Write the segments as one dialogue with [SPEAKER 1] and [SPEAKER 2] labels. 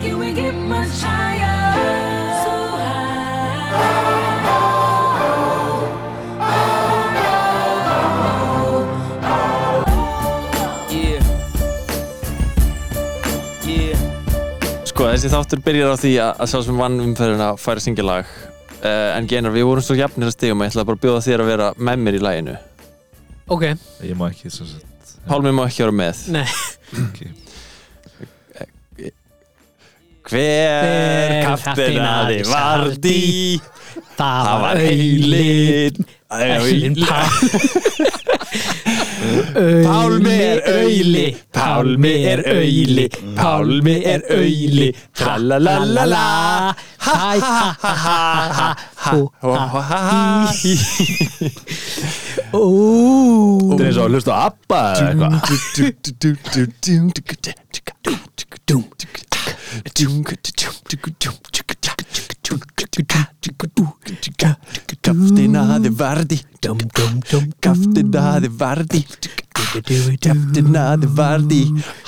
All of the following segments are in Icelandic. [SPEAKER 1] Can we get much higher? So high.
[SPEAKER 2] Sko þessi þáttur byrjar á því að, að sá sem vann umferðina fær að syngja lag uh, En Genar, við vorum svo jafnir að stigum Ég ætla bara að bjóða þér að vera með mér í laginu
[SPEAKER 3] Ok,
[SPEAKER 4] Ég má ekki sem sagt
[SPEAKER 2] Pálmi má ekki vera með
[SPEAKER 3] nei
[SPEAKER 4] ekki.
[SPEAKER 2] Hver kappinaði Vardí Það var Eilin
[SPEAKER 3] Eilin
[SPEAKER 2] Pálmi er auðli Pálmi er auðli Pálmi er auðli Tralalala Ha ha ha ha ha ha ha ha ha
[SPEAKER 3] Ó
[SPEAKER 4] Þetta er eins og að hlusta á ABBA eða eitthvað
[SPEAKER 2] Kaftin aði vardi Kaftin aði vardi Kaftin aði vardi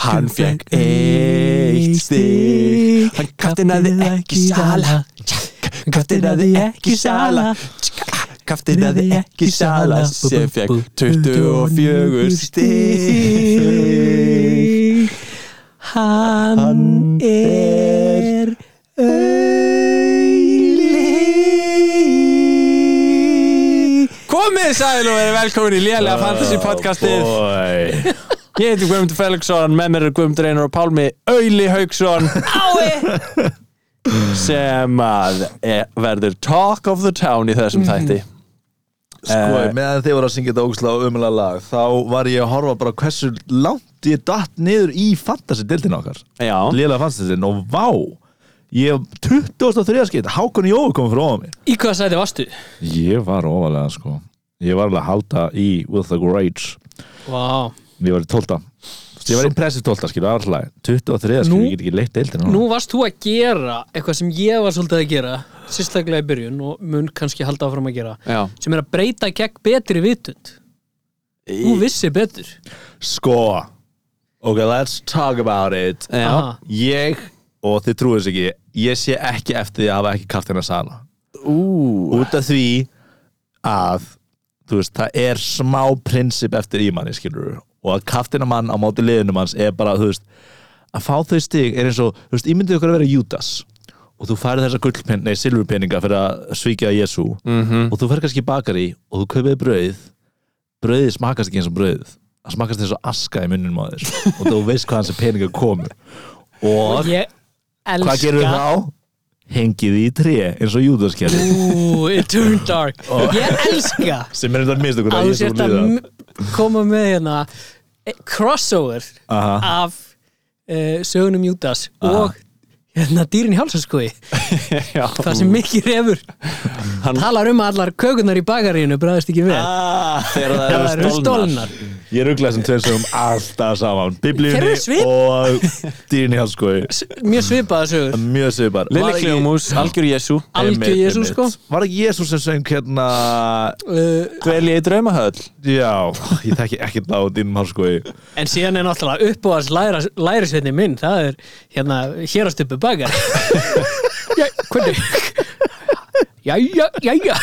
[SPEAKER 2] Hann fekk eitt stig Hann kaftin aði ekki sala Kaftin aði ekki sala Kaftin aði ekki sala Sem fekk 24 stig
[SPEAKER 3] Hann er Eili
[SPEAKER 2] Komið sæl og verið velkomin í lélega
[SPEAKER 4] Oh,
[SPEAKER 2] fantasy podcastið Eh.
[SPEAKER 4] podcastið
[SPEAKER 2] Ég heiti Guðmundur Felixson, með mér er Guðmundur Einar og Pálmi Öyli Haugsson
[SPEAKER 3] Ái
[SPEAKER 2] sem að er, verður talk of the town í
[SPEAKER 3] Mm.
[SPEAKER 2] þessum þætti
[SPEAKER 4] Sko, meðan þið voru að syngja þetta ógslag umlega lag þá var ég að horfa bara hversu langt ég datt niður í fantasy-dildin okkar
[SPEAKER 2] Já,
[SPEAKER 4] Lélega fantasy-dildin og vá Ég 23. skitt, Hákon Jói kom frá mig
[SPEAKER 3] Í hvað sæti varstu?
[SPEAKER 4] Ég var ofalega sko Ég var alveg að halda í With the Greats
[SPEAKER 3] Vá
[SPEAKER 4] Ég var í 12. Ég var impressive 12. skilu, aðallega 23. skilu,
[SPEAKER 3] Nú-
[SPEAKER 4] ég get ekki leitt deildin
[SPEAKER 3] Nú varst þú að gera eitthvað sem ég var svolítið að gera sérstaklega í byrjun og mun kannski halda áfram að gera
[SPEAKER 2] já
[SPEAKER 3] sem er að breyta gegn betri vitund Þú vissi betur
[SPEAKER 4] Sko Ok, let's talk about it
[SPEAKER 2] Já,
[SPEAKER 3] Aha.
[SPEAKER 4] Ég, og þið trúið þess ekki Ég sé ekki eftir því að hafa ekki kartina sala
[SPEAKER 2] ú
[SPEAKER 4] út af því að þú veist, það er smá prinsip eftir í manni, skilur og að kaftina mann á móti liðinu manns er bara, þú veist, að fá þau stig er eins og, þú veist, ímyndið okkur að vera Judas og þú færið þessa gullpen, nei, silfurpeninga fyrir að svíkja Jésu
[SPEAKER 2] Mhm.
[SPEAKER 4] og þú færið kannski í bakari og þú kaupið brauð brauðið smakast ekki eins og brauð það smakast eins og aska í munnum á þér og þú veist hvaðan þessi peninga komu og
[SPEAKER 3] Ég elska
[SPEAKER 4] hvað gerir þá? hengið í tré eins og Judas gerði
[SPEAKER 3] Ú, it turned dark Ég elska
[SPEAKER 4] sem er þetta mistökur
[SPEAKER 3] að
[SPEAKER 4] að
[SPEAKER 3] þú
[SPEAKER 4] ég svo
[SPEAKER 3] sért að
[SPEAKER 4] líða
[SPEAKER 3] m- koma með hérna eh, crossover
[SPEAKER 4] Aha.
[SPEAKER 3] af uh, sögunum Júdas og hérna dýrin í hálsaskoði
[SPEAKER 2] Já,
[SPEAKER 3] það sem mikið refur
[SPEAKER 2] Hann-
[SPEAKER 3] talar um að allar kökunar í bakaríinu bræðist ekki
[SPEAKER 4] Ah.
[SPEAKER 2] þegar
[SPEAKER 3] vel
[SPEAKER 2] það
[SPEAKER 3] Ah. það
[SPEAKER 2] eru
[SPEAKER 3] eru stólnar
[SPEAKER 4] ég ruggla þessum tveir sögum alltaf saman
[SPEAKER 3] Þeir
[SPEAKER 4] biblíunni
[SPEAKER 3] eru svip-
[SPEAKER 4] og dýrin í halskói
[SPEAKER 3] mjög svipaða sögur
[SPEAKER 4] mjög svipar Var
[SPEAKER 2] Lili
[SPEAKER 4] ekki-
[SPEAKER 2] Kleumús, Algjör Jésu
[SPEAKER 3] algjör
[SPEAKER 4] Einmitt,
[SPEAKER 3] Jésu
[SPEAKER 4] einmitt.
[SPEAKER 3] sko
[SPEAKER 4] var ekki Jésús sem söng hérna
[SPEAKER 3] uh,
[SPEAKER 2] Dvelja í draumahöll
[SPEAKER 4] já, ég þekki ekkert á dýrin í sko, halskói
[SPEAKER 3] en síðan er náttúrulega uppáðars læra- lærisveinni minn það er hérna hérastöpu bakar já, hvernig jæja, jæja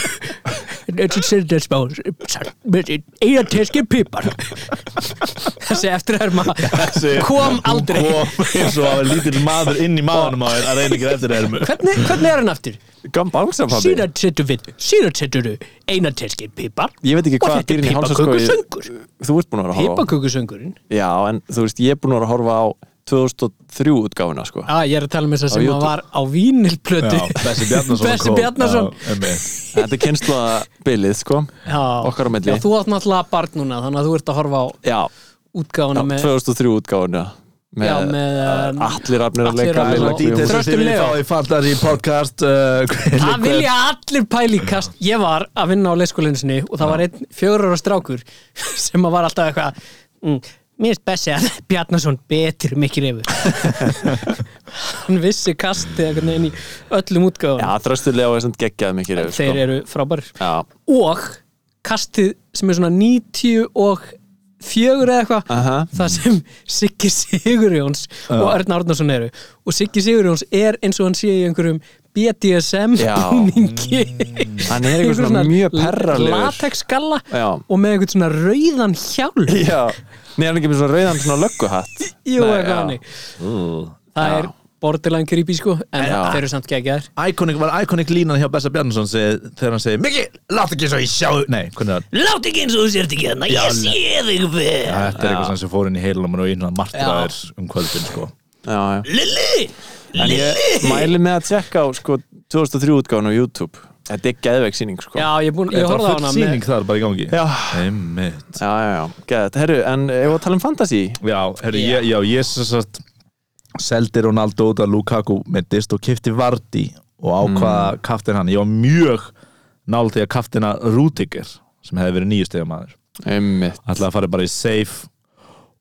[SPEAKER 3] þetta er þetta smá salt með eina teski pipar þessi eftir er maður kom aldrei
[SPEAKER 4] kom eins og að lítill maður inn í maðunum á þér að reyna ekki eftir ermu
[SPEAKER 3] hvernig, hvernig er hann aftur?
[SPEAKER 2] Gam bangsa pabbi
[SPEAKER 3] síðan setur við síðan setur við eina teski pipar
[SPEAKER 2] Ég veit ekki
[SPEAKER 3] og
[SPEAKER 2] hvað
[SPEAKER 3] þetta er
[SPEAKER 2] dýrin í hálsaskoði
[SPEAKER 3] piparkökusöngur
[SPEAKER 2] Þú ert búin að vera að horfa á
[SPEAKER 3] piparkökusöngurinn
[SPEAKER 2] Já, en þú veist, ég er búin að vera að horfa á 2003 útgáfuna, sko
[SPEAKER 3] Já, ég er að tala með
[SPEAKER 2] Á
[SPEAKER 3] þess að sem
[SPEAKER 2] YouTube.
[SPEAKER 3] var á vínilplötu
[SPEAKER 4] Já, Bessi Bjarnason
[SPEAKER 3] Bessi
[SPEAKER 4] kom.
[SPEAKER 3] Bjarnason.
[SPEAKER 4] Já, einmitt.
[SPEAKER 2] Þetta er kynslaðabilið, sko
[SPEAKER 3] Já.
[SPEAKER 2] Okkar á milli.
[SPEAKER 3] Já, þú átt náttúrulega barn núna þannig að þú ert að horfa á
[SPEAKER 2] Já,
[SPEAKER 3] útgáfuna
[SPEAKER 2] Já,
[SPEAKER 3] með
[SPEAKER 2] 2003 útgáðuna með,
[SPEAKER 3] Já, með,
[SPEAKER 2] uh,
[SPEAKER 3] um,
[SPEAKER 2] allir afnir að
[SPEAKER 3] Atli
[SPEAKER 2] leika
[SPEAKER 3] Rafn
[SPEAKER 2] Lilla Guðjóns.
[SPEAKER 3] og-
[SPEAKER 4] Dítið sem
[SPEAKER 3] Þröstur
[SPEAKER 4] þið viljið
[SPEAKER 3] Leó.
[SPEAKER 4] fá í Fantasy podcast uh,
[SPEAKER 3] Það vilja allir pæli í kast Ég var að vinna á leikskólinu sinni og það var einn fjögur ára strákur sem að var alltaf eitthvað mm, Mér finnst Bessi að Bjarnason betur mikið reyfur Hann vissi kastið einhvern veginn í öllum
[SPEAKER 2] Já,
[SPEAKER 3] útgáfuna
[SPEAKER 2] þröstulega og þessum geggjaði mikið sko. reyf
[SPEAKER 3] Þeir eru frábærir
[SPEAKER 2] Já,
[SPEAKER 3] og kastið sem er svona 90 og fjögur eða eitthvað
[SPEAKER 2] Aha.
[SPEAKER 3] það sem Siggi Sigurjóns og Örn Árnason eru og Siggi Sigurjóns er eins og hann sé í einhverjum BDSM
[SPEAKER 2] Já. Mm.
[SPEAKER 3] búningi
[SPEAKER 2] Hann er einhver svona mjög perralegur.
[SPEAKER 3] latex skalla
[SPEAKER 2] Já.
[SPEAKER 3] og með einhvern svona rauðan hjálm
[SPEAKER 2] Já, nei, hann er ekki með svona rauðan svona lögguhatt
[SPEAKER 3] Jú,
[SPEAKER 2] Nei,
[SPEAKER 3] eitthvað
[SPEAKER 2] já. Mm,
[SPEAKER 3] hannig Það er borderline creepy sko en
[SPEAKER 2] Já.
[SPEAKER 3] þeir eru samt geggjaðir
[SPEAKER 4] Iconic, var Iconic línan hjá Bessa Bjarnason segi, þegar hann segi, Miki, lát ekki eins og ég sjá Nei, hvernig var
[SPEAKER 3] Látt ekki eins og þú sért ekki hérna,
[SPEAKER 4] Já,
[SPEAKER 3] ég
[SPEAKER 4] nei.
[SPEAKER 3] sé þig vel
[SPEAKER 4] Þetta er eitthvað sem fór inn í heilum og inn að martraðir um kvöldin sko.
[SPEAKER 2] Já, já
[SPEAKER 3] Lilli,
[SPEAKER 2] En ég mæli með að tjekka á sko 2003 útgáðan á YouTube Þetta er geðveik síning sko
[SPEAKER 3] Já, ég, er búinn, ég
[SPEAKER 4] Þetta
[SPEAKER 3] horfði á
[SPEAKER 4] var full
[SPEAKER 3] hana með
[SPEAKER 4] sýning þar bara í gangi
[SPEAKER 2] Já,
[SPEAKER 4] Einmitt
[SPEAKER 2] já, já, já. geðvægt Herru, en ef við að tala um fantasy
[SPEAKER 4] Já, herri, ég, já, ég sem sagt seldi Ronaldo út að Lukaku myndist og kefti Vardy og ákvaða mm. kaftin hann, ég var mjög nála því að kaftina Rútiger sem hefði verið nýju stegum maður
[SPEAKER 2] Einmitt
[SPEAKER 4] ætlaði að fara bara í safe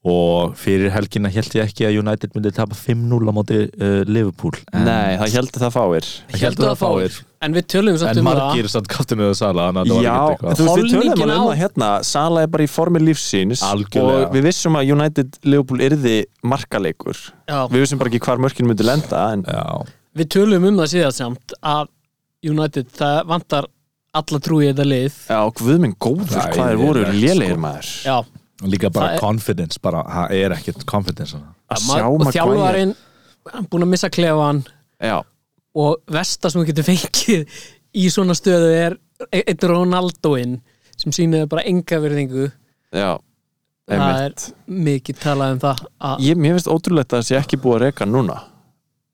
[SPEAKER 4] og fyrir helgina held ég ekki að United myndi tapa 5-0 á móti uh, Liverpool en,
[SPEAKER 2] Nei, það heldur það fáir
[SPEAKER 4] Ég held að það fáir.
[SPEAKER 3] En við tölum samt
[SPEAKER 4] en
[SPEAKER 3] um
[SPEAKER 4] margir samt kaftinu það sala þannig að
[SPEAKER 2] Já,
[SPEAKER 4] það var
[SPEAKER 2] en
[SPEAKER 4] ekkert
[SPEAKER 2] þú veist,
[SPEAKER 4] eitthvað
[SPEAKER 2] við tölum
[SPEAKER 3] Holningin
[SPEAKER 2] alveg um
[SPEAKER 3] á-
[SPEAKER 2] það hérna Sala er bara í formi lífsins
[SPEAKER 4] Algjörlega.
[SPEAKER 2] og við vissum að United Liverpool yrði markaleikur
[SPEAKER 3] Já.
[SPEAKER 2] Við vissum bara ekki hvar mörkin myndi lenda en
[SPEAKER 4] Já,
[SPEAKER 3] Við tölum um það síðan samt að United, það vantar alla trú í þetta lið
[SPEAKER 2] já, guð minn góður,
[SPEAKER 4] Það
[SPEAKER 2] hvað
[SPEAKER 4] er
[SPEAKER 2] er voru
[SPEAKER 4] rétt, sko.
[SPEAKER 2] lélegir maður
[SPEAKER 3] Já,
[SPEAKER 4] líka bara
[SPEAKER 3] Það er-
[SPEAKER 4] confidence bara, það er ekkert confidence hana.
[SPEAKER 2] Að
[SPEAKER 3] ma-
[SPEAKER 2] sjá
[SPEAKER 3] og
[SPEAKER 2] Maguire.
[SPEAKER 3] þjálfarinn hann búin að missa klefan
[SPEAKER 2] Já,
[SPEAKER 3] og versta sem við getum fengið í svona stöðu er einn Ronaldoinn sem sýnir bara enga virðingu
[SPEAKER 2] já
[SPEAKER 3] það er
[SPEAKER 2] einmitt.
[SPEAKER 3] mikið talað um það að
[SPEAKER 2] ég, Mér finnst ótrúlegt að það sé ekki búið að reka núna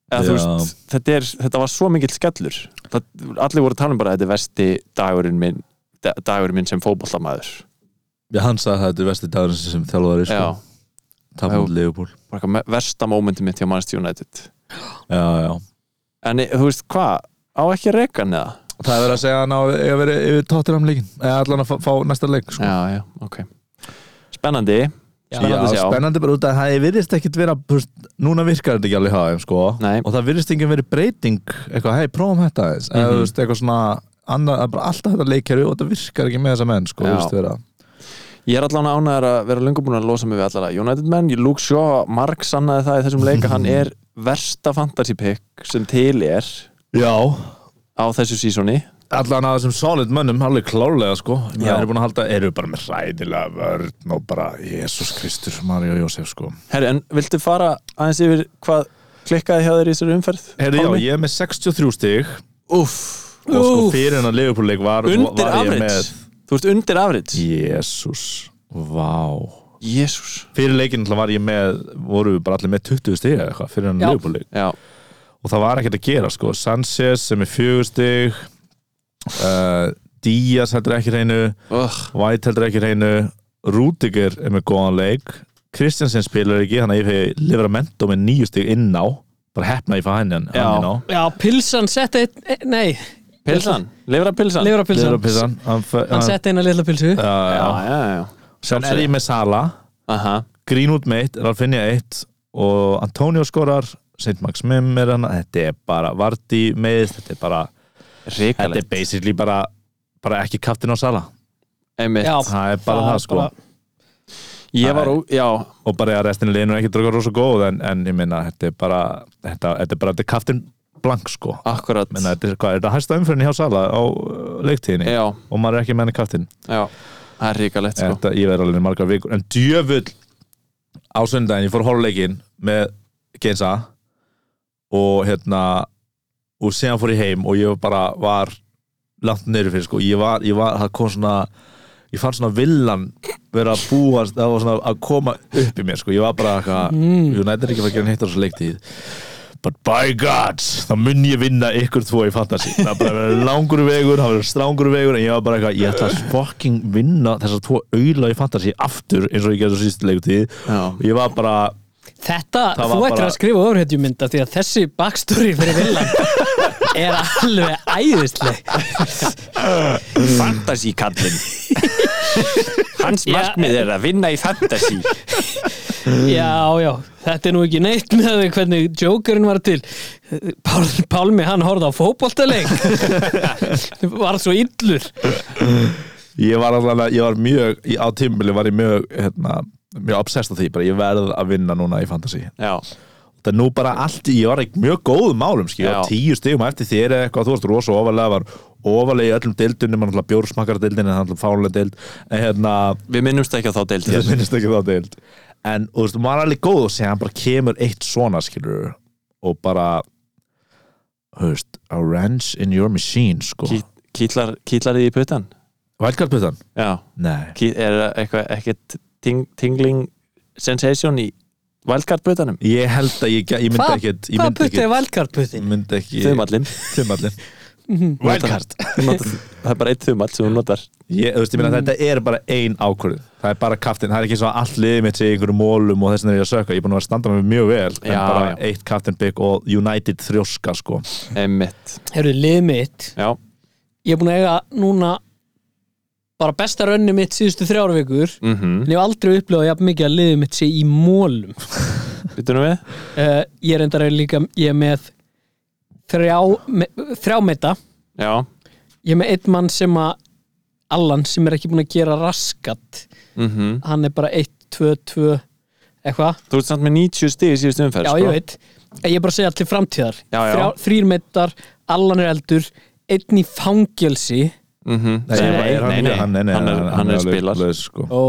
[SPEAKER 2] Eða, þú
[SPEAKER 4] Já.
[SPEAKER 2] veist, þetta, er, þetta var svo mikill skellur það, Allir voru að tala um bara að þetta er vesti dagurinn minn da- dagurinn minn sem fótboltamaður
[SPEAKER 4] Já, hann sagði það þetta er vesti dagurinn sem þjálfari sko,
[SPEAKER 2] Já, Já.
[SPEAKER 4] tapa móti Liverpool
[SPEAKER 2] bara eitthvað me- versta mómenti mitt hjá Manchester United
[SPEAKER 4] Já, já
[SPEAKER 2] En eh, þú veist hvað, á ekki að reka hann eða?
[SPEAKER 4] Það er verið að segja að hann á að vera yfir tóttinam leikin eða allan að fá, fá næsta leik sko.
[SPEAKER 2] Já, já, ok Spennandi,
[SPEAKER 3] Já.
[SPEAKER 4] Já,
[SPEAKER 2] spennandi að sjá
[SPEAKER 4] spennandi bara út að það virðist ekkit vera þú veist, núna virkar þetta ekki alveg hafa sko.
[SPEAKER 2] Nei.
[SPEAKER 4] og það virðist ekki verið breyting eitthvað, hei, prófum þetta aðeins
[SPEAKER 2] Mhm.
[SPEAKER 4] eða þú veist, eitthvað svona annað, bara alltaf þetta leikjari og þetta virkar ekki með þessa menn sko,
[SPEAKER 2] Já.
[SPEAKER 4] þú veist, vera.
[SPEAKER 2] Ég er allan ánæður að vera lengur búin að losa mig við allara United menn, ég lúk sjó Mark sannaði það í þessum leika, hann er versta fantasy pick sem til er
[SPEAKER 4] Já,
[SPEAKER 2] á þessu sísoni
[SPEAKER 4] allan að þessum solid mönnum alveg klárlega sko,
[SPEAKER 2] Já.
[SPEAKER 4] það eru búin að halda eru bara með ræðilega vörn og bara Jésús Kristur, Mario Jósef sko.
[SPEAKER 2] Herri, en viltu fara aðeins yfir hvað klikkaði hjá þér í þessari umferð?
[SPEAKER 4] Herri, já, ég er með 63 stig
[SPEAKER 2] Úff,
[SPEAKER 4] og sko fyrir hennar Liverpool-leik var,
[SPEAKER 2] undir
[SPEAKER 4] var ég
[SPEAKER 2] afrits
[SPEAKER 4] með
[SPEAKER 2] Þú ert undir afrits?
[SPEAKER 4] Jésús, vá
[SPEAKER 2] Jésús
[SPEAKER 4] Fyrir leikinn náttúrulega var ég með voru við bara allir með 20 stig eða eitthvað fyrir hann
[SPEAKER 3] Já.
[SPEAKER 4] leikbúleik
[SPEAKER 2] Já,
[SPEAKER 4] og það var ekkert að gera sko Sanchez sem er 4 stig uh, Díaz heldur ekki reynu
[SPEAKER 2] oh,
[SPEAKER 4] White heldur ekki reynu Rúdiger er með góðan leik Kristjansen spilar ekki, þannig að ég fegi Livramento með 9 stig inn á bara hefna ég fæ hann hann
[SPEAKER 2] Já.
[SPEAKER 4] inn á
[SPEAKER 3] Já, pilsan setti einn- eh, nei,
[SPEAKER 2] pilsan, lifra pilsan
[SPEAKER 3] lifrapilsan
[SPEAKER 4] Livrapissan hann, fe-
[SPEAKER 3] hann setti eina litla pilsu
[SPEAKER 4] Já,
[SPEAKER 2] Já,
[SPEAKER 4] já.
[SPEAKER 2] já, já
[SPEAKER 4] Sen er ég með Sala
[SPEAKER 2] Aha,
[SPEAKER 4] Greenwood meitt, Ralfinja 1 og Antonio skorar St. Max Mim er hann, þetta er bara Vardy meitt, þetta er bara þetta er
[SPEAKER 2] ríkalegt
[SPEAKER 4] basically bara, bara ekki kaftin á sala,
[SPEAKER 2] Einmitt
[SPEAKER 3] Já.
[SPEAKER 4] það er bara það, sko
[SPEAKER 3] bara-
[SPEAKER 2] Ég var, ó- já,
[SPEAKER 4] og bara að restinu liðinu er ekki dröggar rosa góð en, en ég minna, þetta er bara þetta, þetta er bara, þetta er kaftin blank sko
[SPEAKER 2] akkurat
[SPEAKER 4] minna, þetta er, hvað, er þetta hæsta umfyrinni hjá sala á uh, leiktíðinni
[SPEAKER 2] Já,
[SPEAKER 4] og maður er ekki með henni kaftin
[SPEAKER 2] já, það er ríkalegt sko
[SPEAKER 4] þetta, ég verði alveg margar vikur en djöfull á sundaginn, ég fór horfleikin með Gensa og hérna og síðan fór ég heim og ég bara var langt neyri fyrir sko ég var, ég var, það kom svona ég fann svona villan vera að búast það var svona að koma upp í mér sko ég var bara eitthvað, mm. United er ekki að fara að gera neitt á þessu leiktíð but by god þá mun ég vinna ykkur tvo í fantasy það er bara verið langur vegur, það verið strángur vegur en ég var bara eitthvað, ég ætla að fucking vinna þessar tvo auðla í fantasy aftur eins og ég gerði á síðustu leiktíð
[SPEAKER 2] Já.
[SPEAKER 4] og ég var bara,
[SPEAKER 3] Þetta,
[SPEAKER 4] Það
[SPEAKER 3] þú
[SPEAKER 4] var
[SPEAKER 3] ættir
[SPEAKER 4] bara-
[SPEAKER 3] að skrifa ofurhetjumynda því að þessi backstory fyrir villan er alveg æðisleg
[SPEAKER 2] fantasy kallinn hans
[SPEAKER 3] Já.
[SPEAKER 2] markmið er að vinna í fantasy
[SPEAKER 3] Já, já, þetta er nú ekki neitt með því hvernig Jokerinn var til Pál, Pálmi, hann horfði á fótboltaleik var svo illur
[SPEAKER 4] ég var allavega, ég var mjög í- á tímbili var ég mjög hérna, mjög obsessed á því, bara ég verð að vinna núna í fantasy,
[SPEAKER 2] Já,
[SPEAKER 4] það er nú bara allt í- ég var ekki mjög góðum málum, skil, ég var
[SPEAKER 2] Já.
[SPEAKER 4] tíu stigum eftir þér eða eitthvað, þú varst rosa ofalega var ofalega í öllum deildunum, hann alltaf bjórsmakar deildin en hann alltaf fálega deild, en hérna
[SPEAKER 2] við minnumst ekki að þá deildi
[SPEAKER 4] ég
[SPEAKER 2] þér
[SPEAKER 4] minnist ekki þá deild en og þú veist, maður er alveg góð og segja hann bara kemur eitt svona skilur og bara þú veist, a wrench in your machine sko,
[SPEAKER 2] Ký- Kýtlar, kýtlar þið í puttan?
[SPEAKER 4] vælkarpötan
[SPEAKER 2] Já,
[SPEAKER 4] nei,
[SPEAKER 2] Ký, er það eitthvað ekkert ting, tingling sensation í wildcard puttanum?
[SPEAKER 4] ég held að ég, gæ- ég myndi
[SPEAKER 3] Hvað-
[SPEAKER 4] ekkert ég
[SPEAKER 3] Hvað
[SPEAKER 4] myndi
[SPEAKER 3] puttið er
[SPEAKER 4] ekkert ég
[SPEAKER 3] valkarputtin?
[SPEAKER 4] myndi ekki
[SPEAKER 2] Þumallinn
[SPEAKER 4] þumallin vælkart
[SPEAKER 2] Þú notar- Það er bara eitt þumall sem hún notar
[SPEAKER 4] ég, þú veist, ég meina, þetta er bara ein ákvörðin það er bara kaftin, það er ekki svo að allt liðið mitt sé í einhverjum mólum og þess vegna er ég að sökka ég er búin að vera að standa með mjög vel en
[SPEAKER 2] Já,
[SPEAKER 4] bara
[SPEAKER 2] já.
[SPEAKER 4] eitt kaftin bygg og United þrjóska sko
[SPEAKER 2] Einmitt
[SPEAKER 3] Herru, lið mitt
[SPEAKER 2] Já,
[SPEAKER 3] Ég er búin að eiga núna bara besta rönni mitt síðustu þrjár vikur
[SPEAKER 2] mhm, mm
[SPEAKER 3] en ég hef aldrei upplifað jafn mikið að liðið mitt sé í mólum
[SPEAKER 2] við
[SPEAKER 3] uh, Ég er endar líka ég er með þrjá, me, þrjá meita
[SPEAKER 2] Já,
[SPEAKER 3] Ég er með einn mann sem að Allan sem er ekki búin að gera raskat
[SPEAKER 2] mhm
[SPEAKER 3] Hann er bara 1, 2, 2 eitthvað,
[SPEAKER 2] Þú ert samt með 90 stig í síðustu umferð
[SPEAKER 3] já
[SPEAKER 2] sko.
[SPEAKER 3] ég veit En ég er bara að segja allir framtíðar
[SPEAKER 2] Já, já.
[SPEAKER 3] Þrjá- Þrír meittar, Allan er eldur einn í fangelsi
[SPEAKER 2] Mhm.
[SPEAKER 4] Nei,
[SPEAKER 2] Sem-
[SPEAKER 4] nei, nei, nei,
[SPEAKER 2] hann,
[SPEAKER 4] nei,
[SPEAKER 2] er, hann, er
[SPEAKER 4] alveg
[SPEAKER 2] spilar
[SPEAKER 4] laus, sko.
[SPEAKER 3] Ó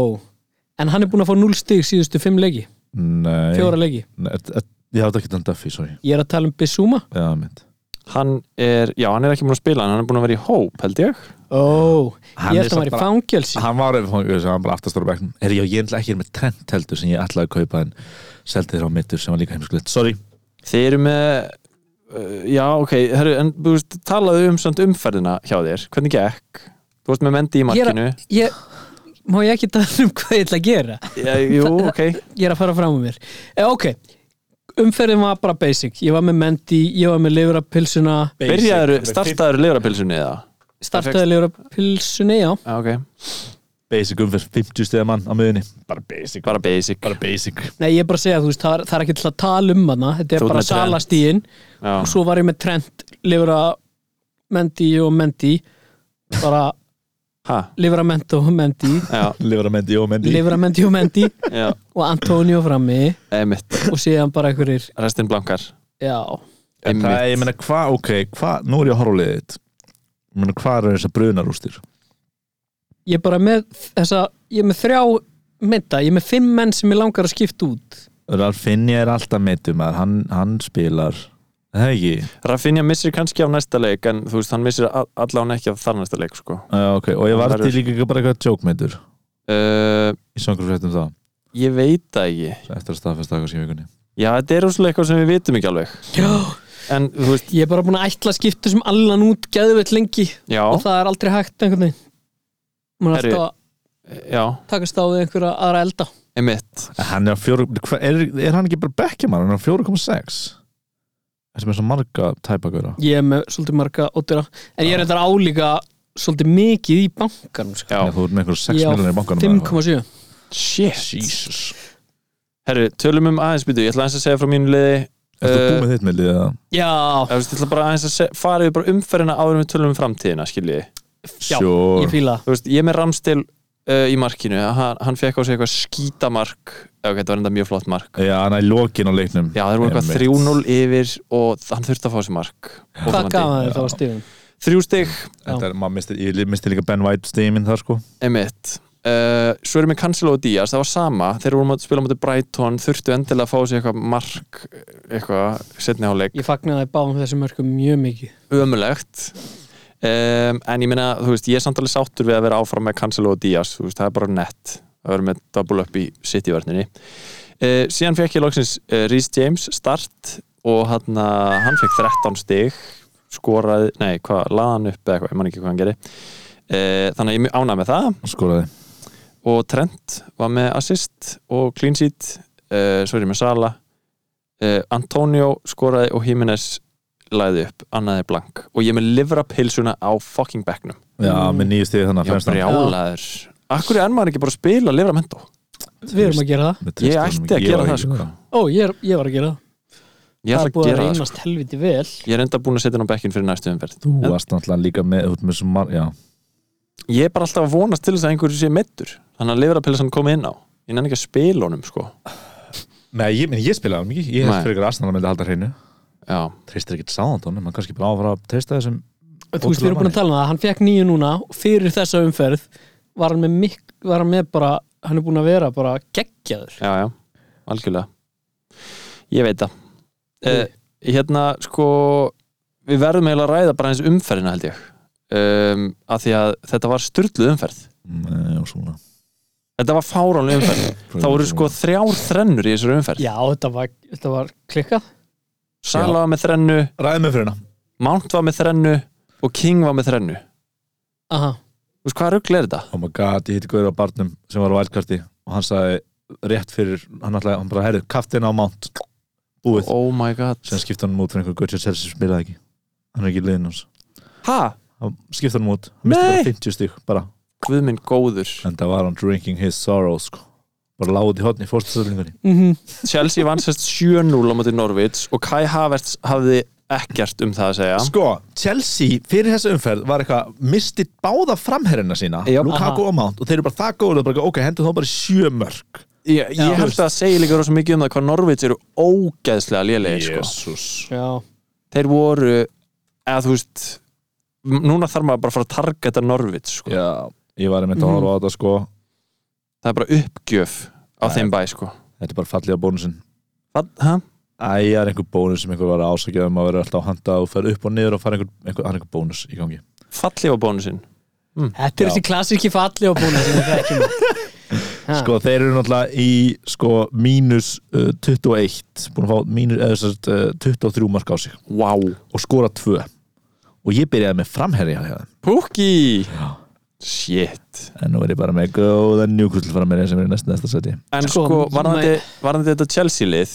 [SPEAKER 3] En hann er búin að fá 0 stig síðustu 5 leiki
[SPEAKER 4] Nei,
[SPEAKER 3] Fjóra leiki
[SPEAKER 4] nei, er- er- Ég hafði ekki þann Duffy, sorry
[SPEAKER 3] Ég er að tala um Bissúma
[SPEAKER 4] Já, mynd
[SPEAKER 2] Hann er, já hann er ekki búin að spila en Hann er búin að vera í hóp held ég
[SPEAKER 3] Ó
[SPEAKER 4] Hann
[SPEAKER 3] Ég held að hann
[SPEAKER 4] er
[SPEAKER 3] var
[SPEAKER 4] samt
[SPEAKER 3] í
[SPEAKER 4] bara-
[SPEAKER 3] fangelsi
[SPEAKER 4] Hann var ef hann hann bara aftastur á bekknum Er ég ég ætla ekki er með trend heldur sem ég ætlaði að kaupa en seldi þér á mittur sem var líka heimskulegt Sorry
[SPEAKER 2] Þið eru með uh, Já ok, herru, en þú veist talaðu um samt umferðina hjá þér Hvernig gekk? Þú varst með Mendy í
[SPEAKER 3] Ég er
[SPEAKER 2] markinu
[SPEAKER 3] að ég, Má ég ekki tala um hvað ég ætla að gera
[SPEAKER 2] ég, Jú, ok
[SPEAKER 3] Ég er að fara fram um mér e, Ok Umferðin var bara basic Ég var með Mendy Ég var með Leifurapilsuna
[SPEAKER 2] Byrjaðu, startaðu leirapilsunni eða?
[SPEAKER 3] Startaði Leifurapilsuna, já
[SPEAKER 2] Já, ok,
[SPEAKER 4] Basic umferð, 50 stiða mann á miðunni Bara basic, bara,
[SPEAKER 2] bara basic
[SPEAKER 4] bara basic
[SPEAKER 3] Nei, ég er bara að segja, þú veist, það er, það er ekki til að tala um hana Þetta er
[SPEAKER 2] Þú ert
[SPEAKER 3] bara
[SPEAKER 2] með Trent.
[SPEAKER 3] salastíin
[SPEAKER 2] Já,
[SPEAKER 3] og svo var ég með Trent Livra Mendy og Mendy bara
[SPEAKER 2] ha,
[SPEAKER 3] Livra Mento og Mendy
[SPEAKER 2] já,
[SPEAKER 4] Livra Mendy og Mendy
[SPEAKER 3] Livra Mendy og Mendy
[SPEAKER 2] já
[SPEAKER 3] og Antonio frammi
[SPEAKER 2] Einmitt,
[SPEAKER 3] og síðan bara einhverjir
[SPEAKER 2] restin blankar
[SPEAKER 3] já,
[SPEAKER 4] En það er, ég meina, hvað, ok, hvað, nú er ég að horfa á liðið þitt. Ég meina, hvað eru þessar brunarústir?
[SPEAKER 3] ég er bara með þessa, ég er með þrjá mynda, ég er með fimm menn sem ég langar að skipta út
[SPEAKER 4] Ralfinni er alltaf mittur maður, hann, hann spilar Er Það ekki?
[SPEAKER 2] Rafinha missir kannski á næsta leik en þú veist, hann missir a- allan ekki af þar næsta leik sko.
[SPEAKER 4] Já, ok, og ég
[SPEAKER 2] Hann
[SPEAKER 4] var til
[SPEAKER 2] verður-
[SPEAKER 4] líka ekki bara eitthvað tjókmyndur
[SPEAKER 2] uh,
[SPEAKER 4] í sangurfréttum það
[SPEAKER 2] Ég veit það ekki
[SPEAKER 4] eftir að staðfesta eitthvað í vikunni
[SPEAKER 2] Já, þetta er úslega eitthvað sem við vitum ekki alveg
[SPEAKER 3] já.
[SPEAKER 2] En þú veist,
[SPEAKER 3] ég er bara búin að ætla að skipta sem allan út geðveitt lengi
[SPEAKER 2] já,
[SPEAKER 3] og það er aldrei hægt einhvern veginn maður er
[SPEAKER 2] Herri.
[SPEAKER 3] alltaf að
[SPEAKER 2] já,
[SPEAKER 3] takast á við einhverja aðra elda
[SPEAKER 2] emitt
[SPEAKER 4] hann er, á fjóru, hva, er, er hann ekki bara bekkjaman hann er á 4,6 þessum er svo marga tæpa gauðra
[SPEAKER 3] ég er með svolítið marga ódýra en ég er þetta álíka svolítið mikið í bankanum sko.
[SPEAKER 2] Já,
[SPEAKER 4] þú ert með einhver 6
[SPEAKER 3] Ég á
[SPEAKER 4] miljonir í bankanum
[SPEAKER 3] 5,7
[SPEAKER 2] shit
[SPEAKER 4] Jesus
[SPEAKER 2] Herru, tölum um aðeins býtu, ég ætla aðeins að segja frá mínu liði
[SPEAKER 4] Ertu
[SPEAKER 2] Eh,
[SPEAKER 4] búið með þitt með liðið?
[SPEAKER 3] já,
[SPEAKER 2] Ég veist, ég ætla bara aðeins að se- fara við bara umferðina áður en við tölum um framtíðina, skiljiði
[SPEAKER 3] já,
[SPEAKER 4] Sure.
[SPEAKER 3] ég fíla það.
[SPEAKER 2] Þú veist, ég er með Ramstil uh, í markinu hann, hann fekk á sig eitthvað skítamark Já, ok, þetta var enda mjög flott mark
[SPEAKER 4] Já, hann er í lokin á leiknum
[SPEAKER 2] Já, þeir voru eitthvað
[SPEAKER 4] Einmitt.
[SPEAKER 2] 3-0 yfir og hann þurfti að fá sér mark
[SPEAKER 3] hvað
[SPEAKER 2] Óþolandi.
[SPEAKER 3] gaf hann þér þá
[SPEAKER 4] Já.
[SPEAKER 3] að stíðum
[SPEAKER 2] Þrjú stig,
[SPEAKER 4] Þetta er, maður misti, ég misti líka Ben White stímin þar sko
[SPEAKER 2] emitt uh, Svo erum við Cancelo og Díaz, það var sama þeir voru að spila á móti Brighton, þurftu endilega að fá sér eitthvað mark eh, eitthvað, setni háleik,
[SPEAKER 3] ég fagnaði báðum þessum mörgum mjög mikið
[SPEAKER 2] ömulegt um, en ég meina, þú veist, ég er samt alveg sáttur við að vera áfram með Cancelo og Díaz þú veist, það er bara nett að vera með double up í City-vörninni uh, síðan fekk ég loksins uh, Rhys James start og hann, hann fekk 13 stig skoraði, nei, hvað, laði hann upp eða eitthvað, ég man ekki hvað hann geri uh, þannig að ég er mjög ánægð með það
[SPEAKER 4] skoraði
[SPEAKER 2] og Trent var með assist og clean sheet uh, svo er ég með Sala uh, Antonio skoraði og Jimenez læði upp, annaði blank og ég er með livra pilsuna á fucking becknum
[SPEAKER 4] Mm. Já, með nýju stíði þannig
[SPEAKER 2] ég var
[SPEAKER 4] fremstan.
[SPEAKER 2] brjálaður Akkur er enn maður ekki bara að spila livra mentó
[SPEAKER 3] við erum að gera það,
[SPEAKER 4] Með
[SPEAKER 2] Ég
[SPEAKER 4] Tristan,
[SPEAKER 2] ætti að
[SPEAKER 4] ég
[SPEAKER 2] gera
[SPEAKER 4] var
[SPEAKER 2] það
[SPEAKER 4] ekki-
[SPEAKER 2] sko
[SPEAKER 3] ó ég, er, ég var að gera það
[SPEAKER 2] Ég ætla
[SPEAKER 3] það er búið
[SPEAKER 2] að
[SPEAKER 3] að
[SPEAKER 2] gera það sko
[SPEAKER 3] reynast helviti vel
[SPEAKER 2] Ég er enda búin að setja hann á bekkin fyrir næstu umferð
[SPEAKER 4] Þú
[SPEAKER 2] En-
[SPEAKER 4] varst náttúrulega líka með, út með svo marg, já
[SPEAKER 2] ég er bara alltaf að vonast til þess að einhverju sé meittur þannig að liverapilsan kom inn á ég nenni ekki að spila honum sko
[SPEAKER 4] Nei, ég, meni, ég spilaði hann mikið, ég
[SPEAKER 2] Nei.
[SPEAKER 4] hef fyrir ykkur aðstæðan að myndi halda hreinu
[SPEAKER 2] já,
[SPEAKER 4] Treystir ekkert sáðan, maður kannski bara á að fara að treysta þessum
[SPEAKER 3] Þú veist, við erum búin að tala um það, hann fekk nýju núna og fyrir þessa umferð var hann með, mik, var hann með bara, hann er búin að vera bara geggjaður.
[SPEAKER 2] já, já, algjörlega ég veit það uh, hérna sko við verðum eiginlega að ræða bara eins umferðina held ég um, að því að þetta var styrluð umferð
[SPEAKER 4] Nei, svona
[SPEAKER 2] þetta var fáránlega umferð það voru sko þrjár þrennur í þessari umferð
[SPEAKER 3] Já, þetta var, þetta var klikkað.
[SPEAKER 2] Sala var með þrennu,
[SPEAKER 4] Ræði mig fyrir hana
[SPEAKER 2] Mount var með þrennu og King var með þrennu
[SPEAKER 3] Aha.
[SPEAKER 2] Þú veist hvað rugl er þetta?
[SPEAKER 4] Oh my god, ég hitti Guður á barnum sem var á vældkarti og hann sagði rétt fyrir hann alltaf, hann bara, herru, kaftin á mount búið,
[SPEAKER 2] Oh my god
[SPEAKER 4] sem skipta hann út fyrir einhver Guður Chelsea sem spilaði ekki, hann er ekki í liðin hans
[SPEAKER 2] Ha?
[SPEAKER 4] hann skipta hann út, hann misti
[SPEAKER 2] Nei.
[SPEAKER 4] bara 50 stík bara,
[SPEAKER 2] Guð minn góður
[SPEAKER 4] en það var hann drinking his sorrow sko, bara lágði í hotni í fórstastöldingunni,
[SPEAKER 3] Mm
[SPEAKER 2] Chelsea vann sérst 7-0 á móti Norvits og Kai Havertz hafði ekkert um það að segja
[SPEAKER 4] sko, Chelsea fyrir þessa umferð var eitthvað, misti báða framherrina sína,
[SPEAKER 2] Jú.
[SPEAKER 4] Lukaku og Mount og þeir eru bara það góður, bara, ok, hendur þá bara í sjö mörk
[SPEAKER 2] Ég, ég
[SPEAKER 3] Já.
[SPEAKER 2] held að það segja líka rosa mikið um það hvað Norvits eru ógeðslega lélegir sko.
[SPEAKER 4] Jesus.
[SPEAKER 3] Já.
[SPEAKER 2] Þeir voru, eða þú veist m- núna þarf maður bara að fara að targeta Norvits sko.
[SPEAKER 4] Já, ég var einmitt að
[SPEAKER 3] Mhm.
[SPEAKER 4] horfa á þetta sko
[SPEAKER 2] Það er bara uppgjöf á
[SPEAKER 4] Já.
[SPEAKER 2] þeim bæ sko.
[SPEAKER 4] þetta er bara fallið á bónusinn
[SPEAKER 2] Hvað? Ha?
[SPEAKER 4] Æ, það er einhver bónus sem einhver var að ásækja um að vera alltaf að handa og fer upp og niður og fara einhver, einhver, það er einhver bónus í gangi
[SPEAKER 2] Fallið á bónusinn
[SPEAKER 3] Þetta er
[SPEAKER 4] Já.
[SPEAKER 3] þessi klassíki falli á búinu sem við þekkjum. Ha.
[SPEAKER 4] Sko, þeir eru náttúrulega í sko mínus uh, 21 búin að fá mínus, eða þess að uh, 23 mark á sig
[SPEAKER 2] Wow
[SPEAKER 4] og skora 2 og ég byrjaði með framherri hjá þeim
[SPEAKER 2] Pukki Shit
[SPEAKER 4] en nú er ég bara með góða njúkusl framherri sem er í næst næsta seti
[SPEAKER 2] En sko,
[SPEAKER 3] Sko,
[SPEAKER 2] varðandi, varðandi þetta Chelsea lið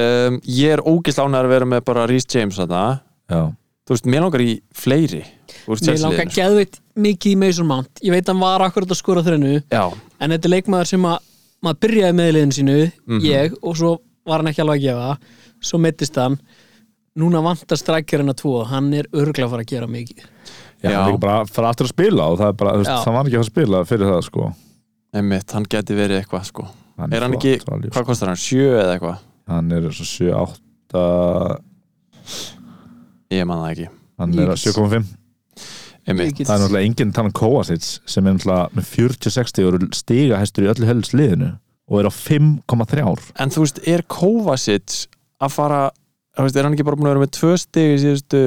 [SPEAKER 2] um, Ég er ógist lánar að vera með bara Rhys James þarna
[SPEAKER 4] Já,
[SPEAKER 2] Þú veist, mér langar í fleiri Úr
[SPEAKER 3] Mér
[SPEAKER 2] Chelsea
[SPEAKER 3] langar
[SPEAKER 2] liðinu sko.
[SPEAKER 3] geðveitt mikið í Mason Mount. Ég veit hann var akkurat að skora þrennu,
[SPEAKER 2] Já,
[SPEAKER 3] en þetta er leikmaður sem að maður byrjaði með í liðinu sínu, ég, og svo var hann ekki alveg að gefa, svo meittist hann. Núna vantar strækjarinn að tvo, hann er örgla að fara að gera mikið.
[SPEAKER 4] Já,
[SPEAKER 2] Já.
[SPEAKER 4] hann líka bara fara aftur að spila og það er bara, þú veist,
[SPEAKER 3] Já.
[SPEAKER 4] það var ekki að fara að spila fyrir það sko
[SPEAKER 2] einmitt, hann geti verið eitthvað sko.
[SPEAKER 4] hann
[SPEAKER 2] Er hann
[SPEAKER 4] flott,
[SPEAKER 2] ekki,
[SPEAKER 4] value, sko.
[SPEAKER 2] hvað kostar hann? Sjö eða eitthvað?
[SPEAKER 4] hann er svo 7, 8
[SPEAKER 2] Ég man það ekki
[SPEAKER 4] hann er að
[SPEAKER 3] Yes.
[SPEAKER 4] 7,5
[SPEAKER 2] Einmitt,
[SPEAKER 3] Ég get-
[SPEAKER 4] það er náttúrulega enginn tannan Kovacic sem er náttúrulega með 40-60 og eru stigahæstur í öllu helst liðinu og er á 5,3 ár
[SPEAKER 2] En þú veist, er Kovacic að fara þú veist, Er hann ekki bara búin að vera með tvö stig í síðustu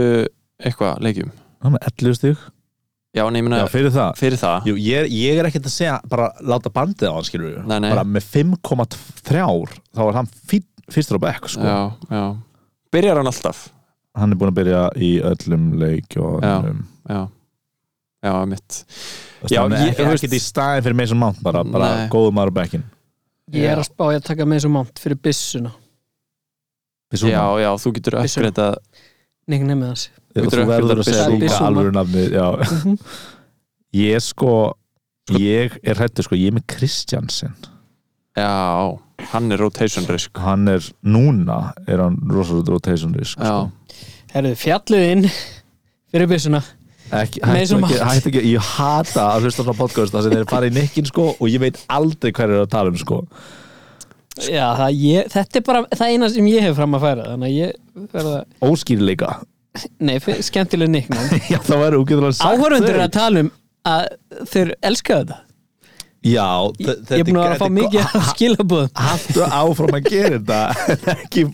[SPEAKER 2] eitthvað leikjum?
[SPEAKER 4] hann er með 11 stig
[SPEAKER 2] Já, en ég meina
[SPEAKER 4] Já, fyrir það
[SPEAKER 2] fyrir það
[SPEAKER 4] Jú, ég, er- ég er ekkert að segja bara láta bandið á hann skilur
[SPEAKER 2] Nei, nei.
[SPEAKER 4] bara með 5,3 ár þá er hann fín, fyrstur á bekk sko.
[SPEAKER 2] Já, já Byrjar hann alltaf?
[SPEAKER 4] hann er búin að byrja í öllum leik og
[SPEAKER 2] Já.
[SPEAKER 4] um,
[SPEAKER 2] Já, já, mitt
[SPEAKER 4] veist,
[SPEAKER 2] Já,
[SPEAKER 4] hann
[SPEAKER 2] ég-
[SPEAKER 4] er ekki,
[SPEAKER 2] þú veist-
[SPEAKER 4] ekki í staðin fyrir Mason Mount bara, bara
[SPEAKER 2] Nei.
[SPEAKER 4] góðum maður á bekkin
[SPEAKER 3] Ég er að spá ég að taka Mason Mount fyrir byssuna.
[SPEAKER 2] Já, já, þú getur
[SPEAKER 3] Vissu.
[SPEAKER 2] uppgreita
[SPEAKER 3] Nei, nefnir þessi.
[SPEAKER 4] og
[SPEAKER 2] Getur
[SPEAKER 4] þú
[SPEAKER 2] ekki
[SPEAKER 4] verður
[SPEAKER 2] verið
[SPEAKER 4] að segja
[SPEAKER 3] Bissúma.
[SPEAKER 4] líka
[SPEAKER 3] Bissúma.
[SPEAKER 4] alvöru nafnið já.
[SPEAKER 3] Mhm.
[SPEAKER 4] ég sko ég er hættu sko, ég er með Kristjansen
[SPEAKER 2] Já, hann er rotation risk
[SPEAKER 4] hann er núna er hann rosalega rotation risk
[SPEAKER 2] Já,
[SPEAKER 4] sko.
[SPEAKER 3] Herðu, fjallið inn fyrir byssuna.
[SPEAKER 4] ekki, hættu,
[SPEAKER 3] Mason
[SPEAKER 4] ekki,
[SPEAKER 3] Mount.
[SPEAKER 4] hættu ekki, ég hata að hlusta svona podcast þar sem þeir fara í nikkin sko og ég veit aldrei hvað er að tala um sko
[SPEAKER 3] Já, það, ég, þetta er bara það eina sem ég hef fram að færa þannig að ég verða,
[SPEAKER 4] óskýrleika
[SPEAKER 3] nei, fyr- skemmtileg nicknum
[SPEAKER 4] já þá verður úgeðulega sagt
[SPEAKER 3] Áhörfundur er
[SPEAKER 4] þau.
[SPEAKER 3] að tala um að þeir elska þetta
[SPEAKER 4] já, þe-
[SPEAKER 3] Ég er búin að vera að fá mikið af skilabóðum
[SPEAKER 4] hattu áfram að gera þetta en ekki,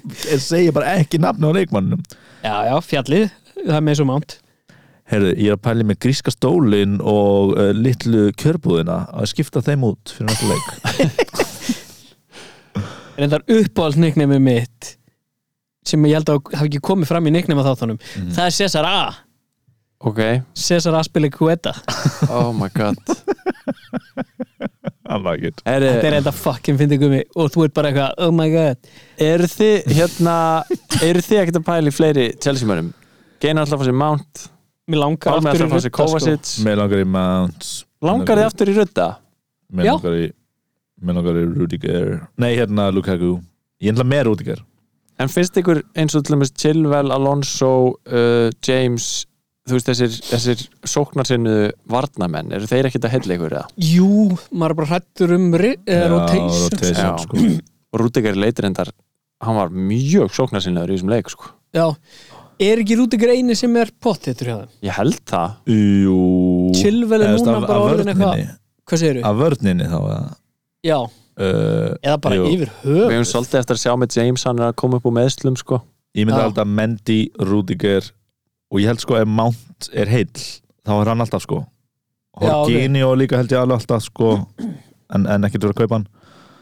[SPEAKER 4] segja bara ekki nafni á leikmannum
[SPEAKER 3] Já, já, fjallið, það er með svo mánt
[SPEAKER 4] Herðu, ég er að pæli með gríska stólin og uh, litlu kjörbúðina að skipta þeim út fyrir næsta leik
[SPEAKER 3] Reyndar uppáhald nicknumi mitt sem ég held að hafi ekki komið fram í nicknum að þáttunum Það er Cesar A
[SPEAKER 2] ok,
[SPEAKER 3] Cesar A spilir Kueta
[SPEAKER 2] oh my god
[SPEAKER 4] I like it
[SPEAKER 3] Þetta er
[SPEAKER 2] Eru
[SPEAKER 3] reynda fucking fyndið gumi og þú ert bara eitthvað, oh my god
[SPEAKER 2] er þið hérna eru þið ekkert að pæla í fleiri Chelsea-mörum? Geina alltaf að fá sér Mount
[SPEAKER 3] Mér langar
[SPEAKER 2] Pálmi
[SPEAKER 3] aftur
[SPEAKER 2] alltaf að fá sér
[SPEAKER 3] rudda, sko.
[SPEAKER 2] Kovacic
[SPEAKER 4] Mér langar í Mount
[SPEAKER 2] Langar þið aftur í rödda?
[SPEAKER 4] Mér
[SPEAKER 3] Já.
[SPEAKER 4] langar í Mér langar í Rudiger Nei, hérna Lukaku Ég ætla með Rudiger
[SPEAKER 2] En finnst ykkur eins og til dæmis Chilwell, Alonso, uh, James þú veist, þessir, þessir sóknarsinnu varnamenn, eru þeir ekkert að hella ykkur eða?
[SPEAKER 3] Jú, maður er bara hrættur um ri- eh, rotation
[SPEAKER 4] rotation,
[SPEAKER 2] Já.
[SPEAKER 4] sko.
[SPEAKER 2] Og Rúdikar leitir endar, hann var mjög sóknarsinnuður í þessum leik, sko.
[SPEAKER 3] Já, er ekki Rúdikar eini sem er pottettur hjá þeim?
[SPEAKER 2] Ég held það.
[SPEAKER 4] Jú
[SPEAKER 3] Chilwell er
[SPEAKER 4] Eða, þú veist,
[SPEAKER 3] núna
[SPEAKER 4] af-
[SPEAKER 3] bara
[SPEAKER 4] af
[SPEAKER 3] orðin eitthvað-
[SPEAKER 4] vörninni.
[SPEAKER 3] Hvað segirðu?
[SPEAKER 4] Af vörninni þá eða?
[SPEAKER 3] Já,
[SPEAKER 4] uh,
[SPEAKER 3] eða bara
[SPEAKER 4] jú.
[SPEAKER 3] yfir
[SPEAKER 2] Við höfum
[SPEAKER 3] höf
[SPEAKER 2] svolítið eftir að sjá með James, hann er að koma upp úr meðslum, sko.
[SPEAKER 4] Ég myndi
[SPEAKER 3] Já.
[SPEAKER 4] alltaf Mendy, Rudiger og ég held sko ef Mount er heill þá er hann alltaf sko
[SPEAKER 3] Já, ok.
[SPEAKER 4] Horgini og líka held ég alveg alltaf sko en, en ekkert verið að kaupa hann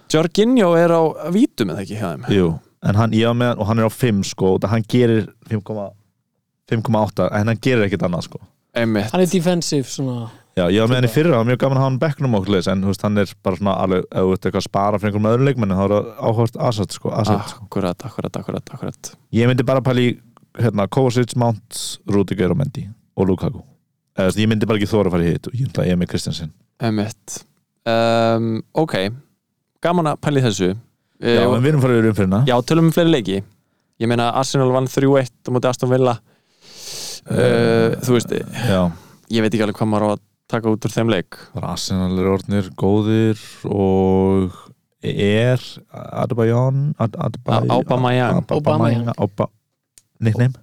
[SPEAKER 2] Jorginho er á vítum eða ekki hjá þeim.
[SPEAKER 4] Jú, en hann ég á meðan og hann er á 5 sko og það hann gerir 5,8 en hann gerir ekkert annað sko
[SPEAKER 2] Einmitt.
[SPEAKER 3] Hann er defensive svona
[SPEAKER 4] Já, ég á meðan í fyrra, það var mjög gaman að hafa hann á bekknum og okkur leis, en þú veist, hann er bara svona alveg, ef þú ert eitthvað að spara fyrir einhverjum öðrum leikmenni, þá er það áhört asset sko, asset
[SPEAKER 2] Ah.
[SPEAKER 4] sko.
[SPEAKER 2] Akkurat, akkurat, akkurat, akkurat.
[SPEAKER 4] Ég myndi bara pæli í, hérna, Kovacic, Mount, Rudiger og Mendy og Lukaku Eða, þú veist, Ég myndi bara ekki þóra að fara í hitt og ég ætla að ég er með Kristjansson
[SPEAKER 2] Einmitt. Um, ok, gaman að pæli þessu.
[SPEAKER 4] Já,
[SPEAKER 2] Eh,
[SPEAKER 4] en við erum farið yfir umfyrirna
[SPEAKER 2] Já, tölum um fleiri leiki Ég meina Arsenal vann 3-1 á móti Aston Villa uh, Þú veist,
[SPEAKER 4] Já,
[SPEAKER 2] ég veit ekki alveg hvað maður á að taka út úr þeim leik
[SPEAKER 4] bara Arsenal er orðnir góðir og er Adebayon Ad- Adebayo-
[SPEAKER 2] A- Ah, Aubameyang.
[SPEAKER 4] Aubameyang Auba- Nickname?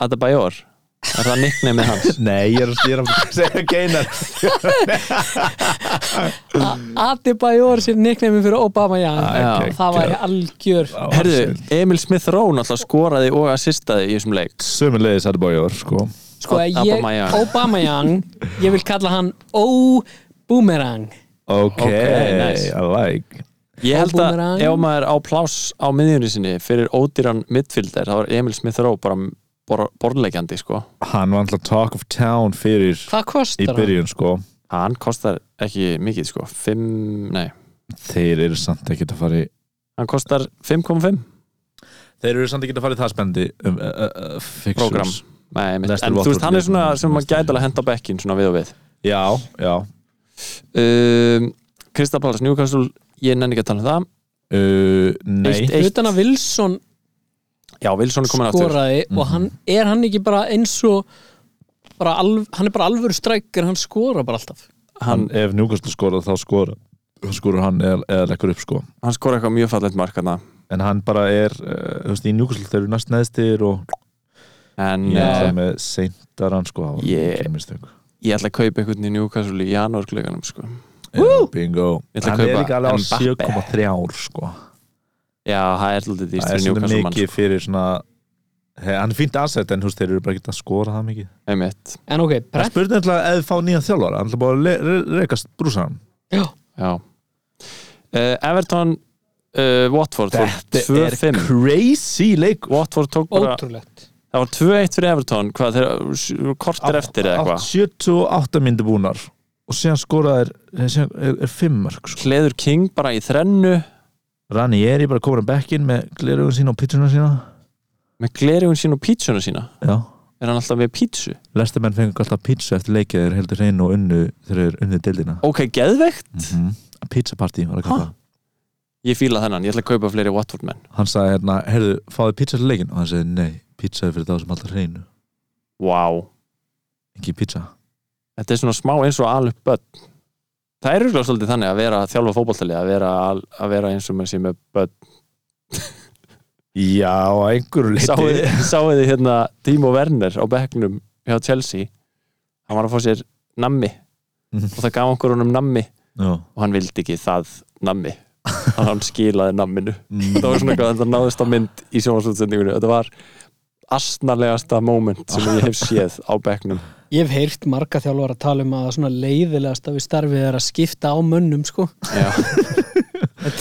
[SPEAKER 2] Adebayor, er það nickname hans?
[SPEAKER 4] Nei, ég er, ég er að segja geinar
[SPEAKER 3] Adebayor sem nicknæmi fyrir Obama, já,
[SPEAKER 4] Ah, ok,
[SPEAKER 3] það var
[SPEAKER 4] ok.
[SPEAKER 3] algjör
[SPEAKER 2] Herðu, Emil Smith Rowe náttúrulega skoraði og assistaði í þessum leik
[SPEAKER 4] Sömulegis Adebayor, sko
[SPEAKER 3] Sko, ég,
[SPEAKER 2] Aubameyang.
[SPEAKER 3] Obamajang ég vil kalla hann O-Boomerang
[SPEAKER 4] Ok,
[SPEAKER 2] nice.
[SPEAKER 4] I like
[SPEAKER 2] Ég held að
[SPEAKER 3] Boomerang.
[SPEAKER 2] ef maður á pláss á miðjunni sinni fyrir ódýran midfielder þá var Emil Smith Rowe bara bor borleikjandi sko
[SPEAKER 4] Hann var alltaf talk of town fyrir
[SPEAKER 3] Hvað
[SPEAKER 4] í
[SPEAKER 3] kostar hann?
[SPEAKER 4] byrjun, sko
[SPEAKER 2] Hann kostar ekki mikið sko 5, nei,
[SPEAKER 4] Þeir eru samt ekki að fara í
[SPEAKER 2] hann kostar 5,5
[SPEAKER 4] Þeir eru samt ekki að fara í það spendi um, uh, uh, uh, fixtures.
[SPEAKER 2] program Nei, einmitt.
[SPEAKER 4] Leicester
[SPEAKER 2] en þú veist,
[SPEAKER 4] Watford
[SPEAKER 2] hann er svona
[SPEAKER 4] leikur.
[SPEAKER 2] sem maður gæti alveg að henda á bekkin svona við og við
[SPEAKER 4] Já, já
[SPEAKER 2] um, Krista Pallas Newcastle ég nenni ekki að tala um það
[SPEAKER 4] uh, Nei,
[SPEAKER 2] Eitt- eitt.
[SPEAKER 3] Utan að Wilson
[SPEAKER 2] já, Wilson er komin aftur
[SPEAKER 3] skoraði og
[SPEAKER 4] Mhm.
[SPEAKER 3] hann, er hann ekki bara eins og bara alv, hann er bara alvöru strækir hann skora bara alltaf
[SPEAKER 2] hann,
[SPEAKER 4] hann, ef Newcastle skora þá skora skorur hann eða, eða leggur upp sko
[SPEAKER 2] hann skora eitthvað mjög fallegt mark hann
[SPEAKER 4] en hann bara er, uh, þú veist, í Newcastle þeir eru næst neðstir og
[SPEAKER 2] en
[SPEAKER 4] ég
[SPEAKER 2] yeah.
[SPEAKER 4] ætla með seintar hann sko það var
[SPEAKER 2] Yeah.
[SPEAKER 4] mikil mistök.
[SPEAKER 2] ég ætla að kaupa einhvern í Newcastle í janúarklöganum sko.
[SPEAKER 4] Já, bingo
[SPEAKER 2] Ég ætla að
[SPEAKER 4] hann er
[SPEAKER 2] kaupa
[SPEAKER 4] líka alveg á
[SPEAKER 2] Mbappe.
[SPEAKER 4] 7,3 sko
[SPEAKER 2] já, það er alltaf
[SPEAKER 4] það
[SPEAKER 2] dýst
[SPEAKER 4] er
[SPEAKER 2] fyrir sko.
[SPEAKER 4] svona
[SPEAKER 2] Newcastle mann
[SPEAKER 4] mikið fyrir svona he, hann er fínt asset en þú veist, þeir eru bara ekki að skora það mikið
[SPEAKER 2] einmitt,
[SPEAKER 3] en ok,
[SPEAKER 4] það
[SPEAKER 3] Brent
[SPEAKER 4] spurði alltaf að þið fá nýjan þjálfara hann er bara að le- re- rekast brúsan
[SPEAKER 3] já,
[SPEAKER 2] já uh, Everton uh, Watford fór 2-5
[SPEAKER 4] crazy leik
[SPEAKER 2] Watford tók bara,
[SPEAKER 3] ótrúlegt
[SPEAKER 2] það var 2-1 fyrir Everton hvað, þeir, kortir eftir eða
[SPEAKER 4] Átt-
[SPEAKER 2] eitthvað
[SPEAKER 4] 78 myndi búnar og síðan skoraðir eh, síðan er, er fimm mörg sko.
[SPEAKER 2] Kleður King bara í þrennu
[SPEAKER 4] Rani er ég bara komin að bekkin með glerugun sína og pitchuna sína
[SPEAKER 2] með glerugun sín og pítsuna sína
[SPEAKER 4] já
[SPEAKER 2] er hann alltaf með pítsu
[SPEAKER 4] Lestamenn fengur alltaf pizza eftir leikið þeir heldur hreinu og unnu þeir eru unnu deildina
[SPEAKER 2] ok, geðveikt,
[SPEAKER 4] mm -hmm. pizza party var að kalla
[SPEAKER 2] Ha? ég fíla þennan, ég ætla að kaupa fleiri Watford menn
[SPEAKER 4] hann sagði hérna, heyrðu, fáðu pizza til leikin og hann sagði, nei, pizza er fyrir þá sem alltaf hreinu
[SPEAKER 2] wow.
[SPEAKER 4] ekki pizza
[SPEAKER 2] þetta er svona smá eins og alup börn það er rúglega svolítið þannig að vera að þjálfa fótballtali að vera, al- að vera eins og maður sé með börn
[SPEAKER 4] já, að einhverju
[SPEAKER 2] sáuði sáu þið hérna Timo Werner á bekknum hjá Chelsea hann var að fá sér nammi
[SPEAKER 4] Mhm.
[SPEAKER 2] og það gaf okkur honum nammi
[SPEAKER 4] já,
[SPEAKER 2] og hann vildi ekki það nammi þannig að hann skilaði namminu
[SPEAKER 4] Mm,
[SPEAKER 2] þetta var svona eitthvað, þetta náðist á mynd í sjónvarsútsendingunni þetta var astnarlegasta moment sem ég hef séð á bekknum
[SPEAKER 3] ég hef heyrt marga þjálfar að tala um að svona leiðilegast við starfið er að skipta á mönnum sko
[SPEAKER 2] Já.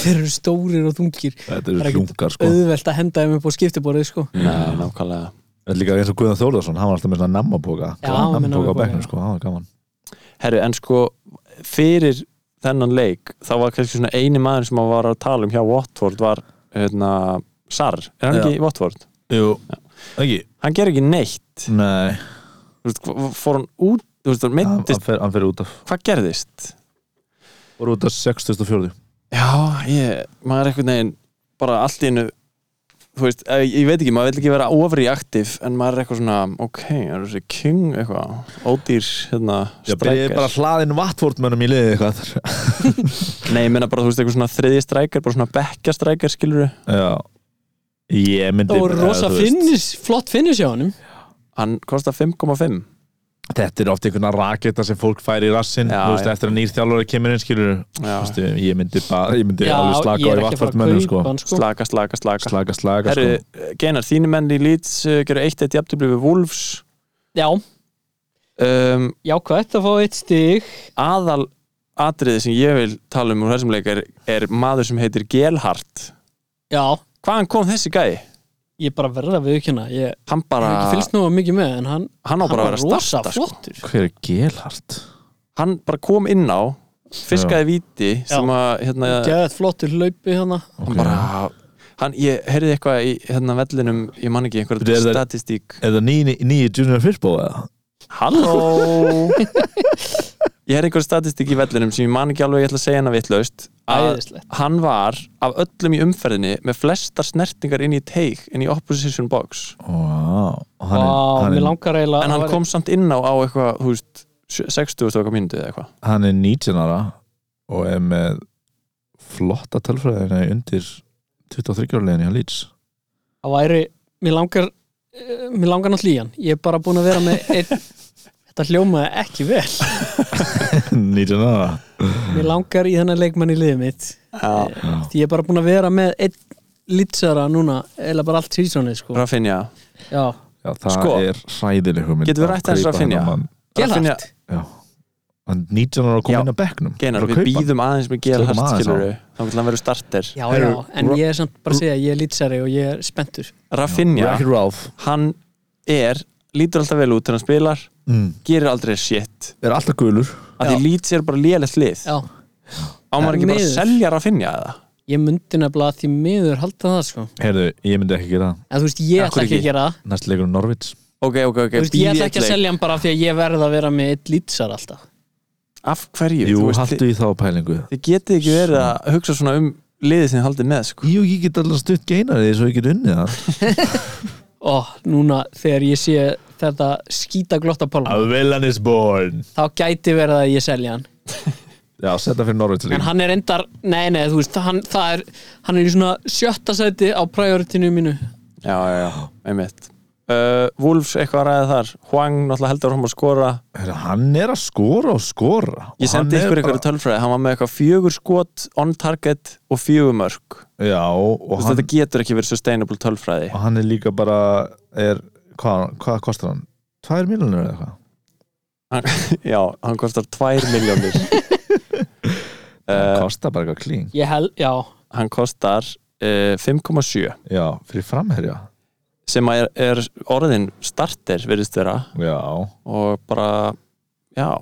[SPEAKER 3] þeir eru stórir og þungir
[SPEAKER 4] þetta
[SPEAKER 3] Það er
[SPEAKER 4] eru
[SPEAKER 3] ekkert
[SPEAKER 4] hljungar sko
[SPEAKER 3] auðvelt að henda þeim upp á skiptiborðið sko
[SPEAKER 2] Nei, nákvæmlega
[SPEAKER 4] Þetta er líka eins og Guðan Þórðarsson, hann var alltaf með svona nammaboka
[SPEAKER 3] Já, hann var með nammapoka,
[SPEAKER 4] nammaboka á bekknum
[SPEAKER 3] já.
[SPEAKER 4] sko, hann var gaman
[SPEAKER 2] Herru, en sko, fyrir þennan leik, þá var kannski svona eini maður sem maður var að tala um hjá Watford var, hérna, Sar er hann
[SPEAKER 4] Já.
[SPEAKER 2] ekki í Watford?
[SPEAKER 4] Jú, ekki
[SPEAKER 2] Hann ger ekki neitt
[SPEAKER 4] Nei,
[SPEAKER 2] Þú veist, hva- fór hann út, þú veist, hann
[SPEAKER 4] hann, hann,
[SPEAKER 2] meittist
[SPEAKER 4] fer, hann fer út af
[SPEAKER 2] hvað gerðist?
[SPEAKER 4] voru út af 64
[SPEAKER 2] Já, ég, maður einhvern veginn bara allt í einu þú veist, eh, ég veit ekki, maður vill ekki vera overreaktiv en maður er eitthvað svona, ok, er þessi king eitthvað, ódýr hérna,
[SPEAKER 4] Ég er bara
[SPEAKER 2] strækar
[SPEAKER 4] hlaðin vattvórtmönnum í liðið eitthvað
[SPEAKER 2] Nei, ég meina bara, þú veist, eitthvað svona þriði strækar bara svona bekkja strækar, skilur
[SPEAKER 4] Já Ég myndi
[SPEAKER 3] og rosa
[SPEAKER 4] eða, þú veist,
[SPEAKER 3] finnis, flott finnis hjá honum
[SPEAKER 2] hann kostar 5,5
[SPEAKER 4] Þetta er oft einhverna raketa sem fólk fær í rassin
[SPEAKER 2] Já,
[SPEAKER 4] Þú veist,
[SPEAKER 2] já.
[SPEAKER 4] eftir að nýr þjálfari kemur inn skilur
[SPEAKER 2] Já.
[SPEAKER 4] Vistu, Ég myndi, bara, ég myndi alveg
[SPEAKER 3] ég
[SPEAKER 4] slaka
[SPEAKER 3] er ekki
[SPEAKER 4] á í
[SPEAKER 3] að fara að
[SPEAKER 4] vattvórtmönnum sko.
[SPEAKER 3] kaupa hann sko
[SPEAKER 2] slaka, slaka, slaka
[SPEAKER 4] Slaka, slaka sko.
[SPEAKER 2] Herru, Geinar, þínu menn í Leeds uh, gerur eitt eitt jafntöfli við Wolves
[SPEAKER 3] já,
[SPEAKER 2] um,
[SPEAKER 3] jákvæmt að fá eitt stig
[SPEAKER 2] aðal atriði sem ég vil tala um úr þessum leik er, er maður sem heitir Gelhardt
[SPEAKER 3] já,
[SPEAKER 2] hvaðan kom þessi gæi?
[SPEAKER 3] ég er bara verða við ekki hérna ég
[SPEAKER 2] Hann bara,
[SPEAKER 3] hef
[SPEAKER 4] Ah.
[SPEAKER 3] ekki fylgst nú mikið með en hann,
[SPEAKER 2] hann á bara
[SPEAKER 3] hann
[SPEAKER 2] að
[SPEAKER 3] var
[SPEAKER 2] vera að
[SPEAKER 3] rosa
[SPEAKER 2] starta sko.
[SPEAKER 3] flottur
[SPEAKER 4] sko. Hver er gelhart?
[SPEAKER 2] hann bara kom inn á fiskaði víti sem að hérna,
[SPEAKER 4] Eh.
[SPEAKER 3] Gæðið flottur hlaupi hérna
[SPEAKER 2] hann bara hann, ég heyrði eitthvað í hérna vellinum ég man ekki
[SPEAKER 4] Þetta
[SPEAKER 2] einhverja
[SPEAKER 4] er það-
[SPEAKER 2] statistík
[SPEAKER 4] Er það nýji ný, junior fyrstbó eða?
[SPEAKER 2] Halló Ég heyrði einhverja statistík í vellinum sem ég man ekki alveg ég ætla að segja hana vitlaust að
[SPEAKER 3] Æðislegt.
[SPEAKER 2] hann var af öllum í umferðinni með flestar snertingar inn í teik inn í opposition box
[SPEAKER 4] Vá, hann er,
[SPEAKER 3] Vá,
[SPEAKER 4] hann
[SPEAKER 3] mér
[SPEAKER 4] er,
[SPEAKER 3] langar eiginlega
[SPEAKER 2] en
[SPEAKER 3] að
[SPEAKER 2] hann
[SPEAKER 3] væri-
[SPEAKER 2] kom samt inn á á eitthvað, þú veist 60 og eitthvað mínútið eða eitthvað
[SPEAKER 4] hann er 19 ára og er með flotta tölfræðina undir 23 áriðin hjá Leeds
[SPEAKER 3] Það væri, mér langar eh, Mér langar náttúrulega í hann Ég er bara búin að vera með einn Þetta hljómaði ekki vel
[SPEAKER 4] 19 ára
[SPEAKER 3] Mér langar í þennan leikmann í liðið mitt
[SPEAKER 2] Já.
[SPEAKER 3] Því ég er bara búin að vera með einn litsara núna Eða bara allt sísonið sko
[SPEAKER 2] Rafinha
[SPEAKER 3] Já,
[SPEAKER 4] Já, það
[SPEAKER 2] Sko,
[SPEAKER 4] er hræðileg hugmynd
[SPEAKER 2] getum við
[SPEAKER 4] að
[SPEAKER 2] rætt aðeins
[SPEAKER 4] kaupa
[SPEAKER 2] Rafinha?
[SPEAKER 4] þennan mann.
[SPEAKER 2] Rafinha-
[SPEAKER 3] gelhart
[SPEAKER 4] Já, hann er 19 ára og kom
[SPEAKER 2] Já.
[SPEAKER 4] inn á bekknum
[SPEAKER 2] Geinar,
[SPEAKER 4] Bara
[SPEAKER 2] við
[SPEAKER 4] kaupa hann.
[SPEAKER 2] býðum aðeins með Gél
[SPEAKER 4] Slökum
[SPEAKER 2] Hart
[SPEAKER 4] aðeins á.
[SPEAKER 2] skilur þá vil hann verið starter
[SPEAKER 3] Já, já,
[SPEAKER 4] Heyrðu,
[SPEAKER 3] en
[SPEAKER 4] Ra-
[SPEAKER 3] ég er samt bara að segja Ég er litsari og ég er spenntur
[SPEAKER 2] Rafinha,
[SPEAKER 4] Wreck-It Ralph
[SPEAKER 2] hann er lítur alltaf vel út þegar hann spilar
[SPEAKER 4] mm.
[SPEAKER 2] gerir aldrei shit
[SPEAKER 4] er alltaf gulur
[SPEAKER 2] að því lít sér bara lélegt lið
[SPEAKER 3] Já,
[SPEAKER 2] á maður ekki bara að
[SPEAKER 3] Miður.
[SPEAKER 2] selja Rafinha eða
[SPEAKER 3] ég myndi nefnilega því miður halda það sko
[SPEAKER 4] Herðu, ég myndi ekki gera það
[SPEAKER 3] En þú veist, ég
[SPEAKER 2] Af
[SPEAKER 3] ætla
[SPEAKER 2] hverju
[SPEAKER 3] ekki
[SPEAKER 2] ekki?
[SPEAKER 3] að gera það
[SPEAKER 4] næst leikur um Norvits
[SPEAKER 2] ok, ok, ok,
[SPEAKER 3] Þú veist, ég
[SPEAKER 2] býði
[SPEAKER 3] ætla
[SPEAKER 2] eitt
[SPEAKER 3] ekki að
[SPEAKER 2] leik
[SPEAKER 3] selja hann bara af því að ég verð að vera með eitt lýtsar alltaf
[SPEAKER 2] af hverju,
[SPEAKER 4] Jú,
[SPEAKER 2] þú veist,
[SPEAKER 4] haldu
[SPEAKER 2] þið,
[SPEAKER 4] í þá pælingu
[SPEAKER 2] þið getið ekki verið að hugsa svona um liðið sem þið haldið með sko.
[SPEAKER 4] Jú, ég get allar stutt geinar því svo ég get unnið það
[SPEAKER 3] og núna þegar ég sé þetta skýta glotta pálma
[SPEAKER 4] villain is born
[SPEAKER 3] þá gæti verið að ég selja hann
[SPEAKER 4] Já, setja fyrir Norvits
[SPEAKER 3] en hann er endar, nei nei þú veist hann, það er, hann er í svona sjötta sæti á prioritinu mínu
[SPEAKER 2] já, já, já, einmitt uh, Wolves eitthvað að ræða þar Hwang náttúrulega heldur hann að skora
[SPEAKER 4] Herra, hann er að skora og skora
[SPEAKER 2] ég sendi ykkur eitthvað tölfræði, hann var með eitthvað fjögur skot on target og fjögur mörg
[SPEAKER 4] eitthvað Já, og hann,
[SPEAKER 2] þetta getur ekki verið sustainable tölfræði
[SPEAKER 4] og hann er líka bara er, hvað, hvað kostar hann? Tvær miljonur eða eitthvað?
[SPEAKER 2] já, hann kostar 2 miljónir
[SPEAKER 4] Hann
[SPEAKER 2] uh,
[SPEAKER 4] kostar bara eitthvað klín
[SPEAKER 3] ég held, já,
[SPEAKER 2] hann kostar uh, 5,7
[SPEAKER 4] Já, fyrir framherja
[SPEAKER 2] sem að er, er orðin starter virðist vera
[SPEAKER 4] Já,
[SPEAKER 2] og bara, já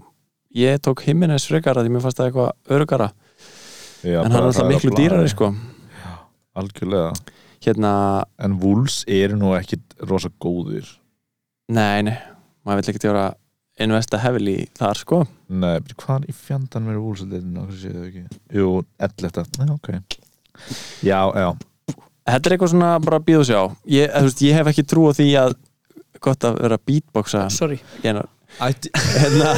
[SPEAKER 2] ég tók himminnes frekar að því mér fannst það eitthvað örugara,
[SPEAKER 4] já
[SPEAKER 2] en
[SPEAKER 4] bara
[SPEAKER 2] hann er alltaf
[SPEAKER 4] hræða
[SPEAKER 2] miklu
[SPEAKER 4] blaði.
[SPEAKER 2] dýrari sko,
[SPEAKER 4] Algjörlega
[SPEAKER 2] hérna
[SPEAKER 4] En Wolves eru nú ekkit rosa góðir
[SPEAKER 2] nei, nei, maður vill ekkert vera investa heavily í þar sko
[SPEAKER 4] Nei, byrju, hvað er í fjandan verið Wolves að deilinu? Hvað séu þau ekki? Jú, 11. Nei, ok Já, já,
[SPEAKER 2] þetta er eitthvað svona bara að býða sjá ég, þú veist, ég hef ekki trú á því að gott að vera að beatboxa
[SPEAKER 3] sorry
[SPEAKER 2] hérna,
[SPEAKER 4] Ætti
[SPEAKER 2] hérna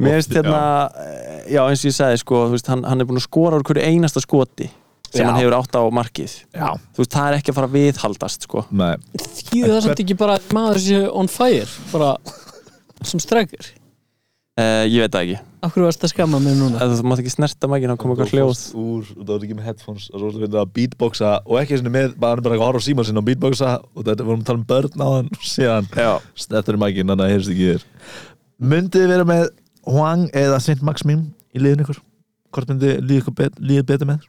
[SPEAKER 2] mér finnst
[SPEAKER 4] Já.
[SPEAKER 2] hérna eh, já eins og ég sagði sko, þú veist, hann, hann er búin að skora úr hverju einasta skoti sem
[SPEAKER 4] Já.
[SPEAKER 2] hann hefur átt á markið
[SPEAKER 4] Já,
[SPEAKER 2] þú veist, það er ekki að fara að viðhaldast sko.
[SPEAKER 4] nei
[SPEAKER 3] þýðu það samt ekki bara að maður sé on fire bara sem strækir
[SPEAKER 2] uh, ég veit það ekki,
[SPEAKER 3] af hverju varst að skamma mig núna
[SPEAKER 2] Eða, þú mátt ekki snerta mækina að koma eitthvað hljóð
[SPEAKER 4] Þú fórst úr, og það var ekki með headphones og svo finnir það að beatboxa og ekki einu sinni með, bara hann er bara að horfa á síma sinna og beatboxa og þetta vorum að tala um börn á hann síðan
[SPEAKER 2] já.
[SPEAKER 4] þetta er mækinn, þannig að heyrst ekki þér Myndið þið vera með Hwang eða St. Maximum í liðin ykkur? Hvort myndið þið líða ykkur bet, líða betur með?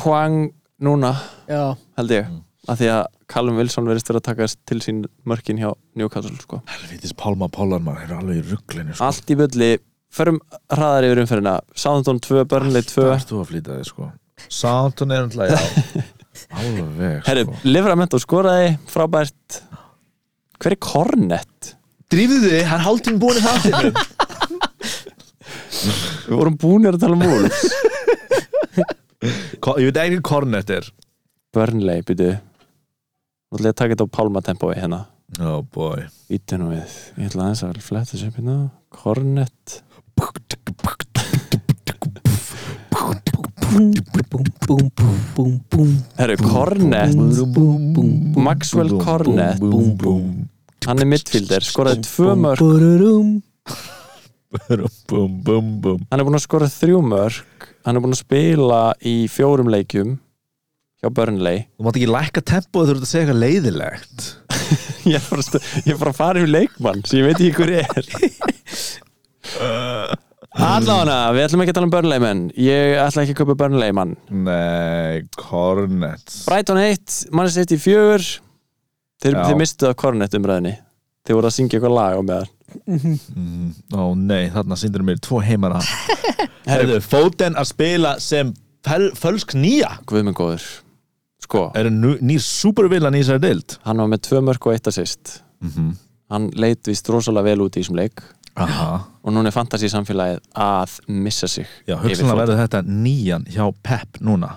[SPEAKER 2] Hwang núna
[SPEAKER 3] já,
[SPEAKER 2] held ég,
[SPEAKER 4] Mm.
[SPEAKER 2] af því að Callum Wilson verðist vera að taka til sín mörkin hjá Newcastle sko.
[SPEAKER 4] Helvitis Pálma Pállar maður er alveg í rugglinu sko.
[SPEAKER 2] allt í bylli, förum hraðar yfir umferðina Southampton 2, Burnley 2
[SPEAKER 4] Það ert þú að flýta þig sko Sántun er náttúrulega já Alveg
[SPEAKER 2] herru,
[SPEAKER 4] sko
[SPEAKER 2] Livramento skoraði frábært hver er Kornett?
[SPEAKER 4] Drífðu þið, hann hálftíma búin í þáttinum
[SPEAKER 2] Við vorum búinir að tala um Wolves
[SPEAKER 4] Ko- Ég veit ekki hvað kornet er
[SPEAKER 2] Burnley, byrju Þú ætlaði að taka þetta á pálmatempói hérna
[SPEAKER 4] Oh boy
[SPEAKER 2] Ítu nú við, ég ætla aðeins að fletta þessu upp hérna Cornet
[SPEAKER 3] Búm, búm, búm, búm, búm, búm
[SPEAKER 2] Herru, Cornet, Maxwell Cornet.
[SPEAKER 4] Búm, búm,
[SPEAKER 2] hann er midfielder, skoraði tvö mörg
[SPEAKER 3] Búrurum.
[SPEAKER 4] búm, búm, búm, búm
[SPEAKER 2] hann er búinn að skora þrjú mörg hann er búinn að spila í fjórum leikjum hjá Burnley
[SPEAKER 4] Þú mátt ekki lækka tempóð þú ert að segja eitthvað leiðilegt
[SPEAKER 2] ég er bara að stu- ég er bara að fara yfir leikmann sem ég veit ekki hver er Allána, við ætlum ekki að tala um Burnley menn ég ætla ekki að köpa Burnley mann
[SPEAKER 4] Nei, Cornets
[SPEAKER 2] Brighton 1, Manchester City 4 þeir,
[SPEAKER 4] Já.
[SPEAKER 2] þeir mistuðu af Cornet umræðinni þeir voru að syngja eitthvað lag á meðan
[SPEAKER 4] Mm, Ó nei, þarna síndur mér tvo heimara Herðu, Foden að spila sem fel, fölsk nýja
[SPEAKER 2] Guð minn góður sko,
[SPEAKER 4] Er nú- nýr supervillan í þessari dild
[SPEAKER 2] hann var með tvö mörg og eitt assist hann leit vist rosalega vel út í þessum leik
[SPEAKER 4] Aha
[SPEAKER 2] og núna er fantasy samfélagið að missa sig
[SPEAKER 4] Já,
[SPEAKER 2] yfir
[SPEAKER 4] hugsanlega
[SPEAKER 2] Foden.
[SPEAKER 4] verður þetta nýjan hjá Pep núna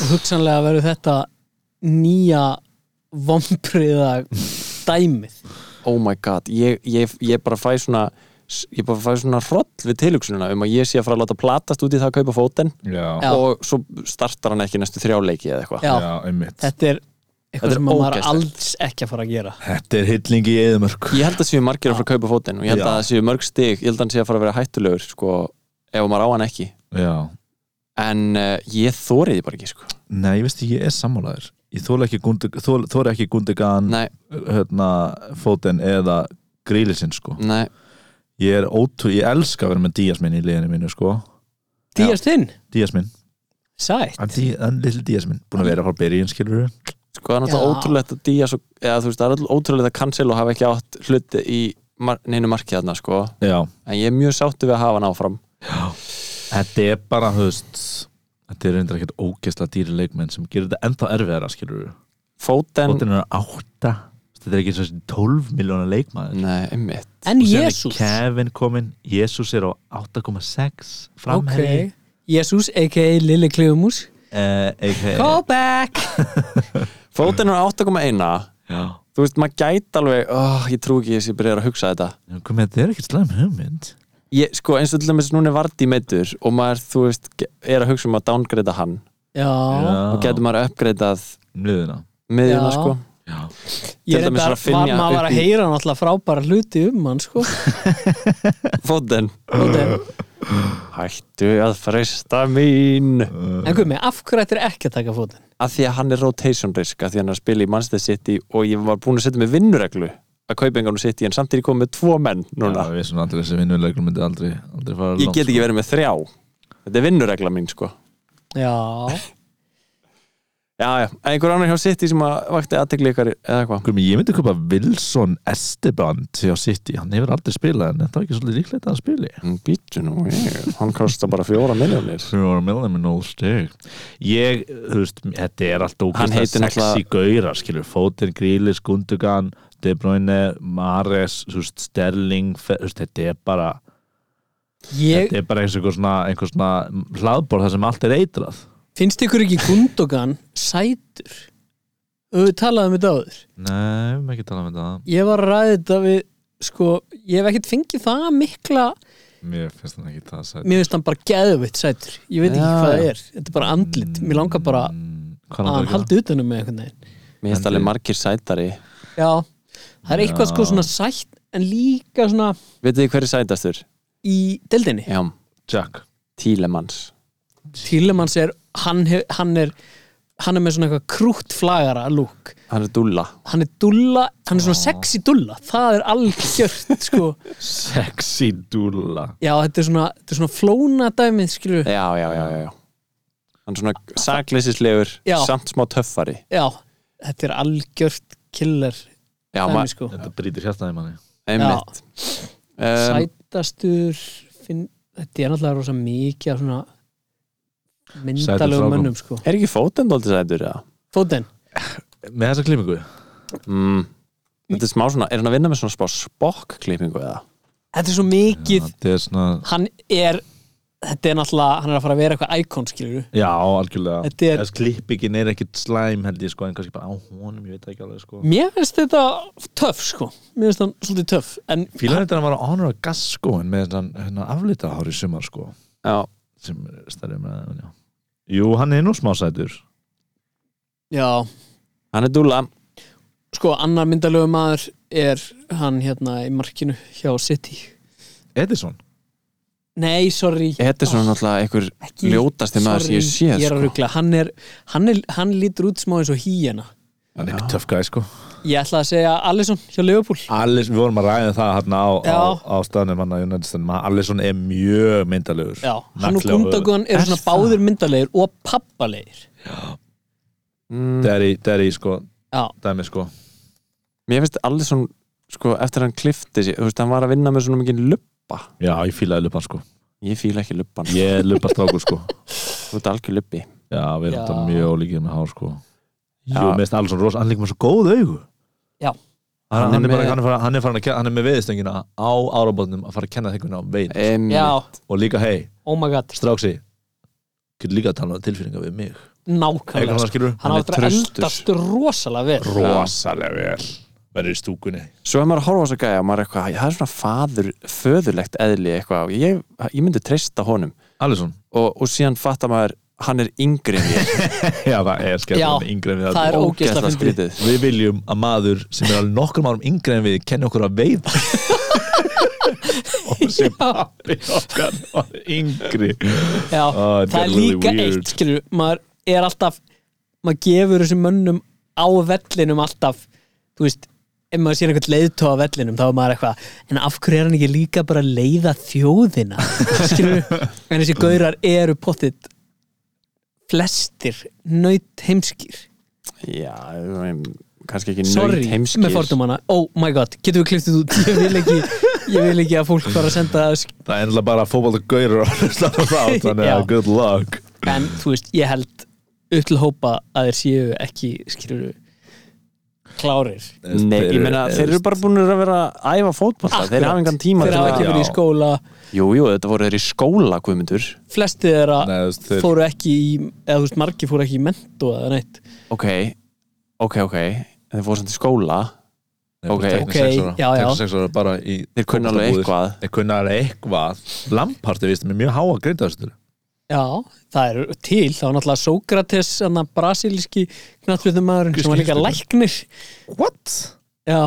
[SPEAKER 3] Og hugsanlega verður þetta nýja vombriða dæmið
[SPEAKER 2] oh my god, ég, ég, ég bara fæ svona ég bara fæ svona hroll við tilhugsununa um að ég sé að fara að láta platast út í það að kaupa fóten
[SPEAKER 4] Já,
[SPEAKER 3] Já.
[SPEAKER 2] og svo startar hann ekki næstu þrjáleiki eða eitthvað
[SPEAKER 3] Já,
[SPEAKER 4] einmitt
[SPEAKER 3] þetta er
[SPEAKER 2] Þetta
[SPEAKER 3] eitthvað
[SPEAKER 2] er
[SPEAKER 3] sem maður
[SPEAKER 2] ógeðslegt.
[SPEAKER 3] alls ekki að fara að gera
[SPEAKER 4] Þetta er hillingi í eðumörk
[SPEAKER 2] ég held að séu margir að fara að kaupa fóten og ég held
[SPEAKER 4] Já.
[SPEAKER 2] að það séu mörg stig, ég held að hann sé að fara að vera hættulegur sko, ef maður á hann ekki
[SPEAKER 4] Já,
[SPEAKER 2] en uh, ég þórið því bara ekki sko.
[SPEAKER 4] nei, ég veist ekki, ég er sammálaður Ég þóla ekki, Gundu- þol- þori ekki Gundogan
[SPEAKER 2] nei,
[SPEAKER 4] hérna, Foden eða grílisinn sko
[SPEAKER 2] nei,
[SPEAKER 4] Ég er ótrú, ég elska að vera með Díaz minn í liðinu mínu sko Já.
[SPEAKER 3] Díast inn,
[SPEAKER 4] Díaz minn,
[SPEAKER 3] sætt
[SPEAKER 4] hann Dí- hann little Díaz minn Búin að vera frá byrjun skilur
[SPEAKER 2] sko það er náttúrulega
[SPEAKER 3] Já.
[SPEAKER 2] ótrúlegt að Díaz og, eða þú veist, það er ótrúlegt að Cancelo hafa ekki átt hluti í mar neinu markið þarna sko
[SPEAKER 4] Já,
[SPEAKER 2] en ég er mjög sáttu við að hafa hann áfram
[SPEAKER 4] þetta er bara, þú veist Þetta er reyndar ekkert ógeðslega dýri leikmenn sem gerir þetta ennþá erfiðara skilur
[SPEAKER 2] Fóten,
[SPEAKER 4] Fótinn er átta Þetta er ekki eins og þessi 12 miljónar leikmaður
[SPEAKER 2] nei, einmitt
[SPEAKER 3] En
[SPEAKER 4] Og síðan er
[SPEAKER 3] Jésús
[SPEAKER 4] Kevin kominn, Jésús er á 8,6
[SPEAKER 3] Ok,
[SPEAKER 4] framherji
[SPEAKER 3] Jésús a.k.a. Lilli Klifumús
[SPEAKER 4] Eh, aka-
[SPEAKER 3] Go back
[SPEAKER 2] Fóten er á 8,1
[SPEAKER 4] Já.
[SPEAKER 2] þú veist, maður gæti alveg oh, ég trú ekki þess að ég byrjar að hugsa þetta
[SPEAKER 4] Komið, þetta er ekkert slæm hugmynd
[SPEAKER 2] ég, sko, eins og til dæmis núna er Vardí meittur og maður, þú veist, ge- er að hugsa um að downgrada hann
[SPEAKER 3] Já,
[SPEAKER 2] og getur maður uppgradað
[SPEAKER 4] Mliðina
[SPEAKER 2] miðjuna,
[SPEAKER 3] Já.
[SPEAKER 2] sko
[SPEAKER 4] Um Já.
[SPEAKER 2] til
[SPEAKER 3] ég
[SPEAKER 2] dæmis
[SPEAKER 3] reyndar,
[SPEAKER 2] að finja
[SPEAKER 3] var, maður var
[SPEAKER 2] upp
[SPEAKER 3] að
[SPEAKER 2] í-
[SPEAKER 3] heyra náttúrulega frábæra hluti um hann sko
[SPEAKER 2] Fóten,
[SPEAKER 3] Fóten.
[SPEAKER 2] hættu að frista mín
[SPEAKER 3] En hvað með, af hverju ættir ekki að taka fótinn?
[SPEAKER 2] að því að hann er rotation risk að því að hann er að spila í Manchester City og ég var búin að setja með vinnureglu að kaupingarnu City en samt er ég komið með tvo menn núna
[SPEAKER 4] Já, við svona aldrei þessi vinnuleglum myndi aldrei, aldrei fara
[SPEAKER 2] ég get ekki verið með þrjá þetta er vinnuregla mín sko
[SPEAKER 3] Já,
[SPEAKER 2] já, já. einhver annar hjá City sem að vakti aðtegli ykkar eða eitthvað
[SPEAKER 4] Gumi, ég myndi köpa Wilson Esteban hjá City, hann hefur aldrei spilað en þetta var ekki svolítið líklegt að hann spili
[SPEAKER 2] En býttu Mm, nú, ég, hann kostar bara fjóra miljónir
[SPEAKER 4] Fjóra millar með nóg steg Ég, þú veist, þetta er allt
[SPEAKER 2] Hann
[SPEAKER 4] ógæslega
[SPEAKER 2] heitir
[SPEAKER 4] sexy
[SPEAKER 2] náttúrulega-
[SPEAKER 4] gaurar, skilur Fótinn, Grílis, Gundogan, De Bruyne Mares, þú veist, Sterling Fe- þú veist, þetta er bara
[SPEAKER 3] ég
[SPEAKER 4] þetta er bara eins og einhver svona, einhver svona hlaðbor þar sem allt er eitrað
[SPEAKER 3] finnst ykkur ekki Gundogan sætur og við talaðum þetta áður
[SPEAKER 4] Nei, við erum ekki að tala um þetta
[SPEAKER 3] ég var að ræða þetta við sko, ég hef ekkert fengið það mikla
[SPEAKER 4] Mér finnst hann ekki það sætt
[SPEAKER 3] mér finnst hann bara geðvitt sætur ég veit ekki
[SPEAKER 2] Já,
[SPEAKER 3] hvað það
[SPEAKER 2] já.
[SPEAKER 3] er, þetta er bara andlit mér langar bara að
[SPEAKER 4] Hvað langar
[SPEAKER 3] hann
[SPEAKER 4] ekki það?
[SPEAKER 3] haldi utanum með einhvern veginn
[SPEAKER 2] mér finnst alveg margir sætari
[SPEAKER 3] já, það er eitthvað sko svona sætt en líka svona
[SPEAKER 2] veitu þið hverju sætastur?
[SPEAKER 3] í deildinni
[SPEAKER 2] já,
[SPEAKER 4] Jack
[SPEAKER 2] Tílemanns
[SPEAKER 3] Tílemanns er, hann, hef, hann er hann er með svona eitthvað krútt flagara lúk,
[SPEAKER 2] hann er dúlla
[SPEAKER 3] hann er dulla hann er svona sexy dulla, það er algjört sko,
[SPEAKER 4] Sexy dúlla
[SPEAKER 3] já þetta er svona þetta er svona flóna dæmið skilur
[SPEAKER 2] já, já, já, já, já. hann er svona sakleysislegur
[SPEAKER 3] Já.
[SPEAKER 2] samt smá töffari
[SPEAKER 3] já, þetta er algjört killer
[SPEAKER 2] já,
[SPEAKER 3] dæmi
[SPEAKER 2] maður,
[SPEAKER 3] sko
[SPEAKER 4] Þetta brýtir hjartaði manni
[SPEAKER 2] einmitt um,
[SPEAKER 3] sætastur finn, þetta er náttúrulega rosa mikið af svona
[SPEAKER 4] Sætum
[SPEAKER 3] myndalögum
[SPEAKER 4] strákum.
[SPEAKER 3] mönnum sko
[SPEAKER 2] er ekki fótend aldrei sætur? eða?
[SPEAKER 3] Fóten,
[SPEAKER 4] Með þessa klimingu?
[SPEAKER 2] Mm. þetta er smá svona, er hann að vinna með svona spá spokklippingu eða?
[SPEAKER 3] þetta er svo mikið
[SPEAKER 4] Þetta er svona
[SPEAKER 3] hann er þetta er náttúrulega, hann er að fara að vera eitthvað íkon skilur
[SPEAKER 4] Já, algjörlega
[SPEAKER 3] Þetta er-
[SPEAKER 4] Þess klippingin er ekkit slæm held ég sko en kannski bara á honum, ég veit það ekki alveg sko
[SPEAKER 3] mér finnst þetta töff sko mér finnst hann svolítið töff en
[SPEAKER 4] Fílan þetta var á honor of gas sko en með þennan hérna, aflita í sumar sko
[SPEAKER 3] já,
[SPEAKER 4] sem stærri með já. Jú, hann er nú smásætur
[SPEAKER 3] já,
[SPEAKER 2] Hann er dúla
[SPEAKER 3] sko annar myndalögu maður er hann hérna í markinu hjá City
[SPEAKER 4] Edison
[SPEAKER 3] nei, sorry,
[SPEAKER 2] Þetta er svona náttúrulega einhver
[SPEAKER 3] Ekki-
[SPEAKER 2] ljótasti maður sem ég
[SPEAKER 3] sorry,
[SPEAKER 2] sé
[SPEAKER 3] ég er að
[SPEAKER 2] sko.
[SPEAKER 3] ruggla hann, er, hann, er, hann lítur út smá eins og híjana
[SPEAKER 4] Hann er töff gæði sko
[SPEAKER 3] ég ætla að segja Alisson hjá Liverpool
[SPEAKER 4] Allis, við vorum að ræða það hérna á, á,
[SPEAKER 3] Já.
[SPEAKER 4] á staðnum hann að United Staðnum Allison er mjög myndalegur
[SPEAKER 3] já, hann og
[SPEAKER 4] Nagli á höfuðið.
[SPEAKER 3] Gundogan eru
[SPEAKER 2] Er
[SPEAKER 3] svona
[SPEAKER 2] það?
[SPEAKER 3] báðir myndalegir og pappalegir
[SPEAKER 2] mm,
[SPEAKER 4] Derry, Derry sko,
[SPEAKER 3] já,
[SPEAKER 4] dæmi sko
[SPEAKER 2] Mér finnst allir svona sko, eftir að hann klifti sig, þú veist, hann var að vinna með svona mikið luppa
[SPEAKER 4] Já, ég fílaði lupan sko
[SPEAKER 2] Ég fíla ekki luppan,
[SPEAKER 4] Ég er lupastrákur sko
[SPEAKER 2] þú ert algjör luppi
[SPEAKER 4] Já, við erum
[SPEAKER 3] Já.
[SPEAKER 4] þetta mjög ólíkir með hár sko Jú,
[SPEAKER 2] Já.
[SPEAKER 4] mest alls rosa, hann er líka með svo góð augu
[SPEAKER 3] Já.
[SPEAKER 4] Hann,
[SPEAKER 2] Hann er
[SPEAKER 4] hann, er bara,
[SPEAKER 2] með-
[SPEAKER 4] hann, er farin, hann, er farin að, kenna- hann er með veðistöngina á árabóðnum að fara að kenna þeikunna á veið
[SPEAKER 2] um,
[SPEAKER 3] já,
[SPEAKER 4] Og líka, hei,
[SPEAKER 3] oh my god
[SPEAKER 4] stráksi Getur líka að tala um tilfinningar við mig Eitthvað
[SPEAKER 3] nákvæmlega sko.
[SPEAKER 4] hann skilur
[SPEAKER 3] hann
[SPEAKER 2] Hann er
[SPEAKER 3] áttur að
[SPEAKER 2] traustur.
[SPEAKER 3] eldast rosalega vel
[SPEAKER 4] Rosalega vel Verður í stúkunni
[SPEAKER 2] Svo er maður að horfa á þess að gæja og maður er eitthvað, það er svona faður, föðurlegt eðli eitthvað og ég, ég myndi treysta honum
[SPEAKER 4] Alisson
[SPEAKER 2] og, og síðan fattar maður, hann er yngri en ég,
[SPEAKER 4] Já, það er skemmt
[SPEAKER 3] Já,
[SPEAKER 4] hann er yngri en við
[SPEAKER 3] það er
[SPEAKER 4] allir.
[SPEAKER 3] ógeðslega
[SPEAKER 2] ógeðslega
[SPEAKER 3] fyndið.
[SPEAKER 2] skrítið
[SPEAKER 4] Við viljum að maður sem er alveg nokkrum árum yngri en við kenni okkur að veiða og sem pappi okkar var yngri
[SPEAKER 3] Já,
[SPEAKER 4] Ah,
[SPEAKER 3] það er
[SPEAKER 4] really
[SPEAKER 3] líka
[SPEAKER 4] weird.
[SPEAKER 3] eitt skilur, maður er alltaf maður gefur þessum mönnum á vellinum alltaf, þú veist ef maður sér einhvern leiðtóa á vellinum þá er maður eitthvað, en af hverju er hann ekki líka bara að leiða þjóðina skilur, en þessi gaurar eru pottitt flestir nöyt heimskir
[SPEAKER 2] Já, um, kannski ekki
[SPEAKER 3] sorry,
[SPEAKER 2] nöyt heimskir
[SPEAKER 3] með fordumana oh my god, getum við kliftið út ég vil ekki, ég vil ekki að fólk fara að senda
[SPEAKER 4] Það er ennlega bara fótbolta gaurur og hlusta á það þannig að
[SPEAKER 3] Já.
[SPEAKER 4] good luck
[SPEAKER 3] en þú veist, ég held upp til hópa að þeir séu ekki skilur klárir
[SPEAKER 2] Nei, ég meina, þeir eru bara búin að vera að æfa fótbolta, þeir
[SPEAKER 3] Akkurat.
[SPEAKER 2] hafa engan tíma
[SPEAKER 3] þeir
[SPEAKER 2] til
[SPEAKER 3] hafa
[SPEAKER 2] að-
[SPEAKER 3] ekki verið í skóla
[SPEAKER 2] Jú, jú, þetta voru þeir í skóla, Guðmundur
[SPEAKER 3] flesti þeirra
[SPEAKER 4] Nei, þú veist, þeir-
[SPEAKER 3] fóru ekki í eða þú veist, margir fóru ekki í mentó eða neitt
[SPEAKER 2] Ok, ok, ok Þeir fóru samt í skóla Ok.
[SPEAKER 3] Ok, já, já.
[SPEAKER 4] ára bara í
[SPEAKER 2] Þeir kunna alveg
[SPEAKER 4] fótboltabúðir.
[SPEAKER 2] eitthvað
[SPEAKER 4] Þeir kunna alveg eitthvað Lampart er vist með mjög háa grindaðastur
[SPEAKER 3] já, það er til, þá er náttúrulega Sókrates, annar brasilíski knattbyrðumæðurinn sem var líka læknir
[SPEAKER 4] What?
[SPEAKER 3] já,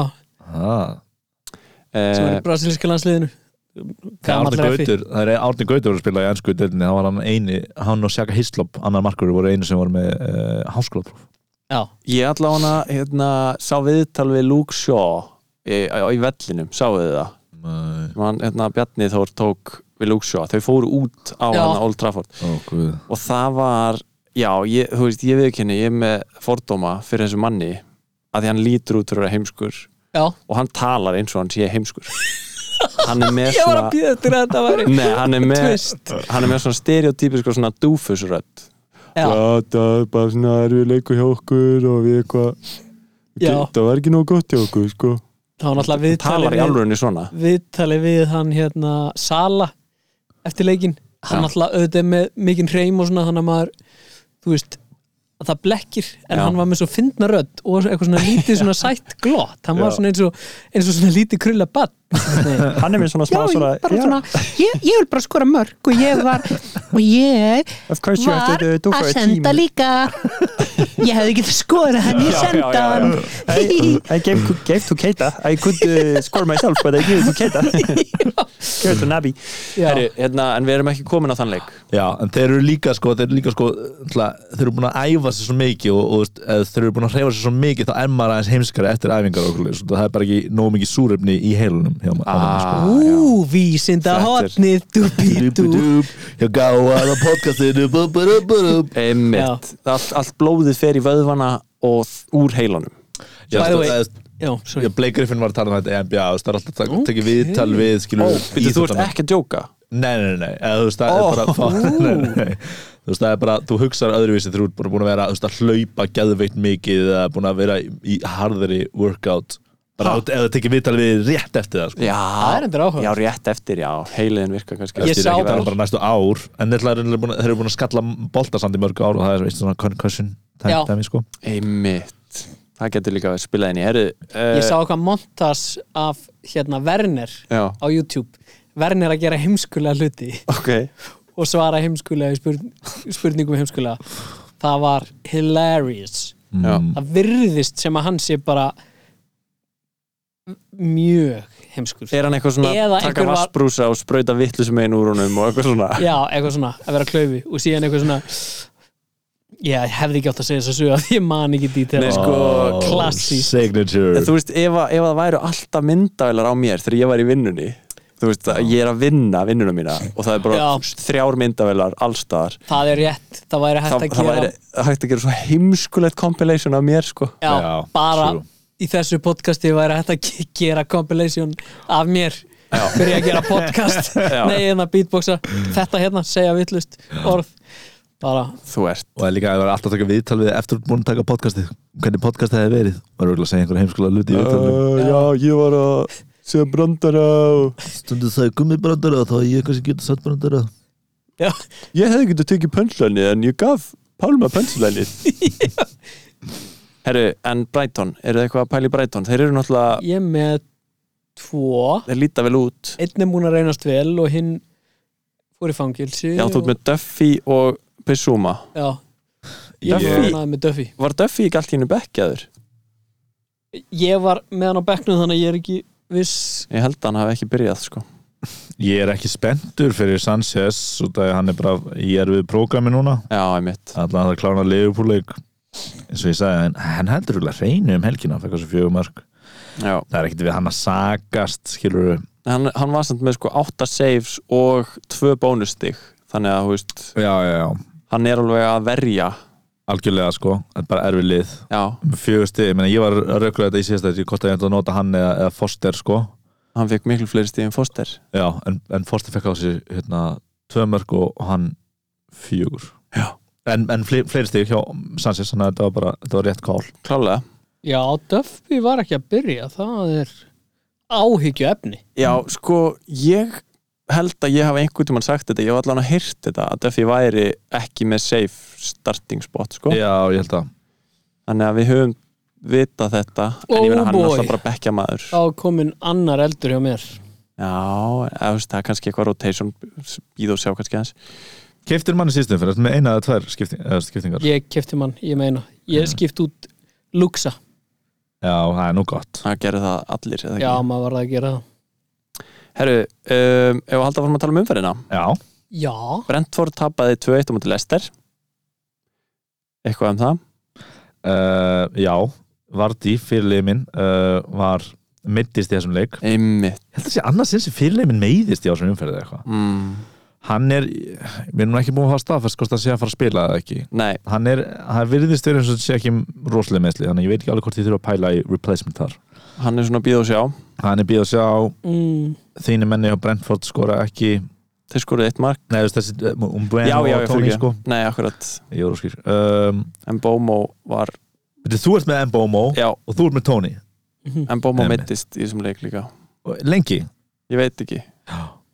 [SPEAKER 4] Ah.
[SPEAKER 3] sem
[SPEAKER 2] eh,
[SPEAKER 3] var í brasilíska landsliðinu
[SPEAKER 4] Það
[SPEAKER 3] Gamall
[SPEAKER 4] er Árni
[SPEAKER 3] reffi.
[SPEAKER 4] Gautur, það er Árni Gautur var að spila í ennsku delinni, það var hann eini hann og Sjaka Hislop, annar markur voru einu sem voru með uh, háskólapróf
[SPEAKER 3] já,
[SPEAKER 2] Ég allavega hérna, sá viðtal við Luke Shaw í, á- í vellinum, sáu þið það
[SPEAKER 4] Nei,
[SPEAKER 2] Man, hérna, Bjarni Þór tók við Luke Shaw, þau fóru út á
[SPEAKER 3] Já.
[SPEAKER 2] hann Old Trafford
[SPEAKER 4] ó guð
[SPEAKER 2] og það var, já, ég, þú veist ég viðkynni, ég er með fordóma fyrir þessu manni að því hann lítur út fyrir að vera heimskur
[SPEAKER 3] já,
[SPEAKER 2] og hann talar eins og hann sé heimskur hann er með
[SPEAKER 3] ég var
[SPEAKER 2] svona Mm.
[SPEAKER 3] að býða eftir að þetta væri
[SPEAKER 2] Nei, hann er með,
[SPEAKER 3] Twist.
[SPEAKER 2] hann er með svona stereotypisk og svona dúfusrödd
[SPEAKER 3] Já.
[SPEAKER 2] það er bara svona erfið leikur hjá okkur og við eitthvað
[SPEAKER 3] Já.
[SPEAKER 2] það var ekki nóg gott hjá okkur sko
[SPEAKER 3] þá var náttúrulega
[SPEAKER 2] Hann talar í
[SPEAKER 3] viðtalið við,
[SPEAKER 2] alvörunni svona
[SPEAKER 3] viðtali við hann hérna Sala eftir leikinn hann
[SPEAKER 2] Já.
[SPEAKER 3] náttúrulega auðvitað er með mikinn hreim og svona þannig að maður þú veist að það blekkir en
[SPEAKER 2] Já.
[SPEAKER 3] hann var með svo fyndna rödd og svo- eitthvað svona lítið svona sætt glott hann var
[SPEAKER 4] Já.
[SPEAKER 3] svona eins og, eins og svona lítið krulla badd já,
[SPEAKER 2] hann er með svona
[SPEAKER 3] ég, bara svona, ég, ég vil bara skora mörg og ég var og ég var að senda líka ég hefði ekki skorað hann ég senda hann
[SPEAKER 2] I gave, gave to Keita I could uh, score myself but I gave it to Keita give it to Nabi
[SPEAKER 3] Já.
[SPEAKER 2] Heru, hérna, en við erum ekki komin á þann leik
[SPEAKER 4] Já, en þeir eru líka sko, þeir eru líka sko ætla, þeir eru búin að æfa sér svo mikið og, og þú veist, ef þeir eru búin að hreyfa sér svo mikið þá er maður aðeins heimskari eftir æfingar og okkur leis, það er bara ekki nóg mikið súrefni í heilunum hjá maður ah.
[SPEAKER 2] ah, já.
[SPEAKER 3] Ú, vísinda hotnið dupi dup
[SPEAKER 4] Ég gáði að podcastinu bú, bú, bú, bú, bú.
[SPEAKER 2] Einmitt, allt, allt blóðið fer í vöðvana og þ- úr heilanum
[SPEAKER 4] Já,
[SPEAKER 3] By the way-
[SPEAKER 4] það er-
[SPEAKER 3] Já, sorry
[SPEAKER 4] Já, Blake Griffin var að tala um þetta í NBA þú veist, það er alltaf að tekja viðtal við skilur við
[SPEAKER 2] Býtu, þú ert
[SPEAKER 4] íþróttamenn.
[SPEAKER 2] ekki að djóka
[SPEAKER 4] Nei, nei, nei, eða, þú veist, það
[SPEAKER 2] Ó.
[SPEAKER 4] er bara fá, nei, nei, nei. Þú veist, það er bara, þú hugsar öðruvísi þegar þú ert bara búin að vera, þú veist, að hlaupa geðveitt mikið eða búin að vera í í harðari workout bara ef það tekið viðtal við rétt eftir það sko.
[SPEAKER 2] Já,
[SPEAKER 3] Það er reyndar áhugavert.
[SPEAKER 2] já, rétt eftir, já, heiliðin virkar kannski
[SPEAKER 3] Ég
[SPEAKER 4] Ég
[SPEAKER 3] sá
[SPEAKER 4] sá ekki
[SPEAKER 3] bara-
[SPEAKER 4] tala bara næstu ár en þeir eru búin, þeir eru búin að skalla bolta samt í mörg ár og það er veist, svona concussion
[SPEAKER 3] Já.
[SPEAKER 4] dæmi, sko.
[SPEAKER 2] Einmitt, það getur líka að spila inn í herðu uh,
[SPEAKER 3] Ég sá eitthvað montas af hérna Werner
[SPEAKER 2] Já,
[SPEAKER 3] á YouTube Werner að gera heimskulega hluti
[SPEAKER 2] ok
[SPEAKER 3] og svara heimskulega í spurn spurningum heimskulega Það var hilarious
[SPEAKER 2] Já.
[SPEAKER 4] mm,
[SPEAKER 3] Það virðist sem að hann sé bara mjög heimskur
[SPEAKER 2] Er hann eitthvað svona,
[SPEAKER 3] Eða
[SPEAKER 2] taka
[SPEAKER 3] einhver var-
[SPEAKER 2] vassbrúsa og sprauta vittlusum einu úr honum og eitthvað svona
[SPEAKER 3] Já, eitthvað svona, að vera klaufi og síðan eitthvað svona Já, ég hefði ekki átt að segja þess að sögja því ég man ekki dítil
[SPEAKER 2] Nei, sko,
[SPEAKER 3] klassískt.
[SPEAKER 4] Oh, signature
[SPEAKER 2] En Eh, þú veist, ef, að- ef það væru alltaf myndavilar á mér þegar ég var í vinnunni þú veist, að ég er að vinna vinnuna mína og það er bara
[SPEAKER 3] Já.
[SPEAKER 2] þrjár myndavilar allstaðar
[SPEAKER 3] Það er rétt, það væri hægt
[SPEAKER 2] það,
[SPEAKER 3] að
[SPEAKER 2] það
[SPEAKER 3] gera
[SPEAKER 2] væri hægt að gera svo heimskulegt compilation af mér, sko
[SPEAKER 3] Já,
[SPEAKER 4] Já,
[SPEAKER 3] bara
[SPEAKER 4] true.
[SPEAKER 3] í þessu podcasti væri hægt að ge- gera compilation af mér byrja að gera podcast
[SPEAKER 2] Já.
[SPEAKER 3] nei, en að beatboxa, þetta hérna segja vitlust, orð bara,
[SPEAKER 2] Þú ert
[SPEAKER 4] og það er líka að það var alltaf að taka viðtal við eftir búin að taka podcastið hvernig podcastið hefði verið var auðvitað að segja einhverja heimskola luti í viðtalinu
[SPEAKER 2] Uh, Já, ég var að segja brandara og
[SPEAKER 4] stundu það er gummibrandara þá er ég kannski getur satt brandara
[SPEAKER 3] já,
[SPEAKER 2] ég hefði getið tekið pönslæni en ég gaf Pálma pönslæni Herru, en Brighton, eru þið eitthvað að pæla í Brighton? Þeir eru náttúrulega,
[SPEAKER 3] ég er með tvo,
[SPEAKER 2] þeir líta vel út
[SPEAKER 3] einn er múin að reynast vel og hinn fór í fangilsi
[SPEAKER 2] Já, þú ert með Duffy og Bissúma
[SPEAKER 3] já, ég
[SPEAKER 2] Duffy?
[SPEAKER 3] var ánægður með Duffy
[SPEAKER 2] Var Duffy ekki allt í hennu bekkjaður?
[SPEAKER 3] ég var með hann á bekknum þannig að ég er ekki viss
[SPEAKER 2] Ég held að hann hafi ekki byrjað, sko
[SPEAKER 4] ég er ekki spenntur fyrir Sanchez út af því að hann er bara ég er við prógrami núna
[SPEAKER 2] Já, einmitt
[SPEAKER 4] allan að það klána leifupúleik eins og ég sagði hann, hann heldur úrlega reynu um helgina fyrir þessu fjögumörk
[SPEAKER 2] Já.
[SPEAKER 4] það er ekkert við hann að sagast skilur
[SPEAKER 2] Hann, hann var samt með sko 8 saves og 2 bónustig Þannig að, þú veist,
[SPEAKER 4] já, já, já,
[SPEAKER 2] hann er alveg að verja
[SPEAKER 4] algjörlega sko þetta er bara erfið lið
[SPEAKER 2] Já,
[SPEAKER 4] fjögur stið, ég meina ég var að rökla þetta í síðasta þetta, ég kosti að ég ætla að nota hann eða, eða Foster sko,
[SPEAKER 2] hann fekk miklu fleiri stíð en Foster
[SPEAKER 4] já, en, en Foster fekk á sig hérna tvö mörg og og hann fjögur
[SPEAKER 2] Já.
[SPEAKER 4] en, en fle, fleiri stig hjá Sanchez þannig að þetta var bara, þetta var rétt kál
[SPEAKER 2] Klálega
[SPEAKER 3] já, Duffy var ekki að byrja það er áhyggju efni
[SPEAKER 2] Já, sko, ég held að ég hafa einhvern tímann sagt þetta, ég hef allan að heyrt þetta að Duffy væri ekki með safe starting spot, sko
[SPEAKER 4] já, ég held að,
[SPEAKER 2] þannig að við höfum vita þetta en
[SPEAKER 3] Oh
[SPEAKER 2] ég meina hann er
[SPEAKER 3] boy.
[SPEAKER 2] alltaf bara bekkja maður Já,
[SPEAKER 3] þá kominn annar eldur hjá mér
[SPEAKER 2] eða, þú veist, það er kannski eitthvað rotation býð og sjá kannski hans
[SPEAKER 4] keiftir manni síðstum fyrir þetta með eina eða tvær skipting, eða skiptingar
[SPEAKER 3] ég kefti mann, ég meina ég skipt út Luxa
[SPEAKER 4] já, það er nú gott
[SPEAKER 2] það gerði það allir, eða
[SPEAKER 3] já,
[SPEAKER 2] ekki
[SPEAKER 3] maður var það að gera það
[SPEAKER 2] Herru, um, ef við halda fórum að tala um umferðina
[SPEAKER 4] já,
[SPEAKER 3] já,
[SPEAKER 2] Brentford tapaði 2-1 á móti Lester eitthvað um það
[SPEAKER 4] uh, já Vardí, fyrirlið minn uh, var mittist í þessum leik
[SPEAKER 2] einmitt
[SPEAKER 4] ég held að sé annars eins sem fyrirlið minn meiðist í ásum umferðið eitthvað
[SPEAKER 2] mm.
[SPEAKER 4] hann er, við erum nú ekki búin að hafa staðfæst hvort það sé að fara að spila eða ekki
[SPEAKER 2] Nei,
[SPEAKER 4] hann er, hann virðist verið eins og sé ekki rosalega meðsli, þannig að ég veit ekki alveg hvort ég þurfa að pæla í replacement þar
[SPEAKER 2] hann er svona býð og sjá
[SPEAKER 4] hann er býð að sjá,
[SPEAKER 3] mm,
[SPEAKER 4] þínu menni á Brentford skora ekki,
[SPEAKER 2] þeir skoruðu eitt mark
[SPEAKER 4] nei þú veist þessi um
[SPEAKER 2] Já, já,
[SPEAKER 4] og
[SPEAKER 2] já,
[SPEAKER 4] Tony
[SPEAKER 2] fyrirgefðu.
[SPEAKER 4] sko
[SPEAKER 2] Nei, akkurat,
[SPEAKER 4] ég voru skýr um,
[SPEAKER 2] en Bomo var
[SPEAKER 4] veitir, þú ert með Mbomo
[SPEAKER 2] Já,
[SPEAKER 4] og þú ert með Tony
[SPEAKER 3] Mhm.
[SPEAKER 2] en Bomo
[SPEAKER 4] Einmitt.
[SPEAKER 2] mittist í þessum leik líka
[SPEAKER 4] Og- lengi,
[SPEAKER 2] Ég veit ekki,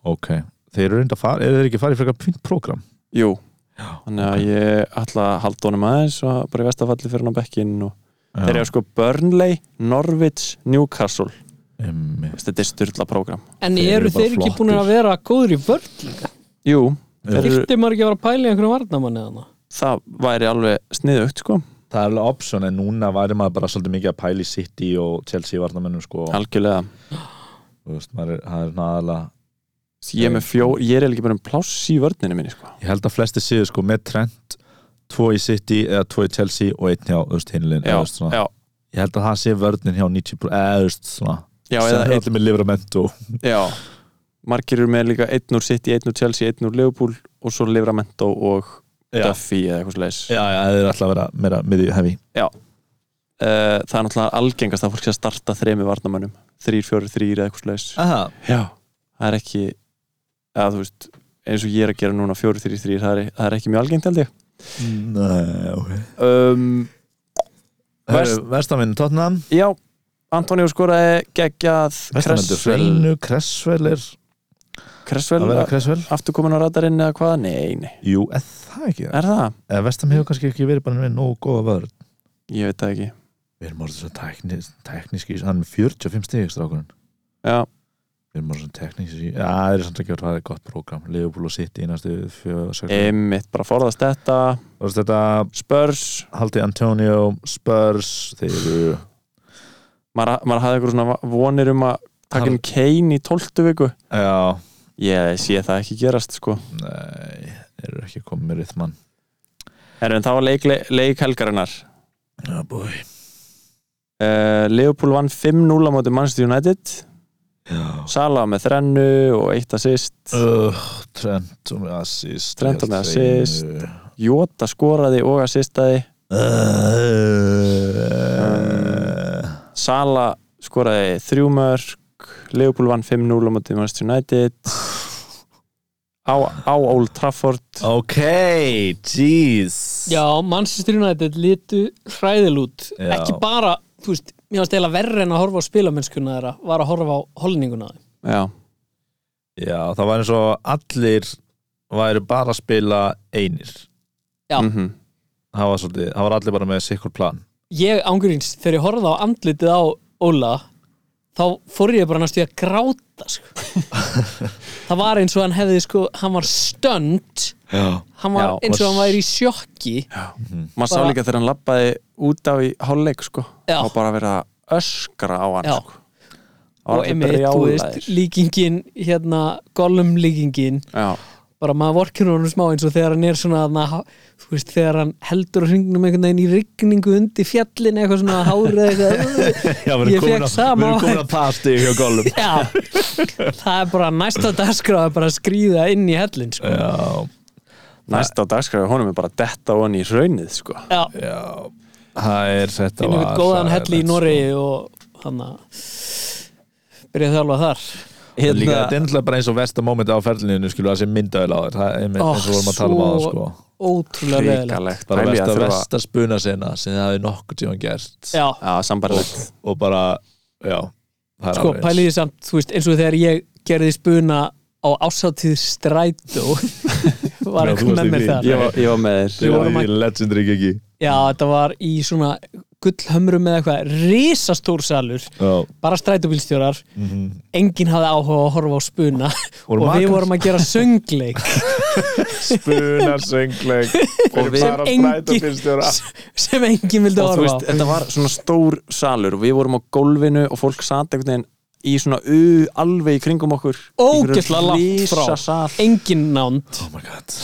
[SPEAKER 4] ok þeir eru reynda að fara, eru þeir ekki að fara í frekar fint program
[SPEAKER 2] jú Þannig að ég ætla að halda honum aðeins og bara í vestafalli fyrir hann á bekkinn og
[SPEAKER 4] Já,
[SPEAKER 2] þeir eru sko Burnley, Norwich, Newcastle
[SPEAKER 4] einmitt.
[SPEAKER 2] Veistu, Þetta er styrla prógram
[SPEAKER 3] en
[SPEAKER 4] Þeir eru
[SPEAKER 3] eru
[SPEAKER 4] bara
[SPEAKER 3] þeir ekki
[SPEAKER 4] flottir.
[SPEAKER 3] búin að vera góður í vörn
[SPEAKER 2] Jú,
[SPEAKER 4] Þeir
[SPEAKER 2] eru-
[SPEAKER 3] þyrfti maður ekki að vera að pæla í einhverjum varnamanni þannig
[SPEAKER 2] það væri alveg sniðugt sko
[SPEAKER 4] Það er alveg option en núna væri maður bara svolítið mikið að pæla í City og Chelsea varnamennum sko og,
[SPEAKER 2] Algjörlega
[SPEAKER 4] þú veist, maður er, það er svona aðalega
[SPEAKER 2] Ég er, með fjó, ég er eiginlega ekki bara um pláss í vörninu minni sko
[SPEAKER 4] Ég held að flesti séu sko með Trent tvo í City eða tvo í Chelsea og einn hjá öst hinlinn
[SPEAKER 2] Já,
[SPEAKER 4] Ég
[SPEAKER 2] já,
[SPEAKER 4] held að það sé vörnin hjá 90 eða öst svona
[SPEAKER 2] já,
[SPEAKER 4] sem
[SPEAKER 2] eða
[SPEAKER 4] er
[SPEAKER 2] eitt,
[SPEAKER 4] allir með Livramento
[SPEAKER 2] já Margir eru með líka einn úr City, einn úr Chelsea, einn úr Liverpool og svo Livramento og
[SPEAKER 4] Já.
[SPEAKER 2] Duffy eða eitthvað slags
[SPEAKER 4] Já, já, það er alltaf að vera meira miðið hefi
[SPEAKER 2] Eh, Það er náttúrulega algengast að fólk sé að starta þremi varnamönnum þrýr, fjórir, þrýr eða eitthvað slags
[SPEAKER 4] Aha,
[SPEAKER 2] Já, það er ekki eða þú veist, eins og ég er að gera núna 4-3-3, það, er- það er ekki mjög algengt held ég
[SPEAKER 4] nei, ok
[SPEAKER 2] um, Vest-
[SPEAKER 4] Vestaminn Tottenham
[SPEAKER 2] Já, Antonio skoraði geggjað Kressvel
[SPEAKER 4] Sveinu, Kressvel er að
[SPEAKER 2] Kressvel,
[SPEAKER 4] vera Kressvel
[SPEAKER 2] aftur komin á radarinn eða hvað? Nei, nei,
[SPEAKER 4] Jú, er það ekki það?
[SPEAKER 2] er það?
[SPEAKER 4] Eða Vestam hefur kannski ekki verið bara með nógu góða vörð
[SPEAKER 2] Ég veit það ekki
[SPEAKER 4] Við erum orðið svo teknis, tekniski hann er með 45 stík strákurinn
[SPEAKER 2] Já,
[SPEAKER 4] Við erum orðið svo tekniski Já, það er samt ekki að það er gott prógram Leifupúl og sitt í næstu fjö- sex-
[SPEAKER 2] einmitt, bara forðast þetta
[SPEAKER 4] Þú veist Þetta
[SPEAKER 2] Spurs,
[SPEAKER 4] haldi Antonio Spurs þeir eru
[SPEAKER 2] maður, maður hafði eitthvað svona vonir um að taka
[SPEAKER 4] Hann-
[SPEAKER 2] inn Kane í 12 viku
[SPEAKER 4] Já,
[SPEAKER 2] Ég sé það ekki gerast sko
[SPEAKER 4] nei, þeir eru ekki komið með rithmann
[SPEAKER 2] Herru, En það var leik, leik, leik helgarinnar
[SPEAKER 4] Já, búi
[SPEAKER 2] uh, Leopold vann 5-0 á móti Manchester United
[SPEAKER 4] Já
[SPEAKER 2] Sala með þrennu og eitt assist
[SPEAKER 4] Uh, Trent og með assist
[SPEAKER 2] Trent og með assist. Jota skoraði og assistaði
[SPEAKER 4] Þetta
[SPEAKER 2] Sala skoraði þrjú mörk Leopold vann 5-0 á móti Manchester United á, á Old Trafford
[SPEAKER 4] Ok, jeez
[SPEAKER 3] Já, Manchester United litu hræðilút
[SPEAKER 4] Já.
[SPEAKER 3] ekki bara, þú veist, mér varst eila verri en að horfa á spilamennskuna þeirra var að horfa á holninguna þeim
[SPEAKER 2] Já,
[SPEAKER 4] Já, það var eins og allir væri bara að spila einir
[SPEAKER 3] Já.
[SPEAKER 2] mhm.
[SPEAKER 4] Það var, svolítið, það var allir bara með sikkur plan
[SPEAKER 3] Ég ángurins, þegar ég horfði á andlitið á Óla þá fór ég bara næstu í að gráta sko. það var eins og hann hefði sko, hann var stönd
[SPEAKER 4] Já,
[SPEAKER 3] hann var
[SPEAKER 2] Já,
[SPEAKER 3] eins og
[SPEAKER 4] var-
[SPEAKER 3] hann væri í sjokki
[SPEAKER 2] maður sá
[SPEAKER 3] Bara-
[SPEAKER 2] líka þegar hann labbaði út á í hálfleik sko
[SPEAKER 3] Já.
[SPEAKER 2] og bara verið að öskra á hann
[SPEAKER 3] Já.
[SPEAKER 2] sko Það var
[SPEAKER 3] og
[SPEAKER 2] allir
[SPEAKER 3] einmitt, þú veist,
[SPEAKER 2] brjálaðir.
[SPEAKER 3] líkingin hérna, gollum líkingin
[SPEAKER 2] Já,
[SPEAKER 3] bara maður vorkinu honum smá eins og þegar hann er svona na, þú veist, þegar hann heldur á hringnum einhvern veginn í rigningu undir fjallin eitthvað svona hárið eitthvað
[SPEAKER 4] Já við erum
[SPEAKER 3] Ég
[SPEAKER 4] komin
[SPEAKER 3] fékk
[SPEAKER 4] á-
[SPEAKER 3] sama
[SPEAKER 4] Við erum komin
[SPEAKER 3] væri.
[SPEAKER 4] að pasti hjá golum
[SPEAKER 3] Já, það er bara næsta dagskrá er bara að skrýða inn í hellin sko.
[SPEAKER 4] Já,
[SPEAKER 2] næsta dagskræði honum er bara að detta á hann í raunnið sko
[SPEAKER 3] Já,
[SPEAKER 4] já Það er þetta
[SPEAKER 3] finnum við
[SPEAKER 4] var
[SPEAKER 3] góðan
[SPEAKER 4] hræðilegt,
[SPEAKER 3] helli
[SPEAKER 2] sko.
[SPEAKER 3] í Noregi og hann að byrja þjálfa þar
[SPEAKER 4] sko. Líka
[SPEAKER 3] hérna.
[SPEAKER 4] þetta er náttúrulega bara eins og versta moment á ferlininu skilu að sem myndaðil á þér Það er einmitt
[SPEAKER 3] Ó,
[SPEAKER 4] eins og vorum að tala um á það
[SPEAKER 3] svo-
[SPEAKER 4] sko
[SPEAKER 3] ótrúlega veðilegt
[SPEAKER 2] hrikalegt
[SPEAKER 4] Bara
[SPEAKER 2] Pæli
[SPEAKER 4] versta,
[SPEAKER 2] að þurfa-
[SPEAKER 4] versta spuna sinna sem það hefði nokkuð tíma gert
[SPEAKER 3] Já,
[SPEAKER 2] Já, sambarlegt
[SPEAKER 4] Og bara, já það er
[SPEAKER 3] sko
[SPEAKER 4] alveg eins.
[SPEAKER 3] pæliði samt, þú veist, eins og þegar ég gerði spuna á ásatíð strætó var
[SPEAKER 4] Já, þú
[SPEAKER 3] eitthvað
[SPEAKER 4] varst í
[SPEAKER 3] með mér
[SPEAKER 4] því.
[SPEAKER 3] þar
[SPEAKER 2] ég, var- ég var með þér
[SPEAKER 4] Ég
[SPEAKER 3] Við
[SPEAKER 4] var
[SPEAKER 3] vorum
[SPEAKER 4] í legendary ekki
[SPEAKER 3] Já, þetta var í svona gullhömrum með eitthvað risastór salur
[SPEAKER 4] Já
[SPEAKER 3] bara strætóbílstjórar
[SPEAKER 4] Mhm.
[SPEAKER 3] enginn hafði áhuga á að horfa á spuna
[SPEAKER 4] Voru
[SPEAKER 3] og við
[SPEAKER 4] margar?
[SPEAKER 3] vorum að gera söngleik
[SPEAKER 4] Spuna söngleik
[SPEAKER 2] Og við-
[SPEAKER 4] bara
[SPEAKER 3] Engin-
[SPEAKER 4] strætóbílstjóra.
[SPEAKER 3] sem enginn vildi
[SPEAKER 2] og þú
[SPEAKER 3] horfa
[SPEAKER 2] veist, þetta var svona stór salur og við vorum á gólfinu og fólk sat einhvern veginn í svona u, alveg í kringum okkur
[SPEAKER 3] Ógeðslega langt frá.
[SPEAKER 2] frá
[SPEAKER 3] á enginn nánd
[SPEAKER 4] Oh my god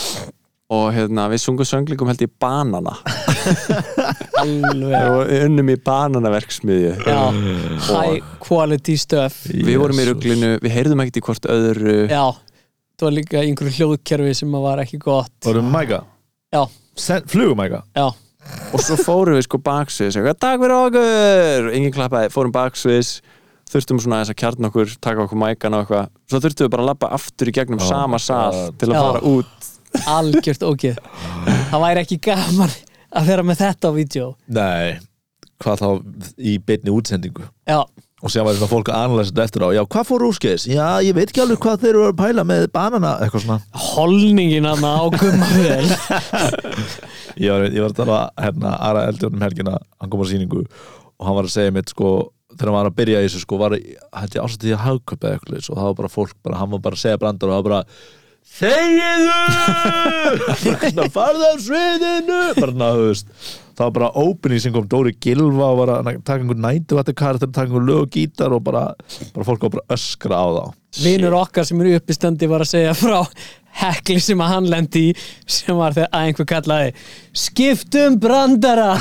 [SPEAKER 2] og hérna, við sungum sönglingum held ég banana
[SPEAKER 3] alveg
[SPEAKER 2] og við unnum í bananaverksmiðju
[SPEAKER 3] já, high quality stuff
[SPEAKER 2] við vorum í ruglinu, við heyrðum ekkert í hvort öðru
[SPEAKER 3] já, það var líka í einhverju hljóðkerfi sem að var ekki gott
[SPEAKER 4] Vorum mæka
[SPEAKER 3] já,
[SPEAKER 4] Flugum mæka
[SPEAKER 3] já,
[SPEAKER 2] og svo fórum við sko baksviðs eitthvað, takk fyrir okkur, enginn klappaði fórum baksviðs, þurftum svona aðeins að kjarn okkur, taka okkur mækan og eitthvað svo þurftum við bara að labba aftur í gegnum
[SPEAKER 4] Oh
[SPEAKER 2] sama
[SPEAKER 4] my
[SPEAKER 2] sal
[SPEAKER 4] God.
[SPEAKER 2] til að
[SPEAKER 3] Já.
[SPEAKER 2] fara út
[SPEAKER 3] algjört ógeð það væri ekki gaman að vera með þetta á vídeo
[SPEAKER 4] Nei Hvað þá í beinni útsendingu
[SPEAKER 3] já,
[SPEAKER 4] Og séðan var svona fólk að analysa þetta eftir á Já, hvað fór úrskeiðis? Já, ég veit ekki alveg hvað þeir eru að pæla með banana Eitthvað svona
[SPEAKER 3] holningin hann á gummavel
[SPEAKER 4] Ég var, ég var að tala hérna Ara Eldjón um helgina Hann kom á sýningu Og hann var að segja mitt sko Þegar hann var að byrja í þessu sko Var, hætti ásatíð að hagkaupa eitthvað leis, Og það var bara fólk bara Hann var bara að segja brandar Og það var bara Þegiðu! Bara farðu af sviðinu! Bara náðust. Það var bara opening sem kom Dóri Gilva og var að taka einhver nætu vatni karakter, taka einhver lög og gítar og bara, bara fólk var bara að öskra á þá.
[SPEAKER 3] vinur okkar sem eru uppistandi var að segja frá hekli sem að hann lendi í sem var þegar að einhver kallaði skiptum brandara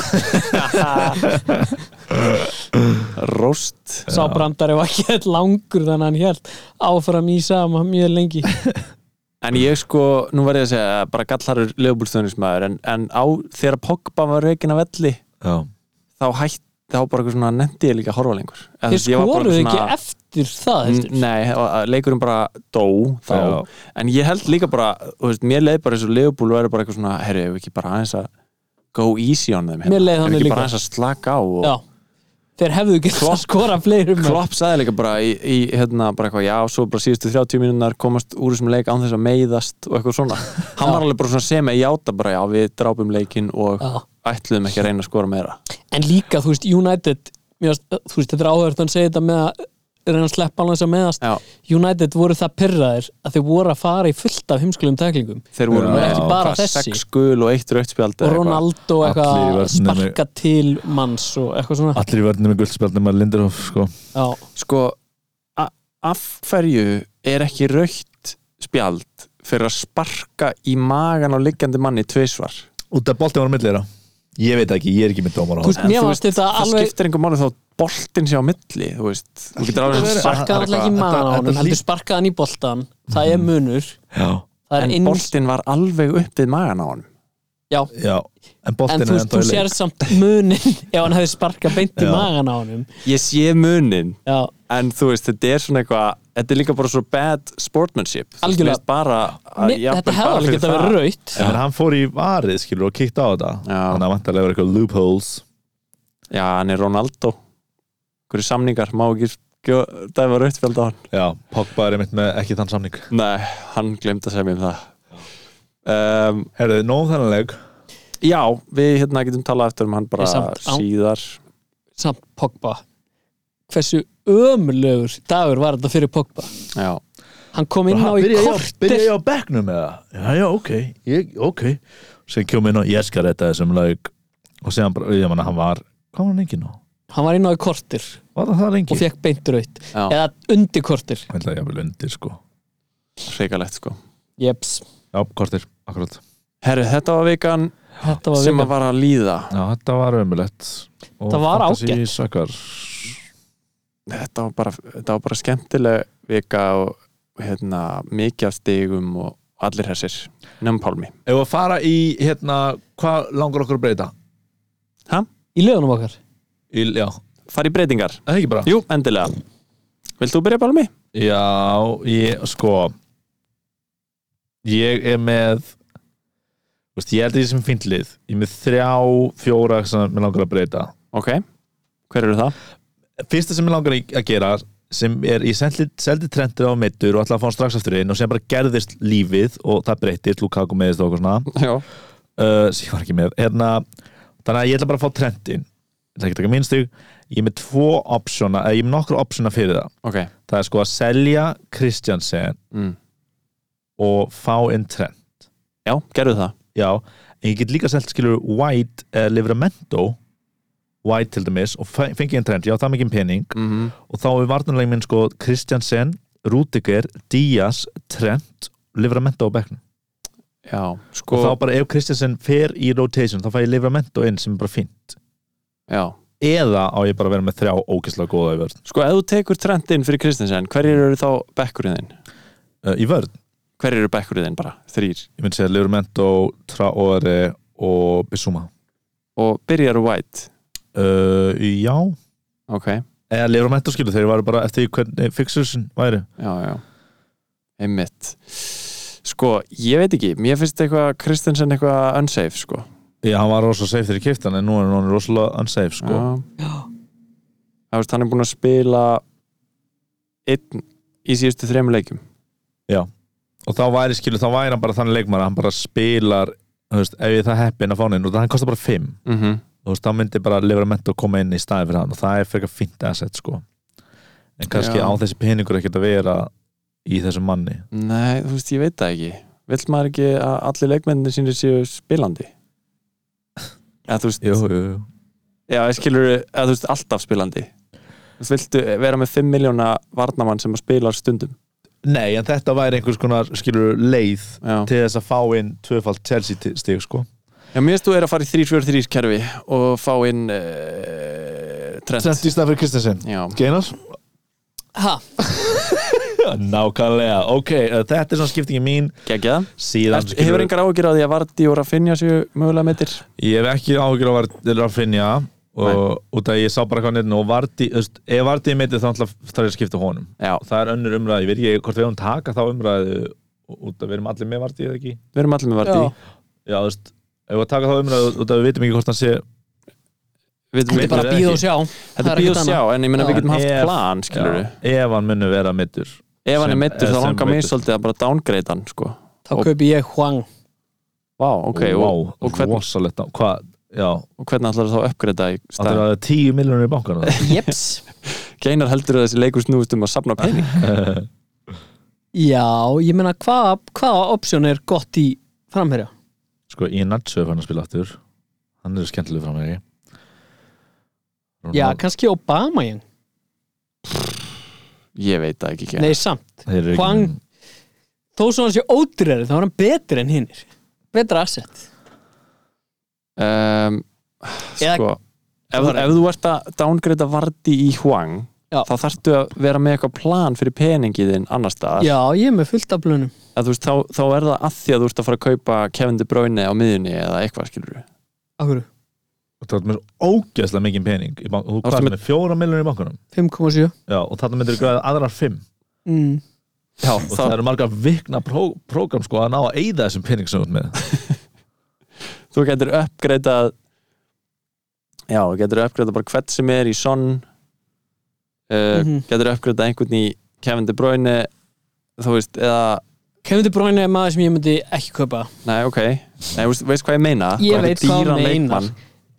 [SPEAKER 2] rost
[SPEAKER 3] sá brandari var ekki held langur þannig að hann held áfram í sama mjög lengi
[SPEAKER 2] En ég sko, nú verð ég að segja bara gallarur lögbúlstöðnismæður en, en á, þegar Pogba var reikin að velli
[SPEAKER 4] Já.
[SPEAKER 2] þá hætti, þá bara eitthvað svona nefndi ég líka að horfa lengur Eða,
[SPEAKER 3] þið
[SPEAKER 2] þú veist, ég var bara
[SPEAKER 3] skoruðu
[SPEAKER 2] svona-
[SPEAKER 3] ekki eftir það
[SPEAKER 2] N-
[SPEAKER 3] eftir.
[SPEAKER 2] Nei, og- að leikurum bara dó þá,
[SPEAKER 4] Já.
[SPEAKER 2] en ég held líka bara þú veist, mér leið bara eins og lögbúl verið bara eitthvað svona herri, ef ekki bara aðeins að go easy on þeim
[SPEAKER 3] Mér leið
[SPEAKER 2] Ef
[SPEAKER 3] þannig
[SPEAKER 2] ekki
[SPEAKER 3] líka.
[SPEAKER 2] bara aðeins að slaka á og,
[SPEAKER 3] já, þeir hefðu getað að skora fleirum
[SPEAKER 2] Klopp sagði líka bara í, í hérna, bara eitthvað, já, svo bara síðustu 30 mínúnar komast úr þessum leik án þess að meiðast og eitthvað svona. Hann var alveg bara svona sem að játa bara, já, við drápum leikinn og
[SPEAKER 3] Já.
[SPEAKER 2] ætluðum ekki að reyna að skora meira.
[SPEAKER 3] en líka, þú veist, United mér varst, þú veist, þetta er áhverjum hann segir þetta með að reyna að sleppa alveg þess að meðast
[SPEAKER 2] Já,
[SPEAKER 3] United voru það pyrraðir að þeir voru að fara í fullt af heimskulum teklingum
[SPEAKER 2] þeir voru
[SPEAKER 4] Já,
[SPEAKER 2] með
[SPEAKER 3] ekki bara
[SPEAKER 2] hvað,
[SPEAKER 3] þessi.
[SPEAKER 2] sex gul og eitt rauðspjald
[SPEAKER 3] og Ronaldo eitthvað
[SPEAKER 4] Allir í
[SPEAKER 3] að
[SPEAKER 4] vörninni með-
[SPEAKER 3] sparka til manns og eitthvað svona
[SPEAKER 4] Allir í vörnum með guldspjald nema Linderhoff sko.
[SPEAKER 3] já,
[SPEAKER 2] Sko, a- af hverju er ekki rauðt spjald fyrir að sparka í magan á liggjandi manni tvisvar?
[SPEAKER 4] Út af boltið var millir þeirra Ég veit ekki, ég er ekki með dómar á
[SPEAKER 3] þú veist,
[SPEAKER 2] En
[SPEAKER 3] mér
[SPEAKER 2] þú
[SPEAKER 3] varst þetta
[SPEAKER 2] það
[SPEAKER 3] alveg
[SPEAKER 2] skiptir einhver máli þá boltin sé á milli þú veist, þú getur alveg
[SPEAKER 4] verið.
[SPEAKER 2] sagt
[SPEAKER 3] sparkaði alltaf ekki í maður á
[SPEAKER 4] Þetta- þetta
[SPEAKER 3] honum heldur
[SPEAKER 4] hlýt-
[SPEAKER 3] sparkaði hann í boltan það er munur,
[SPEAKER 4] Já,
[SPEAKER 3] það er
[SPEAKER 2] en
[SPEAKER 3] inn
[SPEAKER 2] boltin var alveg upp við magan á hann
[SPEAKER 3] já,
[SPEAKER 4] já En boltið
[SPEAKER 3] en
[SPEAKER 4] er
[SPEAKER 3] þú veist,
[SPEAKER 4] ennþá
[SPEAKER 3] þú
[SPEAKER 4] í leik
[SPEAKER 3] sér samt munin ef hann hefði sparkað beint í
[SPEAKER 4] Já.
[SPEAKER 3] magan á honum
[SPEAKER 2] ég sé munin,
[SPEAKER 3] já,
[SPEAKER 2] en þú veist þetta er svona eitthvað, þetta er líka bara svo bad sportmanship, þú veist,
[SPEAKER 3] Algjörlega.
[SPEAKER 2] mér finnst bara að
[SPEAKER 3] Nei,
[SPEAKER 2] jafnvel
[SPEAKER 3] þetta hefði
[SPEAKER 2] bara
[SPEAKER 3] alveg
[SPEAKER 2] fyrir
[SPEAKER 3] getað
[SPEAKER 2] það.
[SPEAKER 3] verið raut
[SPEAKER 4] En hann fór í varið skilur og kíkt á þetta
[SPEAKER 2] Já.
[SPEAKER 4] Þannig að vantarlega verið eitthvað loopholes
[SPEAKER 2] já, hann er Ronaldo hverju samningar, má ekki gjö- dæfa rautfjöld á hann
[SPEAKER 4] Já, Pogba er einmitt með ekki þann samning
[SPEAKER 2] nei, hann glemt að segja mér um það um,
[SPEAKER 4] Herðu, nóg þannig leik
[SPEAKER 2] já, við hérna getum talað eftir um hann bara
[SPEAKER 3] Ég samt á-
[SPEAKER 2] síðar
[SPEAKER 3] samt Pogba hversu ömurlegur dagur var þetta fyrir Pogba
[SPEAKER 2] já,
[SPEAKER 3] hann kom inn á í
[SPEAKER 4] Byrja ég á- byrja
[SPEAKER 3] kortir
[SPEAKER 4] ég á bekknum með það Já, já, ok, ég, ok Sér kjum inn og ég skal þetta þessum leik Og segja hann bara, ég manna, hann var Hvað var hann lengi nú?
[SPEAKER 3] hann var inn á í kortir
[SPEAKER 4] Var það það
[SPEAKER 3] og
[SPEAKER 4] lengi?
[SPEAKER 3] fekk beint raut
[SPEAKER 2] Já.
[SPEAKER 3] eða undir kortir
[SPEAKER 4] Ég held að ég vil undir sko
[SPEAKER 2] hreikalegt sko
[SPEAKER 3] Jeps.
[SPEAKER 4] Já, kortir, akkurat
[SPEAKER 2] Herru, þetta var vikan
[SPEAKER 3] þetta var
[SPEAKER 2] sem að
[SPEAKER 3] vikan.
[SPEAKER 2] var að líða
[SPEAKER 4] Já, þetta var ömulegt
[SPEAKER 3] Þetta var ágætt.
[SPEAKER 4] Sökkar
[SPEAKER 2] þetta var bara, þetta var bara skemmtileg vika og hérna, mikið af stigum og allir hessir nefnum Pálmi
[SPEAKER 4] Ef við að fara í, hérna, hvað langar okkur að breyta?
[SPEAKER 3] í lögunum okkar
[SPEAKER 4] Í, já,
[SPEAKER 2] fari í breytingar,
[SPEAKER 4] það er ekki bara
[SPEAKER 2] jú, endilega Vilt þú byrja Pálmi?
[SPEAKER 4] Já, ég, sko Ég er með þú veist, Ég held að ég sem fínt lið Ég er með þrjá, fjóra sem mér langar að breyta
[SPEAKER 2] Ok, hver eru það?
[SPEAKER 4] Fyrsta sem mér langar í- að gera sem er, ég seldi, seldi trendið á meittur og ætlaði að fá hann strax aftur inn og sem bara gerðist lífið og það breytist, Lukaku meðist og okkur svona
[SPEAKER 2] Já,
[SPEAKER 4] uh, sem ég var ekki með Erna, þannig að ég ætla bara að fá trendin ég ætla ekki að taka minnstug ég er með tvo optiona, eða ég er með nokkru optiona fyrir það
[SPEAKER 2] ok
[SPEAKER 4] það er sko að selja Kristjansen
[SPEAKER 2] mm.
[SPEAKER 4] og fá inn trend
[SPEAKER 2] Já, gerðu það
[SPEAKER 4] já, en ég get líka selt skilur White eða Livramento White til dæmis og fe- fengi inn trend, já það mikið pening
[SPEAKER 2] mm
[SPEAKER 4] og þá er varnarlegin minn sko Kristjansen, Rúdiger, Díaz Trent, Livramento á bekknum
[SPEAKER 2] Já, sko
[SPEAKER 4] og þá bara ef Kristjansen fer í rotation þá fæ ég Livramento inn sem er bara fínt
[SPEAKER 2] Já.
[SPEAKER 4] eða á ég bara að vera með þrjá ógislega góða í vörn
[SPEAKER 2] Sko, ef þú tekur trendin fyrir Kristinsen hverjir eru þá bekkurinn þinn?
[SPEAKER 4] uh, í vörn,
[SPEAKER 2] Hverjir eru bekkurinn þinn bara? Þrýr
[SPEAKER 4] ég myndi segja Leurmento, Traore og Bissuma
[SPEAKER 2] Og byrjar White
[SPEAKER 4] uh, já,
[SPEAKER 2] Ok, já,
[SPEAKER 4] eða Leurmento skilur þeir var bara eftir því hvernig fixersin væri
[SPEAKER 2] já Einmitt Sko, ég veit ekki, mér finnst eitthvað Kristinsen eitthvað unsafe, sko
[SPEAKER 4] já, hann var rosalega safe þegar ég keipt hann en nú er hann rosalega unsafe sko.
[SPEAKER 2] Já. Það veist, hann er búin að spila einn í síðustu þremur leikjum
[SPEAKER 4] og þá væri skilur, þá væri hann bara þannig leikmar hann bara spilar, þú veist, ef ég það heppin að fá hann inn og það hann kostar bara 5
[SPEAKER 2] mm -hmm.
[SPEAKER 4] þú veist, þá myndi bara Leurmento koma inn í staði fyrir hann og það er fyrir að fínt asset sko. en kannski
[SPEAKER 2] Já.
[SPEAKER 4] á þessi peningur ekkert að vera í þessum manni
[SPEAKER 2] Nei, þú veist, ég veit það ekki Vill maður ekki að allir leikmennir sínir séu spilandi? Eða þú veist,
[SPEAKER 4] jú, jú, jú.
[SPEAKER 2] já, ég skilur eða þú veist, alltaf spilandi Þú veist, Viltu vera með 5 miljóna varnamann sem að spila stundum?
[SPEAKER 4] Nei, en þetta væri einhvers konar skilur leið
[SPEAKER 2] Já,
[SPEAKER 4] til þess að fá inn tvöfald Chelsea stig sko.
[SPEAKER 2] já mér veist þú er að fara í 3-4-3 kerfi og fá inn uh, trend
[SPEAKER 4] í stað fyrir Kristensen
[SPEAKER 2] Já,
[SPEAKER 4] Geinar?
[SPEAKER 3] ha,
[SPEAKER 4] Nákvæmlega, ok, uh, þetta er svona skiptingin mín
[SPEAKER 2] geggja
[SPEAKER 4] síðan
[SPEAKER 2] það Hefur engar ágjur á því að Vardí og Rafinha séu mögulega meittir?
[SPEAKER 4] Ég hef ekki áhugur að vera að finja og út að ég sá bara hvað nýrn og Vardí, þú veist, ef Vardí meiti þá ætla- þarf ég að skipta honum
[SPEAKER 2] Já,
[SPEAKER 4] Það er önnur umræði, ég veit ekki hvort við höfum taka þá umræði út að við erum allir með Vardí eða ekki
[SPEAKER 2] við erum allir með Vardí
[SPEAKER 3] já,
[SPEAKER 4] Já, þú veist, ef við taka þá umræði út að við vitum ekki hvort hann sé
[SPEAKER 2] við
[SPEAKER 3] Þetta er bara að bíða og sjá
[SPEAKER 2] Þetta er bíð og sjá, en ég meina
[SPEAKER 3] Já.
[SPEAKER 2] við getum haft
[SPEAKER 4] Ef-
[SPEAKER 2] plan, skilur við
[SPEAKER 4] Já, ef hann munur vera mittur
[SPEAKER 2] Ef hann er
[SPEAKER 4] Sem-
[SPEAKER 2] meittur þá
[SPEAKER 4] sem
[SPEAKER 2] langar mig
[SPEAKER 4] meiddur.
[SPEAKER 2] svolítið að bara downgrade hann, sko
[SPEAKER 3] Þá kaupi ég Hwang
[SPEAKER 2] Vá, ok, og,
[SPEAKER 4] wow,
[SPEAKER 2] og hvern-
[SPEAKER 4] rosalegt ná- Hvað, já,
[SPEAKER 2] og hvernig ætlar það að uppgreita í
[SPEAKER 4] það
[SPEAKER 2] stað?
[SPEAKER 4] er alveg 10 miljonur í bankanum
[SPEAKER 3] Jeps
[SPEAKER 2] Geinar heldur að þessi leikur snúist um að safna pening
[SPEAKER 3] Já, ég meina hvað hvaða option er gott í framherja?
[SPEAKER 4] Sko, í Nacho er hann að spila aftur Hann er skemmtileg fram með
[SPEAKER 3] Já, kannski Obama ég
[SPEAKER 2] Ég veit það ekki, Geinar
[SPEAKER 3] Nei, samt Hwang- Þó svo hann sé ódýrari, þá er hann betri en hinnir Betra asset
[SPEAKER 2] um,
[SPEAKER 3] Eða-
[SPEAKER 2] Sko, ef, ef þú ert að downgrade Vardí í Hwang
[SPEAKER 3] Já.
[SPEAKER 2] þá þarftu að vera með eitthvað plan fyrir peningið þinn annar staðar
[SPEAKER 3] Já, ég er með fullt af blunum
[SPEAKER 2] að, þú veist, þá, þá er það að því að þú ert að fara að kaupa Kevin De Bruyne á miðjunni eða eitthvað skilur
[SPEAKER 3] Akkur,
[SPEAKER 4] Það er með ógeðslega mikið pening í bank- Þú
[SPEAKER 2] ertu
[SPEAKER 4] hvað
[SPEAKER 2] með-
[SPEAKER 4] með fjóra miljonur í bankanum
[SPEAKER 3] 5,7
[SPEAKER 4] Já, og þarna myndir þú græða aðrar 5
[SPEAKER 3] mm.
[SPEAKER 2] Já,
[SPEAKER 4] og það eru margar vikna pró, prógram sko að ná að eyða þessum pening sem þú ert með
[SPEAKER 2] þú getur uppgreitað já, þú getur uppgreitað bara hvert sem er í son uh,
[SPEAKER 3] Mhm.
[SPEAKER 2] getur uppgreitað einhvern í Kevin De Bruyne þú veist, eða
[SPEAKER 3] Kevin De Bruyne er maður sem ég myndi ekki kaupa
[SPEAKER 2] nei, ok, nei, veist, veist hvað ég meina
[SPEAKER 3] Ég
[SPEAKER 2] Bara
[SPEAKER 3] veit hvað
[SPEAKER 2] dýran
[SPEAKER 3] þú meinar.
[SPEAKER 2] leikmann.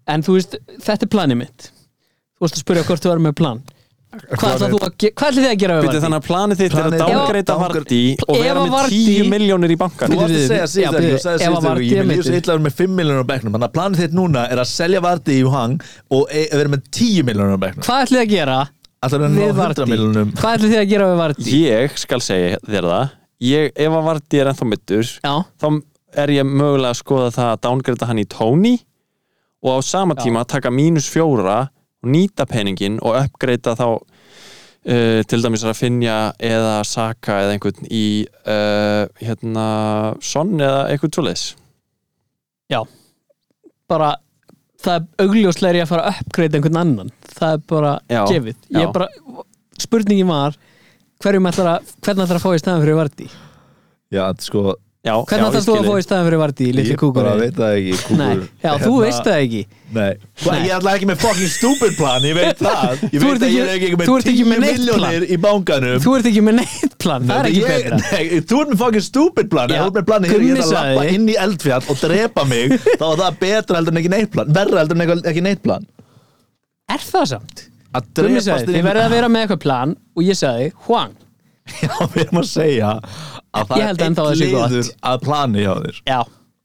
[SPEAKER 3] En þú veist, þetta er planið mitt Þú veist að spyrja hvort þú erum með plan Hvað ætlar þú að ge- hvað ætlið þið að gera við
[SPEAKER 2] Býttu,
[SPEAKER 3] Vardy?
[SPEAKER 2] þannig að planið þitt er
[SPEAKER 4] Planið-
[SPEAKER 2] að dángreita
[SPEAKER 4] Já,
[SPEAKER 2] Vardí
[SPEAKER 3] downgrade-
[SPEAKER 2] og
[SPEAKER 3] Ef
[SPEAKER 2] vera
[SPEAKER 3] að
[SPEAKER 2] með
[SPEAKER 3] Vardy-
[SPEAKER 2] 10 miljónir í bankan
[SPEAKER 4] Þú varst
[SPEAKER 3] Bíddu, bíddu,
[SPEAKER 4] að segja
[SPEAKER 3] já,
[SPEAKER 4] síðan
[SPEAKER 3] bíddu,
[SPEAKER 4] Þú sagði
[SPEAKER 3] ef að
[SPEAKER 4] síðan
[SPEAKER 3] Vardy
[SPEAKER 4] Ég
[SPEAKER 3] er
[SPEAKER 4] vil lífa
[SPEAKER 3] meiddur.
[SPEAKER 4] sér illar með 5 miljonur á bekknum Þannig að planið þitt núna er að selja Vardi í hang og e vera með 10 miljonur á bekknum
[SPEAKER 3] Hvað ætlið þið að gera
[SPEAKER 4] Alltaf
[SPEAKER 3] við
[SPEAKER 4] er hann á 100
[SPEAKER 3] Vardí?
[SPEAKER 4] miljonum
[SPEAKER 3] Hvað ætlið þið að gera við Vardí?
[SPEAKER 2] ég skal segja þér það ég, ef að Vardí er ennþá mittur
[SPEAKER 3] Já,
[SPEAKER 2] þá er ég mögulega að skoða það að downgrada hann í Tony og á sama
[SPEAKER 3] Já.
[SPEAKER 2] tíma taka mínus fjóra og nýta peningin og uppgreita þá uh, til dæmis að finja eða saka eða einhvern í uh, hérna sonn eða einhvern svoleiðis
[SPEAKER 3] bara það er augljóslega er ég að fara að uppgreita einhvern annan Það er bara
[SPEAKER 2] Já,
[SPEAKER 3] gefið Ég
[SPEAKER 2] já.
[SPEAKER 3] er bara, spurningin var hverjum ætlar að, hvernig ætlar að fá í staðan fyrir Vardí?
[SPEAKER 4] Já, sko
[SPEAKER 2] Já, já,
[SPEAKER 3] Hvernig
[SPEAKER 2] ég
[SPEAKER 3] ætlar þú
[SPEAKER 2] skil
[SPEAKER 3] að
[SPEAKER 2] þig.
[SPEAKER 3] fá í staðan fyrir Vardí, litli
[SPEAKER 4] Ég bara
[SPEAKER 3] kúkurinn?
[SPEAKER 4] veit það ekki
[SPEAKER 3] Nei,
[SPEAKER 4] kúkur
[SPEAKER 3] já, þú
[SPEAKER 4] Hérna-
[SPEAKER 3] veist það ekki
[SPEAKER 4] Nei,
[SPEAKER 3] Nei.
[SPEAKER 4] ég ætla ekki með fucking stupid plan Ég veit það Ég
[SPEAKER 3] Þú
[SPEAKER 4] veit
[SPEAKER 3] ert
[SPEAKER 4] að
[SPEAKER 3] ekki-
[SPEAKER 4] ég er ekki
[SPEAKER 3] þú
[SPEAKER 4] með
[SPEAKER 3] ert ekki
[SPEAKER 4] 10
[SPEAKER 3] með neitt
[SPEAKER 4] miljonir í bankanum
[SPEAKER 3] Þú ert ekki með neitt plan, það er ekki
[SPEAKER 4] Ég-
[SPEAKER 3] betra
[SPEAKER 4] Nei, þú ert með fucking stupid plan
[SPEAKER 3] Já,
[SPEAKER 4] Ef Þú ert með planið, heyrðu, ég
[SPEAKER 3] Gummi
[SPEAKER 4] ætla að lappa
[SPEAKER 3] sagði.
[SPEAKER 4] inn í eldfjall og drepa mig þá er það betra heldur en ekki neitt plan verra heldur en ekki- ekki neitt plan
[SPEAKER 3] Er það samt?
[SPEAKER 4] að
[SPEAKER 3] Gummi
[SPEAKER 4] drepast
[SPEAKER 3] sagði, þið verðið að vera með eitthvað plan og ég sagði, Hwang
[SPEAKER 4] Já, við erum að segja að það
[SPEAKER 3] Ég held ennþá að það
[SPEAKER 4] er
[SPEAKER 3] sé
[SPEAKER 4] einn
[SPEAKER 3] gott.
[SPEAKER 4] liður að plani hjá þér
[SPEAKER 3] Já,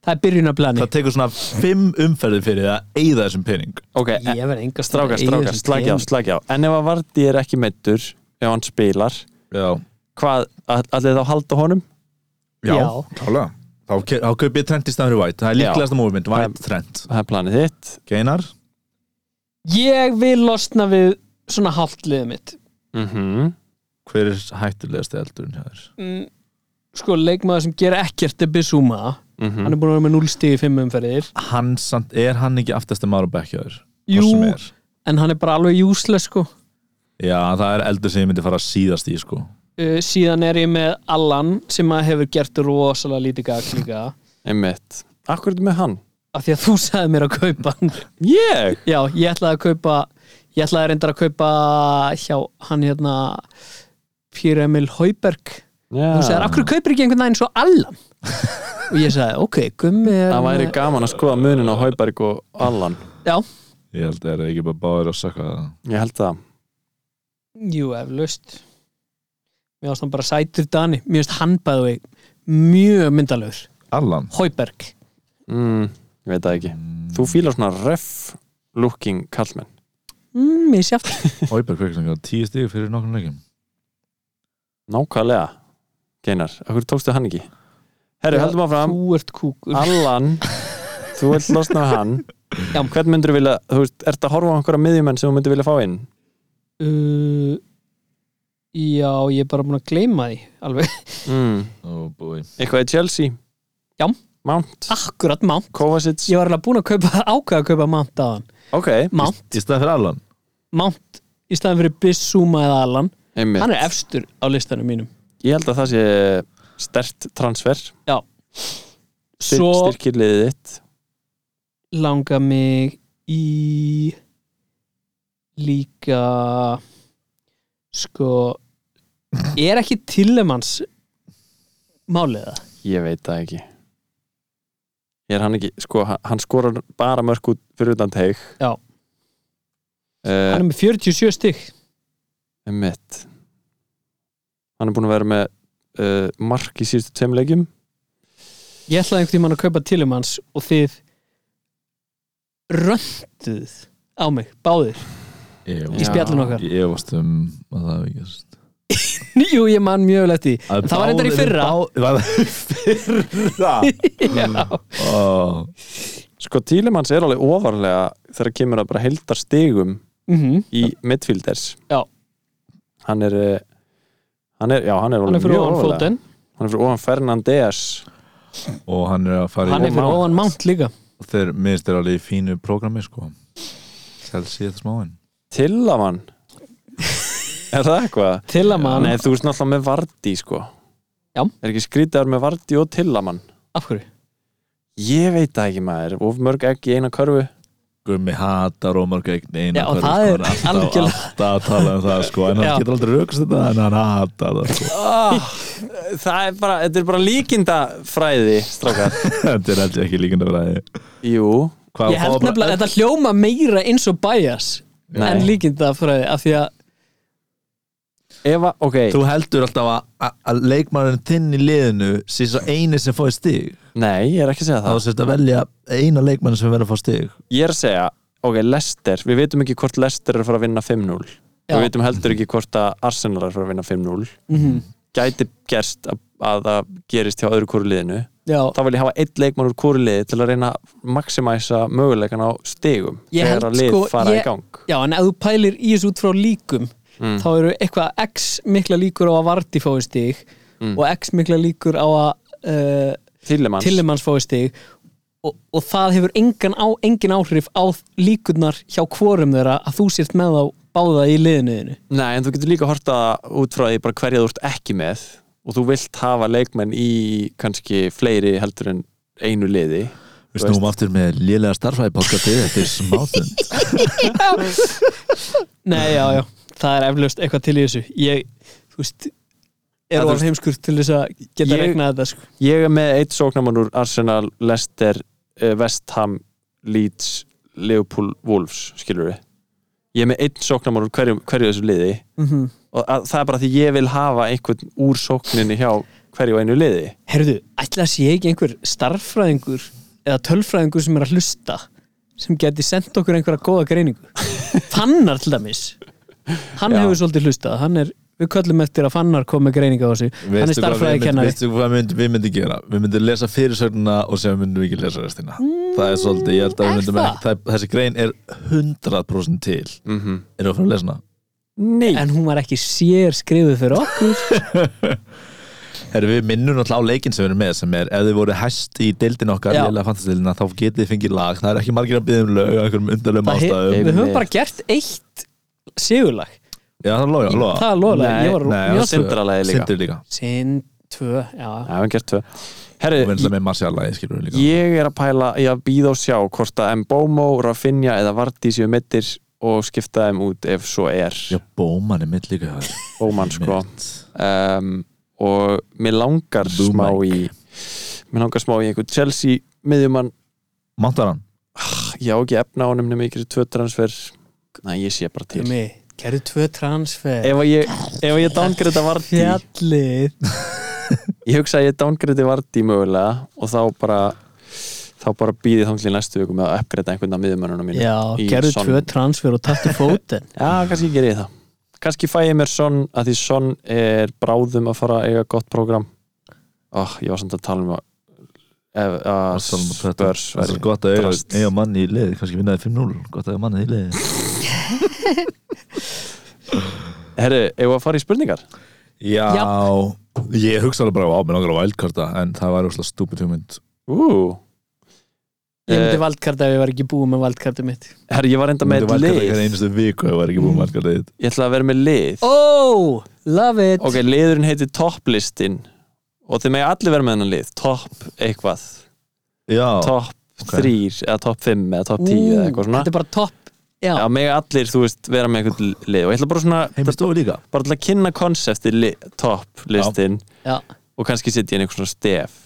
[SPEAKER 3] það er byrjunarplani
[SPEAKER 4] Það tekur svona fimm umferðir fyrir að eyða þessum pening
[SPEAKER 2] Ok, e- en-
[SPEAKER 3] Ég verði enga
[SPEAKER 2] strákar, strákar, slagi á, slagi á En ef að Vardí er ekki meittur ef hann spilar,
[SPEAKER 4] Já,
[SPEAKER 2] hvað, all- allir þá halda honum?
[SPEAKER 4] já,
[SPEAKER 3] Já.
[SPEAKER 4] klálega Þá, ke- þá kaup ég trend í staðinu væt, það er
[SPEAKER 2] Já.
[SPEAKER 4] líklegasta móvmynd, væt trend
[SPEAKER 2] Það er planið þitt
[SPEAKER 4] Geinar,
[SPEAKER 3] Ég vil losna við svona hálftliðið mitt
[SPEAKER 2] mm
[SPEAKER 4] hver er hættulegasti eldurinn hjá þér?
[SPEAKER 3] mm, Sko, leikmaður sem gera ekkert er Bissúma
[SPEAKER 2] Mhm.
[SPEAKER 3] Hann er búin að vera með 0 stig í 5 umferðir
[SPEAKER 4] Hann, samt, er hann ekki aftasti maður á bekk hjá þér? Hvað
[SPEAKER 3] Jú.
[SPEAKER 4] sem er?
[SPEAKER 3] En hann er bara alveg useless, sko
[SPEAKER 4] Já, það er eldur sem ég myndi fara síðast í sko
[SPEAKER 3] uh, Síðan er ég með Allan sem að hefur gert rosalega lítið gag líka
[SPEAKER 2] Einmitt Akkur er þetta með hann?
[SPEAKER 3] Af því að þú sagði mér að kaupa hann
[SPEAKER 2] Ég?
[SPEAKER 3] Já, ég ætlaði að kaupa ég ætlaði reyndar að kaupa hjá hann hérna Pír Emil Hauberg
[SPEAKER 2] Já.
[SPEAKER 3] hún sagði, af hverju kaupir ekki einhvern veginn svo allan og ég sagði, ok, gummi er
[SPEAKER 2] Það væri gaman að skoða munin á Hauberg og Allan
[SPEAKER 3] já,
[SPEAKER 4] Ég held að það er ekki bara báður að sakka það
[SPEAKER 2] Ég held það
[SPEAKER 3] jú, eflaust mér ást hann bara sætur dani mér finnst hann bæði vei mjög myndalögur,
[SPEAKER 4] Allan
[SPEAKER 3] Hauberg
[SPEAKER 2] mm, Ég veit það ekki Þú fílar svona ref looking kallmenn
[SPEAKER 3] mm, mér sé aftur
[SPEAKER 4] Hauberg Kveiksangar, tíu stíð fyrir nokkrum leikum
[SPEAKER 2] Nákvæmlega Geinar, af hverju tókstu hann ekki? Herru,
[SPEAKER 3] Já,
[SPEAKER 2] heldum áfram
[SPEAKER 3] þú ert kúkur
[SPEAKER 2] Allan Þú vilt losna við hann
[SPEAKER 3] Já.
[SPEAKER 2] Hvern myndir þú vilja, þú veist, ertu að horfa á einhverja miðjumenn sem þú myndir vilja fá inn?
[SPEAKER 3] uh, já, ég er bara búin að gleyma því alveg,
[SPEAKER 2] Mm.
[SPEAKER 4] Ó, búi
[SPEAKER 2] Eitthvað í Chelsea?
[SPEAKER 3] Já.
[SPEAKER 2] Mount,
[SPEAKER 3] akkurat Mount
[SPEAKER 2] Kovacic
[SPEAKER 3] ég var alveg búin að kaupa, ákveða að kaupa Mount aðan
[SPEAKER 2] Ok,
[SPEAKER 3] Mount,
[SPEAKER 4] Í stað fyrir Allan
[SPEAKER 3] Mount í staðan fyrir Bissúma eða Allan
[SPEAKER 2] einmitt
[SPEAKER 3] hann er efstur á listanum mínum
[SPEAKER 2] Ég held að það sé stert transfer Styr,
[SPEAKER 3] svo
[SPEAKER 2] Styrkir liðið þitt
[SPEAKER 3] langa mig í líka sko er ekki Tillemans málið það?
[SPEAKER 2] Ég veit það ekki Er hann ekki, sko, hann- hann skorar bara mörg út fyrir utan teig
[SPEAKER 3] Já.
[SPEAKER 2] Eh,
[SPEAKER 3] Hann er með 47 stygg
[SPEAKER 2] Emmett Hann er búin að vera með uh, mark í síðustu tveim leikjum
[SPEAKER 3] Ég ætlaði einhvern tímann að kaupa Tillemans og þið rönduð á mig, báðir
[SPEAKER 2] Já.
[SPEAKER 3] í spjallin okkar
[SPEAKER 4] Ég varst um að það hafi gerst
[SPEAKER 3] Jú, ég man mjög vel eftir því.
[SPEAKER 4] Að
[SPEAKER 3] Það var reyndar í
[SPEAKER 4] báðir-
[SPEAKER 3] fyrra.
[SPEAKER 4] bá- Var það í fyrra?
[SPEAKER 3] Já.
[SPEAKER 4] Ó,
[SPEAKER 2] Sko, Tílemanns er alveg ofarlega þegar kemur að bara heldar stigum
[SPEAKER 3] Mhm.
[SPEAKER 2] í midfielders
[SPEAKER 3] Já.
[SPEAKER 2] Hann er eh, hann er, já, hann er
[SPEAKER 3] Hann er
[SPEAKER 2] alveg
[SPEAKER 3] fyrir
[SPEAKER 2] mjög
[SPEAKER 3] ofan
[SPEAKER 2] ofarlega
[SPEAKER 3] fóten
[SPEAKER 2] Hann er fyrir ofan Fernandes
[SPEAKER 4] Og hann er að fara
[SPEAKER 3] Hann
[SPEAKER 4] í
[SPEAKER 3] er fyrir
[SPEAKER 2] Mount.
[SPEAKER 3] ofan mount líka
[SPEAKER 4] Þeir minnst er alveg í fínu prógrami sko Chelsea þetta smáinn
[SPEAKER 2] Tillamann Er það eitthvað?
[SPEAKER 3] Tillamann,
[SPEAKER 2] Nei, þú veist náttúrulega með Vardí, sko
[SPEAKER 3] Já.
[SPEAKER 2] Er ekki skrýtaður með Vardí og Tillamann?
[SPEAKER 3] af hverju?
[SPEAKER 2] Ég veit það ekki maður, of mörg ekki í eina körfu
[SPEAKER 4] Gummi hatar og mörg eign eina
[SPEAKER 3] Já, og það
[SPEAKER 4] hverju, sko,
[SPEAKER 3] er
[SPEAKER 4] hann alltaf,
[SPEAKER 3] algjörlega-
[SPEAKER 4] alltaf að tala um það sko En
[SPEAKER 3] Já.
[SPEAKER 4] hann getur aldrei raukast þetta En hann hatar það sko
[SPEAKER 2] ah, Það er bara, þetta er bara líkinda fræði, strákar
[SPEAKER 4] Þetta er aldrei ekki líkandi að vera
[SPEAKER 2] Jú,
[SPEAKER 4] Hvað
[SPEAKER 3] Ég held
[SPEAKER 4] fá bara-
[SPEAKER 3] nefnilega að þetta hljóma meira eins og bæjas
[SPEAKER 2] Nei.
[SPEAKER 3] en líkinda fræði af því að
[SPEAKER 2] ef að, ok
[SPEAKER 4] Þú heldur alltaf að- að- að leikmaðurinn þinn í liðinu sé svo eini sem fóði stig
[SPEAKER 2] Nei, ég er ekki að segja
[SPEAKER 4] þá
[SPEAKER 2] það
[SPEAKER 4] sérst að velja eina leikmann sem verður að fá stig
[SPEAKER 2] Ég er að segja, ok, Lester Við veitum ekki hvort Lester er að fara að vinna 5-0
[SPEAKER 3] Já.
[SPEAKER 2] Við veitum heldur ekki hvort að Arsenal er að fara að vinna 5-0
[SPEAKER 3] Mhm.
[SPEAKER 2] Gæti gerst að, að það gerist hjá öðru hvoru liðinu
[SPEAKER 3] já,
[SPEAKER 2] þá vil ég hafa einn leikmann úr hvoru liði til að reyna að maximæsa möguleikan á stigum
[SPEAKER 3] Ég held,
[SPEAKER 2] þegar að lið
[SPEAKER 3] sko,
[SPEAKER 2] fara
[SPEAKER 3] ég-
[SPEAKER 2] í gang
[SPEAKER 3] já, en ef þú pælir í þessu út frá líkum
[SPEAKER 2] Mm.
[SPEAKER 3] þá eru eitthvað x mikla líkur á að Vardí fái stig
[SPEAKER 2] Mm.
[SPEAKER 3] og x mikla líkur á að uh,
[SPEAKER 2] Tillemans,
[SPEAKER 3] Tillemanns fái stig og, og það hefur engan, á, engin áhrif á líkurnar hjá hvorum þeirra að þú sért með þá báða í liðinuðinu
[SPEAKER 2] nei en þú getur líka að horta út frá því bara hverja þú ert ekki með og þú vilt hafa leikmenn í kannski fleiri heldur en einu liði
[SPEAKER 4] Við snúum aftur með lélega starfræði podcasti Þetta er smáttund
[SPEAKER 3] Nei, já, já, það er eflaust eitthvað til í þessu Ég, þú veist
[SPEAKER 2] Það
[SPEAKER 3] er
[SPEAKER 2] þú
[SPEAKER 3] of
[SPEAKER 2] veist-
[SPEAKER 3] heimskur til þess að geta
[SPEAKER 2] Ég-
[SPEAKER 3] regnað þetta sko.
[SPEAKER 2] ég er með eitt sóknamann úr Arsenal, Leicester, eh, West Ham Leeds, Liverpool, Wolves skilur við ég er með einn sóknamann úr hverju, hverju þessu liði
[SPEAKER 3] -hmm.
[SPEAKER 2] og að, það er bara því ég vil hafa einhvern úr sókninni hjá hverju og einu liði
[SPEAKER 3] Herðu, ætla að sé ekki einhver starffræðingur eða tölfræðingur sem er að hlusta sem geti sendt okkur einhverja góða greiningu Fannar til dæmis Hann
[SPEAKER 2] Já.
[SPEAKER 3] hefur svolítið hlustað Hann er, við köllum eftir að Fannar kom með greiningu á þessu Hann er starffræðikennari
[SPEAKER 4] Veistu hvað mynd, við myndum gera? Við myndum lesa fyrirsögnuna og sem myndum við ekki lesa restina Það er svolítið, ég held að
[SPEAKER 3] Mm, er
[SPEAKER 4] við myndum
[SPEAKER 3] það?
[SPEAKER 4] ekki það, Þessi grein er 100% til
[SPEAKER 2] mm -hmm.
[SPEAKER 4] Erum við að fara að lesa hana?
[SPEAKER 2] Nei,
[SPEAKER 3] En hún var ekki sér skrifuð fyrir okkur
[SPEAKER 4] Herru, við minnum náttúrulega á leikinn sem við erum með sem er, ef þið voru hæst í deildin okkar
[SPEAKER 3] Já.
[SPEAKER 4] lélega fantasildina, þá getið þið fengið lag það er ekki margir að byggja um lög á einhverjum undarlegum
[SPEAKER 3] Það he-
[SPEAKER 4] ástæðum
[SPEAKER 3] Við höfum bara gert eitt sigurlag
[SPEAKER 4] Já, það er loga, loga
[SPEAKER 3] Það er loðlega, ég var
[SPEAKER 4] Nei,
[SPEAKER 3] mjög
[SPEAKER 4] og svo-
[SPEAKER 2] Sindralagið líka.
[SPEAKER 4] Sindri líka
[SPEAKER 3] Sinn, tvö, já
[SPEAKER 2] það hefum gert tvö
[SPEAKER 4] Og
[SPEAKER 2] Herri,
[SPEAKER 4] vinsla með Marcialagið skilur við líka
[SPEAKER 2] ég er að pæla í að býða og sjá hvort að Mbomo, Rafinha eða Vardí séu mittir og skipta þeim út ef svo er
[SPEAKER 4] Já, bóman er mitt líka það er
[SPEAKER 2] Bóman sko
[SPEAKER 4] mitt.
[SPEAKER 2] um, og mér langar
[SPEAKER 4] Boomer.
[SPEAKER 2] smá í mér langar smá í einhvern Chelsea miðjumann,
[SPEAKER 4] Máttar hann?
[SPEAKER 2] já ekki efna á honum nema ykkur tvö transfer Nei, ég sé bara til
[SPEAKER 3] Gumi, gerðu tvö transfer
[SPEAKER 2] Ef að ég, ef að ég dángreita Vardí
[SPEAKER 3] Fjallið
[SPEAKER 2] Ég hugsa að ég dángreiti Vardí mögulega og þá bara þá bara býði þangli næstu viku með að uppgreita einhvern af miðjumönnunum mínu
[SPEAKER 3] Já,
[SPEAKER 2] í
[SPEAKER 3] gerðu
[SPEAKER 2] Son.
[SPEAKER 3] tvö transfer og tattu fótinn
[SPEAKER 2] Já, kannski gerir ég það Kannski fæ ég mér Son að því Son er bráðum að fara að eiga gott prógram oh, Ég var samt að tala um að ef, að spörs
[SPEAKER 4] Það er svo gott að eiga,
[SPEAKER 2] drast.
[SPEAKER 4] eiga manni í liði kannski vinnaði 5-0 Gott að eiga manni í liði
[SPEAKER 2] Herru, eigum við að fara í spurningar?
[SPEAKER 4] Já Ég hugsa alveg bara á mig langar á vældkarta en það var úrslega stúpid hugmynd
[SPEAKER 2] Ú,
[SPEAKER 3] Ég myndi
[SPEAKER 2] Eh.
[SPEAKER 3] valdkarta ef ég var ekki búið með valdkarta mitt
[SPEAKER 2] herru, ég var enda með eitt
[SPEAKER 4] vældkarta
[SPEAKER 2] lið
[SPEAKER 4] eitthvað einustu viku ef ég var ekki búið vældkarta eitt
[SPEAKER 2] Ég ætla að vera með lið
[SPEAKER 3] Oh, love it
[SPEAKER 2] Ok, liðurinn heitir topplistin og þið megi allir vera með hennan lið topp eitthvað,
[SPEAKER 4] Já
[SPEAKER 2] topp
[SPEAKER 4] ok.
[SPEAKER 2] þrýr eða topp fimm eða topp tíu eða eitthvað svona
[SPEAKER 3] Þetta er bara topp Já.
[SPEAKER 2] að mega allir, þú veist, vera með einhvern lið og ég ætla bara svona,
[SPEAKER 4] Heimistofu líka
[SPEAKER 2] bara til að kynna konsepti li, top listin
[SPEAKER 3] já,
[SPEAKER 2] og kannski setja inn einhvern svona stef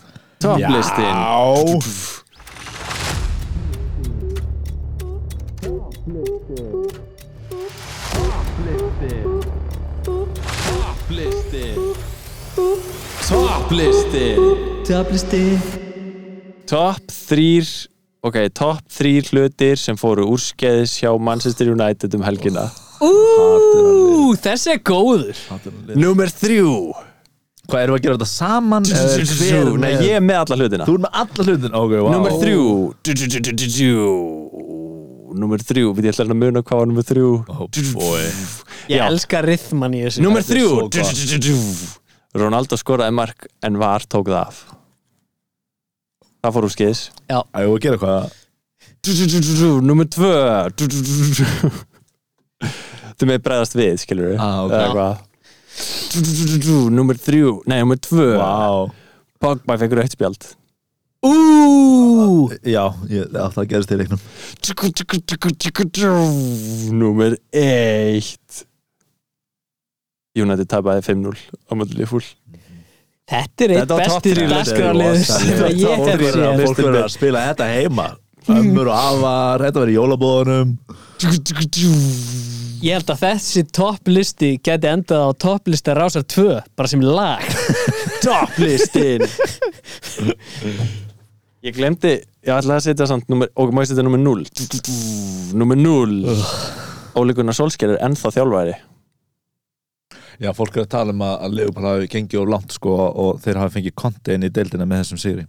[SPEAKER 2] top listin top listin top þrýr ok, top þrýr hlutir sem fóru úrskeiðis hjá Manchester United um helgina
[SPEAKER 3] ú, þessi er góður
[SPEAKER 2] Númer þrjú
[SPEAKER 4] Hvað erum við að gera þetta saman? eða hver er
[SPEAKER 2] Nei,
[SPEAKER 4] með-
[SPEAKER 2] ég er með alla hlutina
[SPEAKER 4] Þú er með alla hlutin okay, wow.
[SPEAKER 2] Númer þrjú Du- du- du- du- du- du. Númer þrjú, við ég ætla hérna að muna hvað var númer þrjú
[SPEAKER 4] oh, boy.
[SPEAKER 3] ég
[SPEAKER 2] Já.
[SPEAKER 3] elska rithman í þessu
[SPEAKER 2] Númer
[SPEAKER 4] Þetta er
[SPEAKER 2] þrjú
[SPEAKER 4] svo
[SPEAKER 2] Du- du- du- du- du. Ronaldo skoraði mark en var tók það af Það fór úr skeiðis
[SPEAKER 4] Æ, ég var að gera eitthvað
[SPEAKER 2] Du- du- du- du- du. Númer tvö Du- du- du- du- du. Þú með bregðast við, skilur við
[SPEAKER 4] Ah, ok.
[SPEAKER 2] okay. Númer þrjú Nei, númer tvö
[SPEAKER 4] wow.
[SPEAKER 2] Pogba fekkur eitt spjald
[SPEAKER 3] ú,
[SPEAKER 4] Já, ég ætla að gera þetta í leiknum
[SPEAKER 2] Númer 1 United tapaði 5-0 á móti Liverpool
[SPEAKER 3] þetta er eitt
[SPEAKER 2] Þetta var top
[SPEAKER 3] besti
[SPEAKER 2] three listi.
[SPEAKER 3] dagskrárliður sem
[SPEAKER 2] Þetta
[SPEAKER 3] að
[SPEAKER 2] var top
[SPEAKER 3] ég hef séð
[SPEAKER 2] three.
[SPEAKER 4] Fólk verður að spila þetta heima Ömmur og afar, þetta verður í jólabóðunum
[SPEAKER 3] ég held að þessi topplisti geti endað á topplista rásar 2 bara sem lag
[SPEAKER 2] Topplistin Ég glemdi Ég ætlaði að setja samt númer, og maður setja númer 0 Númer 0 Óli Gunnar Solskjær er ennþá þjálfæri
[SPEAKER 4] Já, fólk er að tala um að, að Leopold hafi gengið of langt sko og þeir hafi fengið kontein í deildina með þessum sigri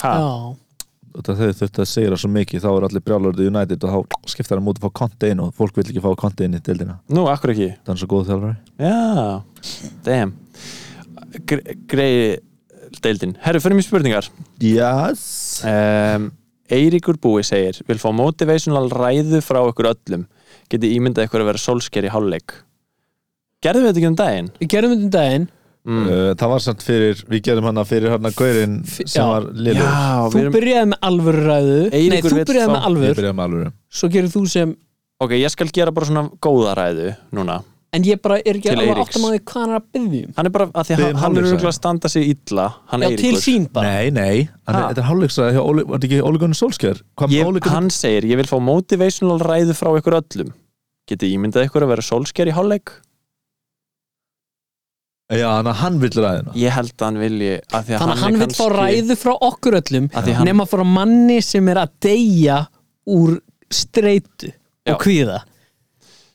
[SPEAKER 2] Ha,
[SPEAKER 3] já,
[SPEAKER 4] og það þau þurftu að sigra svo mikið þá er allir brjálurði United og þá skiptar hann mútið að fá kontein og fólk vil ekki fá kontein í deildina
[SPEAKER 2] nú, akkur ekki
[SPEAKER 4] það er svo góð þjálfari
[SPEAKER 2] Já, damn Gre- Greiði deildin Herru, fyrir mér spurningar
[SPEAKER 4] Yes
[SPEAKER 2] um, Eiríkur Búi segir vil fá motivational ræðu frá ykkur öllum geti ímyndað ykkur að vera solsker í hálfleik gerðum við þetta ekki um daginn?
[SPEAKER 3] við gerum þetta um daginn
[SPEAKER 2] Mm.
[SPEAKER 4] Uh, það var samt fyrir, við gerum hana fyrir hana gaurinn sem
[SPEAKER 3] já.
[SPEAKER 4] var liður
[SPEAKER 2] Já,
[SPEAKER 3] þú
[SPEAKER 2] við erum
[SPEAKER 3] byrjaði með alvöru ræðu nei,
[SPEAKER 2] Eiríkur
[SPEAKER 3] þú
[SPEAKER 2] vill
[SPEAKER 3] byrjaði
[SPEAKER 2] fá-
[SPEAKER 3] með
[SPEAKER 4] Ég
[SPEAKER 3] alvöru
[SPEAKER 4] byrjaði með alvöru
[SPEAKER 3] svo gerir þú sem
[SPEAKER 2] Ok, ég skal gera bara svona góða ræðu núna
[SPEAKER 3] en ég bara er ekki
[SPEAKER 2] Til
[SPEAKER 3] alveg
[SPEAKER 2] Eiríks.
[SPEAKER 3] átt að maður hvað hann er að byggja um
[SPEAKER 2] Hann er bara, að því að
[SPEAKER 4] Biðjum
[SPEAKER 2] hann- hann er
[SPEAKER 4] hálfleiksræðu.
[SPEAKER 2] örugglega að standa sig illa Hann
[SPEAKER 3] já, til
[SPEAKER 2] Eiríkur
[SPEAKER 3] sín bara
[SPEAKER 4] Nei, nei, hann er,
[SPEAKER 2] Ha?
[SPEAKER 4] þetta er hálfleiksræði hjá Óli, var þetta ekki Óli Gunnar Solskjær? Hvað með
[SPEAKER 2] ég,
[SPEAKER 4] Óli Gunnar?
[SPEAKER 2] Hann segir, ég vil fá motivational ræðu frá ykkur öllum geti ímyndað ykkur að vera solsker í hálfleik
[SPEAKER 4] Já, hann, hann vill ræðina
[SPEAKER 2] Ég held að hann vilji að því að
[SPEAKER 3] þannig að
[SPEAKER 2] hann
[SPEAKER 3] hann
[SPEAKER 2] er
[SPEAKER 3] vil fá
[SPEAKER 2] kannski-
[SPEAKER 3] ræðu frá okkur öllum
[SPEAKER 2] Af því hann-
[SPEAKER 3] nema frá manni sem er að deyja úr streitu
[SPEAKER 2] Já.
[SPEAKER 3] og kvíða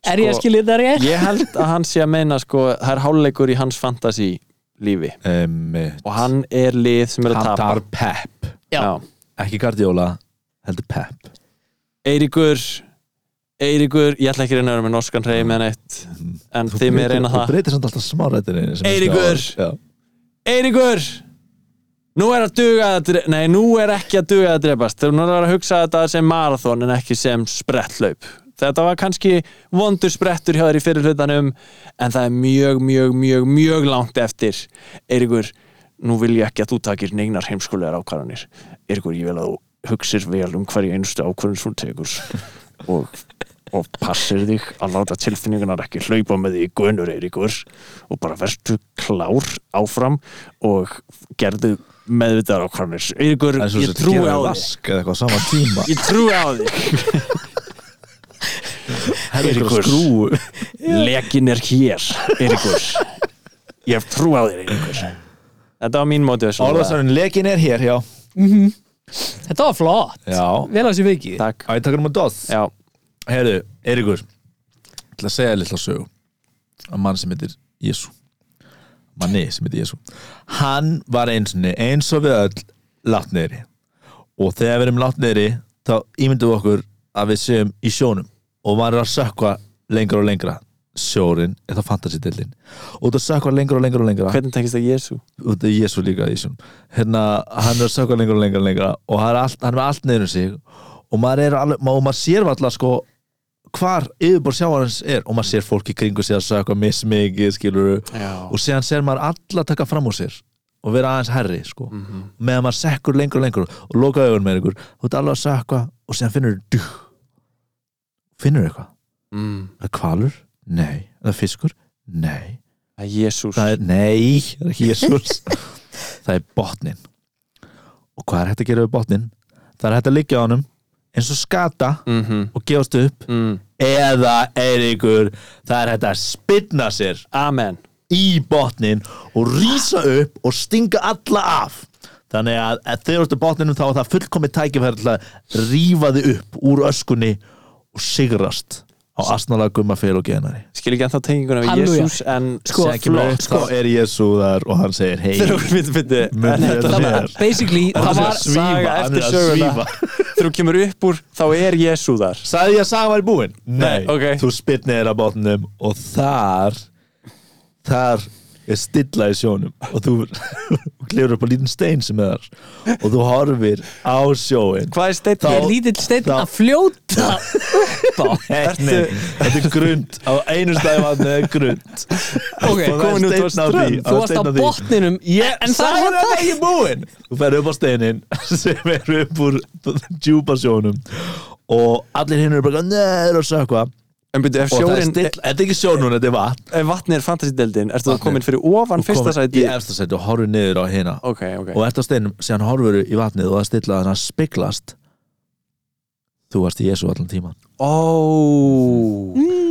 [SPEAKER 3] er ég að
[SPEAKER 2] Sko,
[SPEAKER 3] skilja þetta rétt?
[SPEAKER 2] Ég held að hann sé að meina sko, það er hálfleikur í hans fantasi lífi
[SPEAKER 4] Einmitt.
[SPEAKER 2] og hann er lið sem er að
[SPEAKER 4] Hann
[SPEAKER 2] tapa
[SPEAKER 4] tar pep
[SPEAKER 3] Já.
[SPEAKER 4] Ekki Guardiola, heldur pep
[SPEAKER 2] Eiríkur Eiríkur, ég ætla ekki að reyna að vera með norskan reymi en eitt, en þið með reyna
[SPEAKER 4] Mm. Þú
[SPEAKER 2] það
[SPEAKER 4] breytir samt alltaf smárættir
[SPEAKER 2] Eiríkur! Eiríkur nú er að duga að dre- nei, nú er ekki að duga að drepast þú nú er að hugsa þetta sem marathon en ekki sem spretthlaup þetta var kannski vondur sprettur hjá þér í fyrir hlutanum en það er mjög, mjög, mjög, mjög langt eftir Eiríkur, nú vil ég ekki að þú takir neignar heimskulegar ákvarðanir Eiríkur, ég vil að þú hugsir vel um hverju einustu ákvarðan sem þú tekur og, og passir þig að láta tilfinningunar ekki hlaupa með því gönur Eiríkur og bara verstu klár áfram og gerðu meðvitaðar ákvarðanir Eiríkur,
[SPEAKER 4] En svo
[SPEAKER 2] ég
[SPEAKER 4] sem
[SPEAKER 2] trúi
[SPEAKER 4] gera
[SPEAKER 2] á þig
[SPEAKER 4] vask eða eitthvað á sama tíma
[SPEAKER 2] ég trúi á þig
[SPEAKER 4] Eiríkur
[SPEAKER 2] Eiríkur.
[SPEAKER 4] skrúu
[SPEAKER 2] lekin er hér, Eiríkur ég hef trú á þér, Eiríkur þetta var mín mótið
[SPEAKER 4] Orðarsarinn, lekin er hér, já
[SPEAKER 3] þetta var flott,
[SPEAKER 4] Já,
[SPEAKER 3] vel að þessu viki
[SPEAKER 2] takk,
[SPEAKER 4] Æ, takkar um að doð
[SPEAKER 2] já,
[SPEAKER 4] Herðu, Eiríkur Ég ætla að segja litla sögu að mann sem heitir Jésu manni sem heitir Jésu hann var eins og, eins og við öll látt neyri og þegar við erum látt neyri þá ímyndum við okkur að við séum í sjónum og maður er að sökva lengra og lengra sjórin eða fantasy-dildin og það sökva lengra og lengra og lengra
[SPEAKER 2] hvernig tekist það Jésu?
[SPEAKER 4] út af Jésu líka í sjónum hérna, hann er að sökva lengra og lengra og lengra og hann er, allt, hann er með allt neyrum sig og maður, er alveg, og maður sér valla sko hvar yfirbór sjáarins er og maður sér fólk í kringu sér að sökva mismikið skilur
[SPEAKER 2] Já.
[SPEAKER 4] og séðan sér maður alla taka fram úr sér og vera aðeins herri sko
[SPEAKER 2] Mhm.
[SPEAKER 4] meðan maður sekkur lengur og lengur og loka augun með ykkur þú ert alveg að sökva og séðan finnur du finnur eitthvað,
[SPEAKER 2] mm.
[SPEAKER 4] það er kvalur nei, það er fiskur, nei
[SPEAKER 2] Það er Jésús
[SPEAKER 4] það er, nei, það er ekki Jésús það er botnin og hvað er hægt að gera við botnin það er hægt að liggja á honum eins og skata
[SPEAKER 2] Mhm.
[SPEAKER 4] og gefast upp
[SPEAKER 2] mm.
[SPEAKER 4] eða Eiríkur það er hægt að spinna sér
[SPEAKER 2] Amen
[SPEAKER 4] í botnin og rýsa upp og stinga alla af þannig að að þegar þú ert á botninum þá er það fullkomið tækifæri til að rýfa þig upp úr öskunni og sigrast á asnalega gumma fyrir og genari
[SPEAKER 2] Skil ekki ennþá tenginguna við
[SPEAKER 3] Halleluja.
[SPEAKER 2] Jésús En
[SPEAKER 3] Sko,
[SPEAKER 2] sem kemur upp,
[SPEAKER 4] þá er Jésu þar og hann segir hei
[SPEAKER 2] Þegar hún finnir fyndi
[SPEAKER 4] Mun
[SPEAKER 2] En
[SPEAKER 4] þér
[SPEAKER 2] þetta
[SPEAKER 4] þér.
[SPEAKER 2] var
[SPEAKER 3] basically, það
[SPEAKER 2] Hann
[SPEAKER 3] var
[SPEAKER 2] er að svífa
[SPEAKER 4] hann er
[SPEAKER 2] eftir
[SPEAKER 4] að
[SPEAKER 2] söguna
[SPEAKER 4] svífa
[SPEAKER 2] Þegar hún kemur upp úr þá er Jésú þar
[SPEAKER 4] Saði ég að saga var í búin?
[SPEAKER 2] Nei, ok.
[SPEAKER 4] Þú spitt neður að botnum og þar þar er stilla í sjónum og þú klifur upp á lítinn stein sem er þar og þú horfir á sjóin
[SPEAKER 2] Hvað er steitt
[SPEAKER 3] er lítill steinn að fljóta upp á
[SPEAKER 4] Nei, nei, þetta er grund á einu stæði vatni er grund
[SPEAKER 3] Ok,
[SPEAKER 4] Og það er
[SPEAKER 2] komin út á
[SPEAKER 4] steinn á því,
[SPEAKER 2] strönd.
[SPEAKER 4] það
[SPEAKER 3] Þú
[SPEAKER 4] er
[SPEAKER 3] varst á
[SPEAKER 4] steinn því.
[SPEAKER 3] botninum
[SPEAKER 4] Ég
[SPEAKER 3] En það
[SPEAKER 4] sagði
[SPEAKER 3] var
[SPEAKER 4] þetta
[SPEAKER 3] það
[SPEAKER 4] ekki búinn Þú ferði upp á steinin sem er upp úr djúpa sjónum og allir hinn eru bara neður og sökva
[SPEAKER 2] En byrju, ef
[SPEAKER 4] og það er
[SPEAKER 2] sjórin
[SPEAKER 4] still, þetta er ekki sjón núna, þetta er vatn
[SPEAKER 2] Ef vatni er fantasy-deldin Ertu
[SPEAKER 4] Vatnið.
[SPEAKER 2] þú komin fyrir ofan fyrsta
[SPEAKER 4] Komin
[SPEAKER 2] sæti
[SPEAKER 4] í efsta sæti og horfir niður á hina
[SPEAKER 2] Ok, ok
[SPEAKER 4] og eftir á steinum, síðan horfur í vatnið og það stilla þannig að spiklast þú varst í Jésu allan tíman
[SPEAKER 2] Ó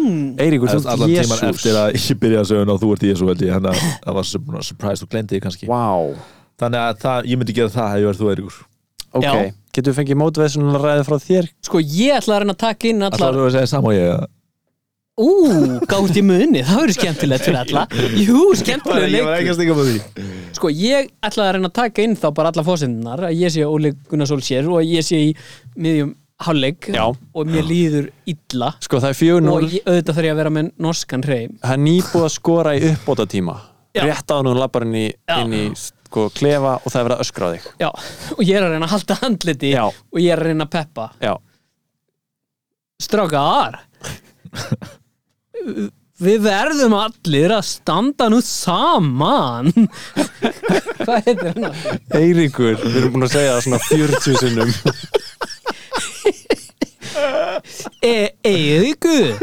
[SPEAKER 3] Mm.
[SPEAKER 2] Eiríkur, þú
[SPEAKER 4] Þú veist, allan
[SPEAKER 2] ert
[SPEAKER 4] tíman eftir
[SPEAKER 2] Jésús
[SPEAKER 4] að ég byrjaði söguna og þú ert í Jésu veldi þannig að það var svona surprise, þú glemdi því kannski
[SPEAKER 2] Vá
[SPEAKER 4] þannig að það, ég myndi gera það hefur verið þú Eiríkur
[SPEAKER 2] Ok,
[SPEAKER 3] Já.
[SPEAKER 2] getur við fengið mótveðsuna ræði frá þér?
[SPEAKER 3] Sko, ég ætla að reyna að taka inn
[SPEAKER 4] Alltaf
[SPEAKER 3] allar
[SPEAKER 4] þú að segja saman og ég eða?
[SPEAKER 3] Ú, gátt í munni, það verður skemmtilegt fyrir alla Jú, skemmtileg
[SPEAKER 4] Ég var
[SPEAKER 3] leik
[SPEAKER 4] ekki að stinga með því
[SPEAKER 3] Sko, ég ætla að reyna að taka inn þá bara alla fósendunar að ég sé Óli Gunnar Solskjær og ég sé í miðjum hálfleik
[SPEAKER 2] Já.
[SPEAKER 3] og mér líður illa
[SPEAKER 2] Sko það er
[SPEAKER 3] og
[SPEAKER 2] 4-0
[SPEAKER 3] ég, auðvitað þarf ég að vera með norskan hreim
[SPEAKER 2] Það er nýbúið að skora í uppbóta tíma
[SPEAKER 3] Já.
[SPEAKER 2] Rétt á hún lappar inn í,
[SPEAKER 3] Já.
[SPEAKER 2] inn í sko, klefa og það er verið að öskra á þig
[SPEAKER 3] Já, og ég er að reyna að halda handliti
[SPEAKER 2] Já.
[SPEAKER 3] og ég er að reyna að peppa
[SPEAKER 2] Já,
[SPEAKER 3] Strákar Við verðum allir að standa nú saman Hvað heitir hann? aftur?
[SPEAKER 2] Eiríkur, við erum búin að segja það svona 40 sinnum
[SPEAKER 3] E Eiríkur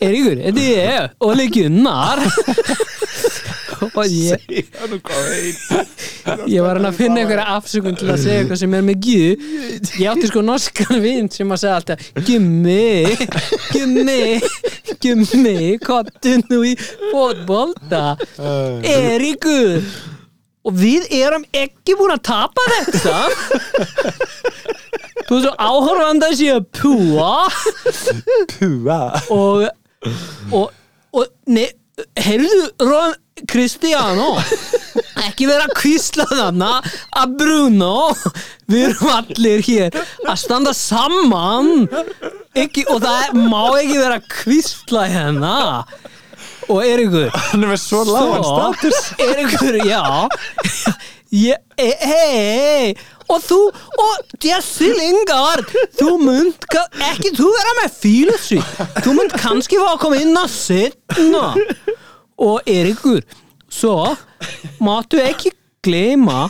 [SPEAKER 3] Eiríkur, þetta er ég Óli Gunnar Og ég,
[SPEAKER 4] Hann er hvað heit
[SPEAKER 3] ég var hann að finna einhverja afsökun til að segja eitthvað sem er með gíðu Ég átti sko norskan vinn sem að segja alltaf Gummi, gummi, gummi Kottu nú í fótbolta Eiríkur og við erum ekki búin að tapa þetta þú veist og áhorfanda sé að púa
[SPEAKER 2] Púa
[SPEAKER 3] og og, og nei, heyrðu Ron Cristiano ekki vera að kvísla þarna að Bruno við erum allir hér að standa saman ekki, og það er, má ekki vera að kvísla hérna og Eiríkur
[SPEAKER 2] Hann er með svo lágan stað
[SPEAKER 3] er einhver, já ég, hei, hei og þú, og Jesse Lingard þú munt, ka- ekki þú vera með fílusi, þú munt kannski fá að koma inn að sitna og Erikur svo máttu ekki gleyma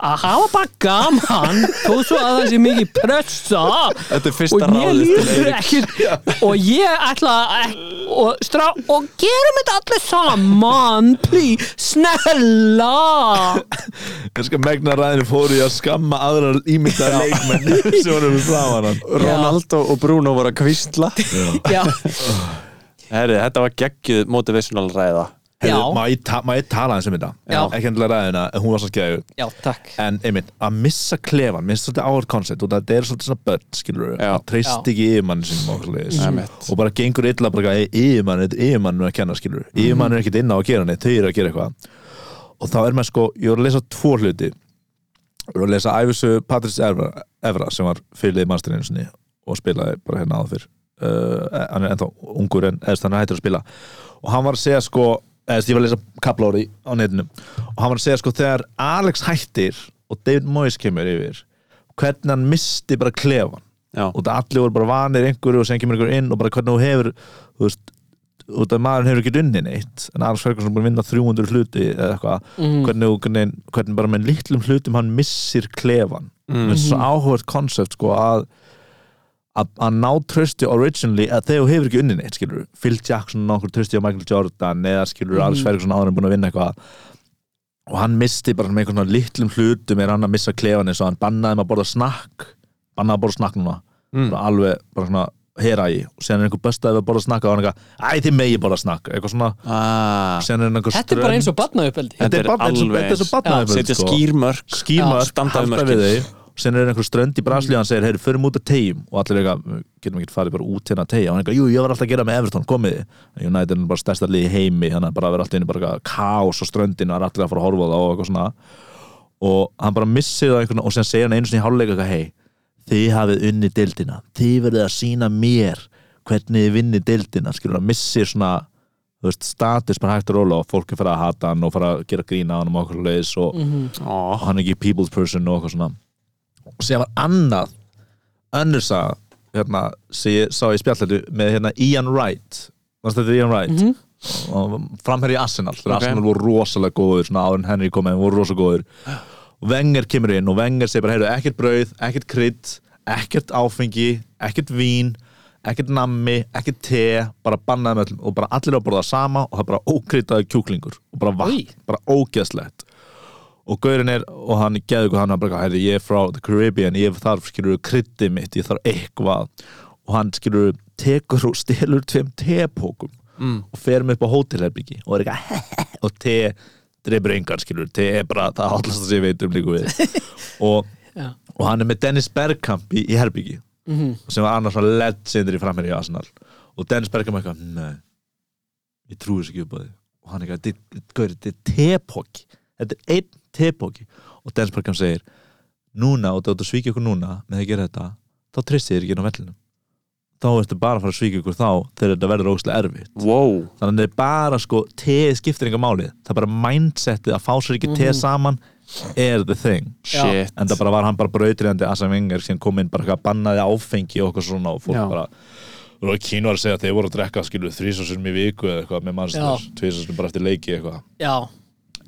[SPEAKER 3] að hafa bara gaman þó svo að það sé mikið pressa
[SPEAKER 2] Þetta er fyrsta
[SPEAKER 3] og mér
[SPEAKER 2] ráðið til
[SPEAKER 3] líður ekkert og ég ætla að ek- og, strá, og gerum þetta allir saman please, snella
[SPEAKER 4] Kannski að megna ræðinu fóru ég að skamma aðrar ímyndaðar leikmenn sem voru við fláðan hann
[SPEAKER 2] Ronaldo og Bruno voru að kvistla
[SPEAKER 3] já,
[SPEAKER 2] Herri, þetta var geggjuð motivational ræða
[SPEAKER 3] já,
[SPEAKER 4] Heyrðu, Má ég ta- má ég tala eins um þetta?
[SPEAKER 3] Já.
[SPEAKER 4] Ekki endilega ræðina, en hún var svo skæðu
[SPEAKER 3] já, takk
[SPEAKER 4] En einmitt, að missa klefan, minnst þetta áhört koncept og þetta er svolítið svona börn, skilur við
[SPEAKER 2] Já.
[SPEAKER 4] að treyst
[SPEAKER 3] Já.
[SPEAKER 4] ekki yfirmann sinum og,
[SPEAKER 2] Einmitt.
[SPEAKER 4] svoleiðis. og bara gengur illa bara eitthvað, "Ey, yfirmann, þetta er yfirmann að kenna, skilur við yfirmann er ekkit inn á að gera neitt, þau eru að gera eitthvað og þá er maður sko, ég voru að lesa tvo hluti ég voru að lesa æfisögu Patrís Evra, Evra sem var fyrirlið mannstæðinu sinni og spilaði bara hérna áður fyrr uh, hann er ennþá ungur en eðst, hann er hættur að spila og hann var að segja sko eðst, ég var að lesa kaplóri á netinu og hann var að segja sko þegar Alex hættir og David Moyes kemur yfir hvernig hann misti bara klefan
[SPEAKER 2] Já,
[SPEAKER 4] og það allir voru bara vanir einhverju og sem kemur einhverju inn og bara hvernig þú hefur þú veist, út af maðurinn hefur ekki unni neitt en Arns Ferguson er búin að vinna 300 hluti eða eitthvað, hvernig, þú- hvernig, hvernig bara með litlum hlutum hann missir klefan mm. svo áhugað konsept sko að að að ná trösti originally að þegar þú hefur ekki unni neitt skilur Phil Jackson nokkur trösti á Michael Jordan eða skilur mm. Alex Ferguson áður en búin að vinna eitthvað og hann misti bara með einhvern svona litlum hlutum er hann að missa klefan eins og hann bannaði maður að borða snakk bannaði að borða snakk núna
[SPEAKER 2] Mm.
[SPEAKER 4] bara alveg bara svona hera í og sen er einhver bestaði við að borða snakk og hann eitthvað, æ þið megi borða snakk eitthvað svona,
[SPEAKER 2] Ah,
[SPEAKER 4] sen er einhver
[SPEAKER 3] Þetta er bara eins og batnauppeldi
[SPEAKER 4] þetta er bara eins og
[SPEAKER 2] alveg
[SPEAKER 4] þetta er
[SPEAKER 2] eins.
[SPEAKER 4] svo barnaefni,
[SPEAKER 2] setja
[SPEAKER 4] sko.
[SPEAKER 2] skýrmörk
[SPEAKER 4] skýma,
[SPEAKER 2] standa við
[SPEAKER 4] halda
[SPEAKER 2] mörkin.
[SPEAKER 4] við þau og sen er einhver strönd í Brasilíu hann segir, heyrðu, förum út að tegjum og allir eitthvað, getum ekki farið bara út hérna að tegja og hann eitthvað, jú, ég var alltaf að gera með Everton, komið þið United er nú bara stærsta lið í heimi þannig að bara vera alltaf inni bara eitthvað kaos á ströndinu og það er allir að fara að horfa á það og eitthvað svona og hann bara missir það einhvern og sen segir hann einu sinni í hálfleik eitthvað, hei, þið hafið unni deildina, þið verðið að sína mér hvernig þið vinni deildina skilur hann missir svona þú veist, status bara hægt að róla og fólk er fara að hata hann og fara að gera grína hann og okkur leis og
[SPEAKER 2] Ó,
[SPEAKER 4] og hann er ekki people's person og eitthvað svona og sér var annað önnur saga hérna, sem ég sá í spjallætu með hérna Ian Wright Varstu þetta er Ian Wright mm -hmm. framherri í Arsenal þegar
[SPEAKER 2] Ok.
[SPEAKER 4] Arsenal voru rosalega góður svona áður en Henry kom með, voru rosalega góður og Wenger kemur inn og Wenger segir bara heyrðu, ekkert brauð, ekkert krydd ekkert áfengi, ekkert vín ekkert nammi, ekkert te bara bannaði með öllum og bara allir að borða sama og það er bara ókryddaði kjúklingur og bara vatn,
[SPEAKER 3] Oj.
[SPEAKER 4] bara ógeðslegt og gaurinn er, og hann geði ykkur hann hann bara, heyrðu, ég er frá the Caribbean ég þarf, skilur, kryddið mitt, ég þarf eitthvað og hann, skilur, tekur og stelur tveim tepókum mm. og fer mig upp á hótelherbyggi og er eitthvað, og te drefur engan, skilur, te er bara það allast að sé veitum líku um, við og,
[SPEAKER 3] Já.
[SPEAKER 4] og hann er með Dennis Bergkamp í, í herbyggi, -hmm. sem var annars svona legendary framherri í Arsenal og Dennis Bergkamp er eitthvað, nei ég trúi þess ekki upp á því og hann eitthvað, "Þetta er- gaur, þetta er tepóki þetta er einn tepóki og Dennis Bergkamp segir núna og þú ert að svíkja okkur núna með því að gera þetta þá treysti þér ekki inn á vellinum þá ertu bara að fara að svíkja okkur þá þegar þetta verður ógustlega erfitt
[SPEAKER 2] wow
[SPEAKER 4] þannig að það er bara sko teð skiptir enga máli það er bara mindsetið að fá sér ekki teð saman er the thing
[SPEAKER 2] Shit
[SPEAKER 4] en það bara var hann bara brautriðandi Asa Wenger sem kom inn bara eitthvað bannaði áfengi og eitthvað svona og fólk
[SPEAKER 3] Já.
[SPEAKER 4] bara þú voru að kínu að segja að þeir voru að drekka skilu þrísásum í viku eða eitthvað með mannstur tvísásum bara eftir leiki eitthvað
[SPEAKER 3] Já,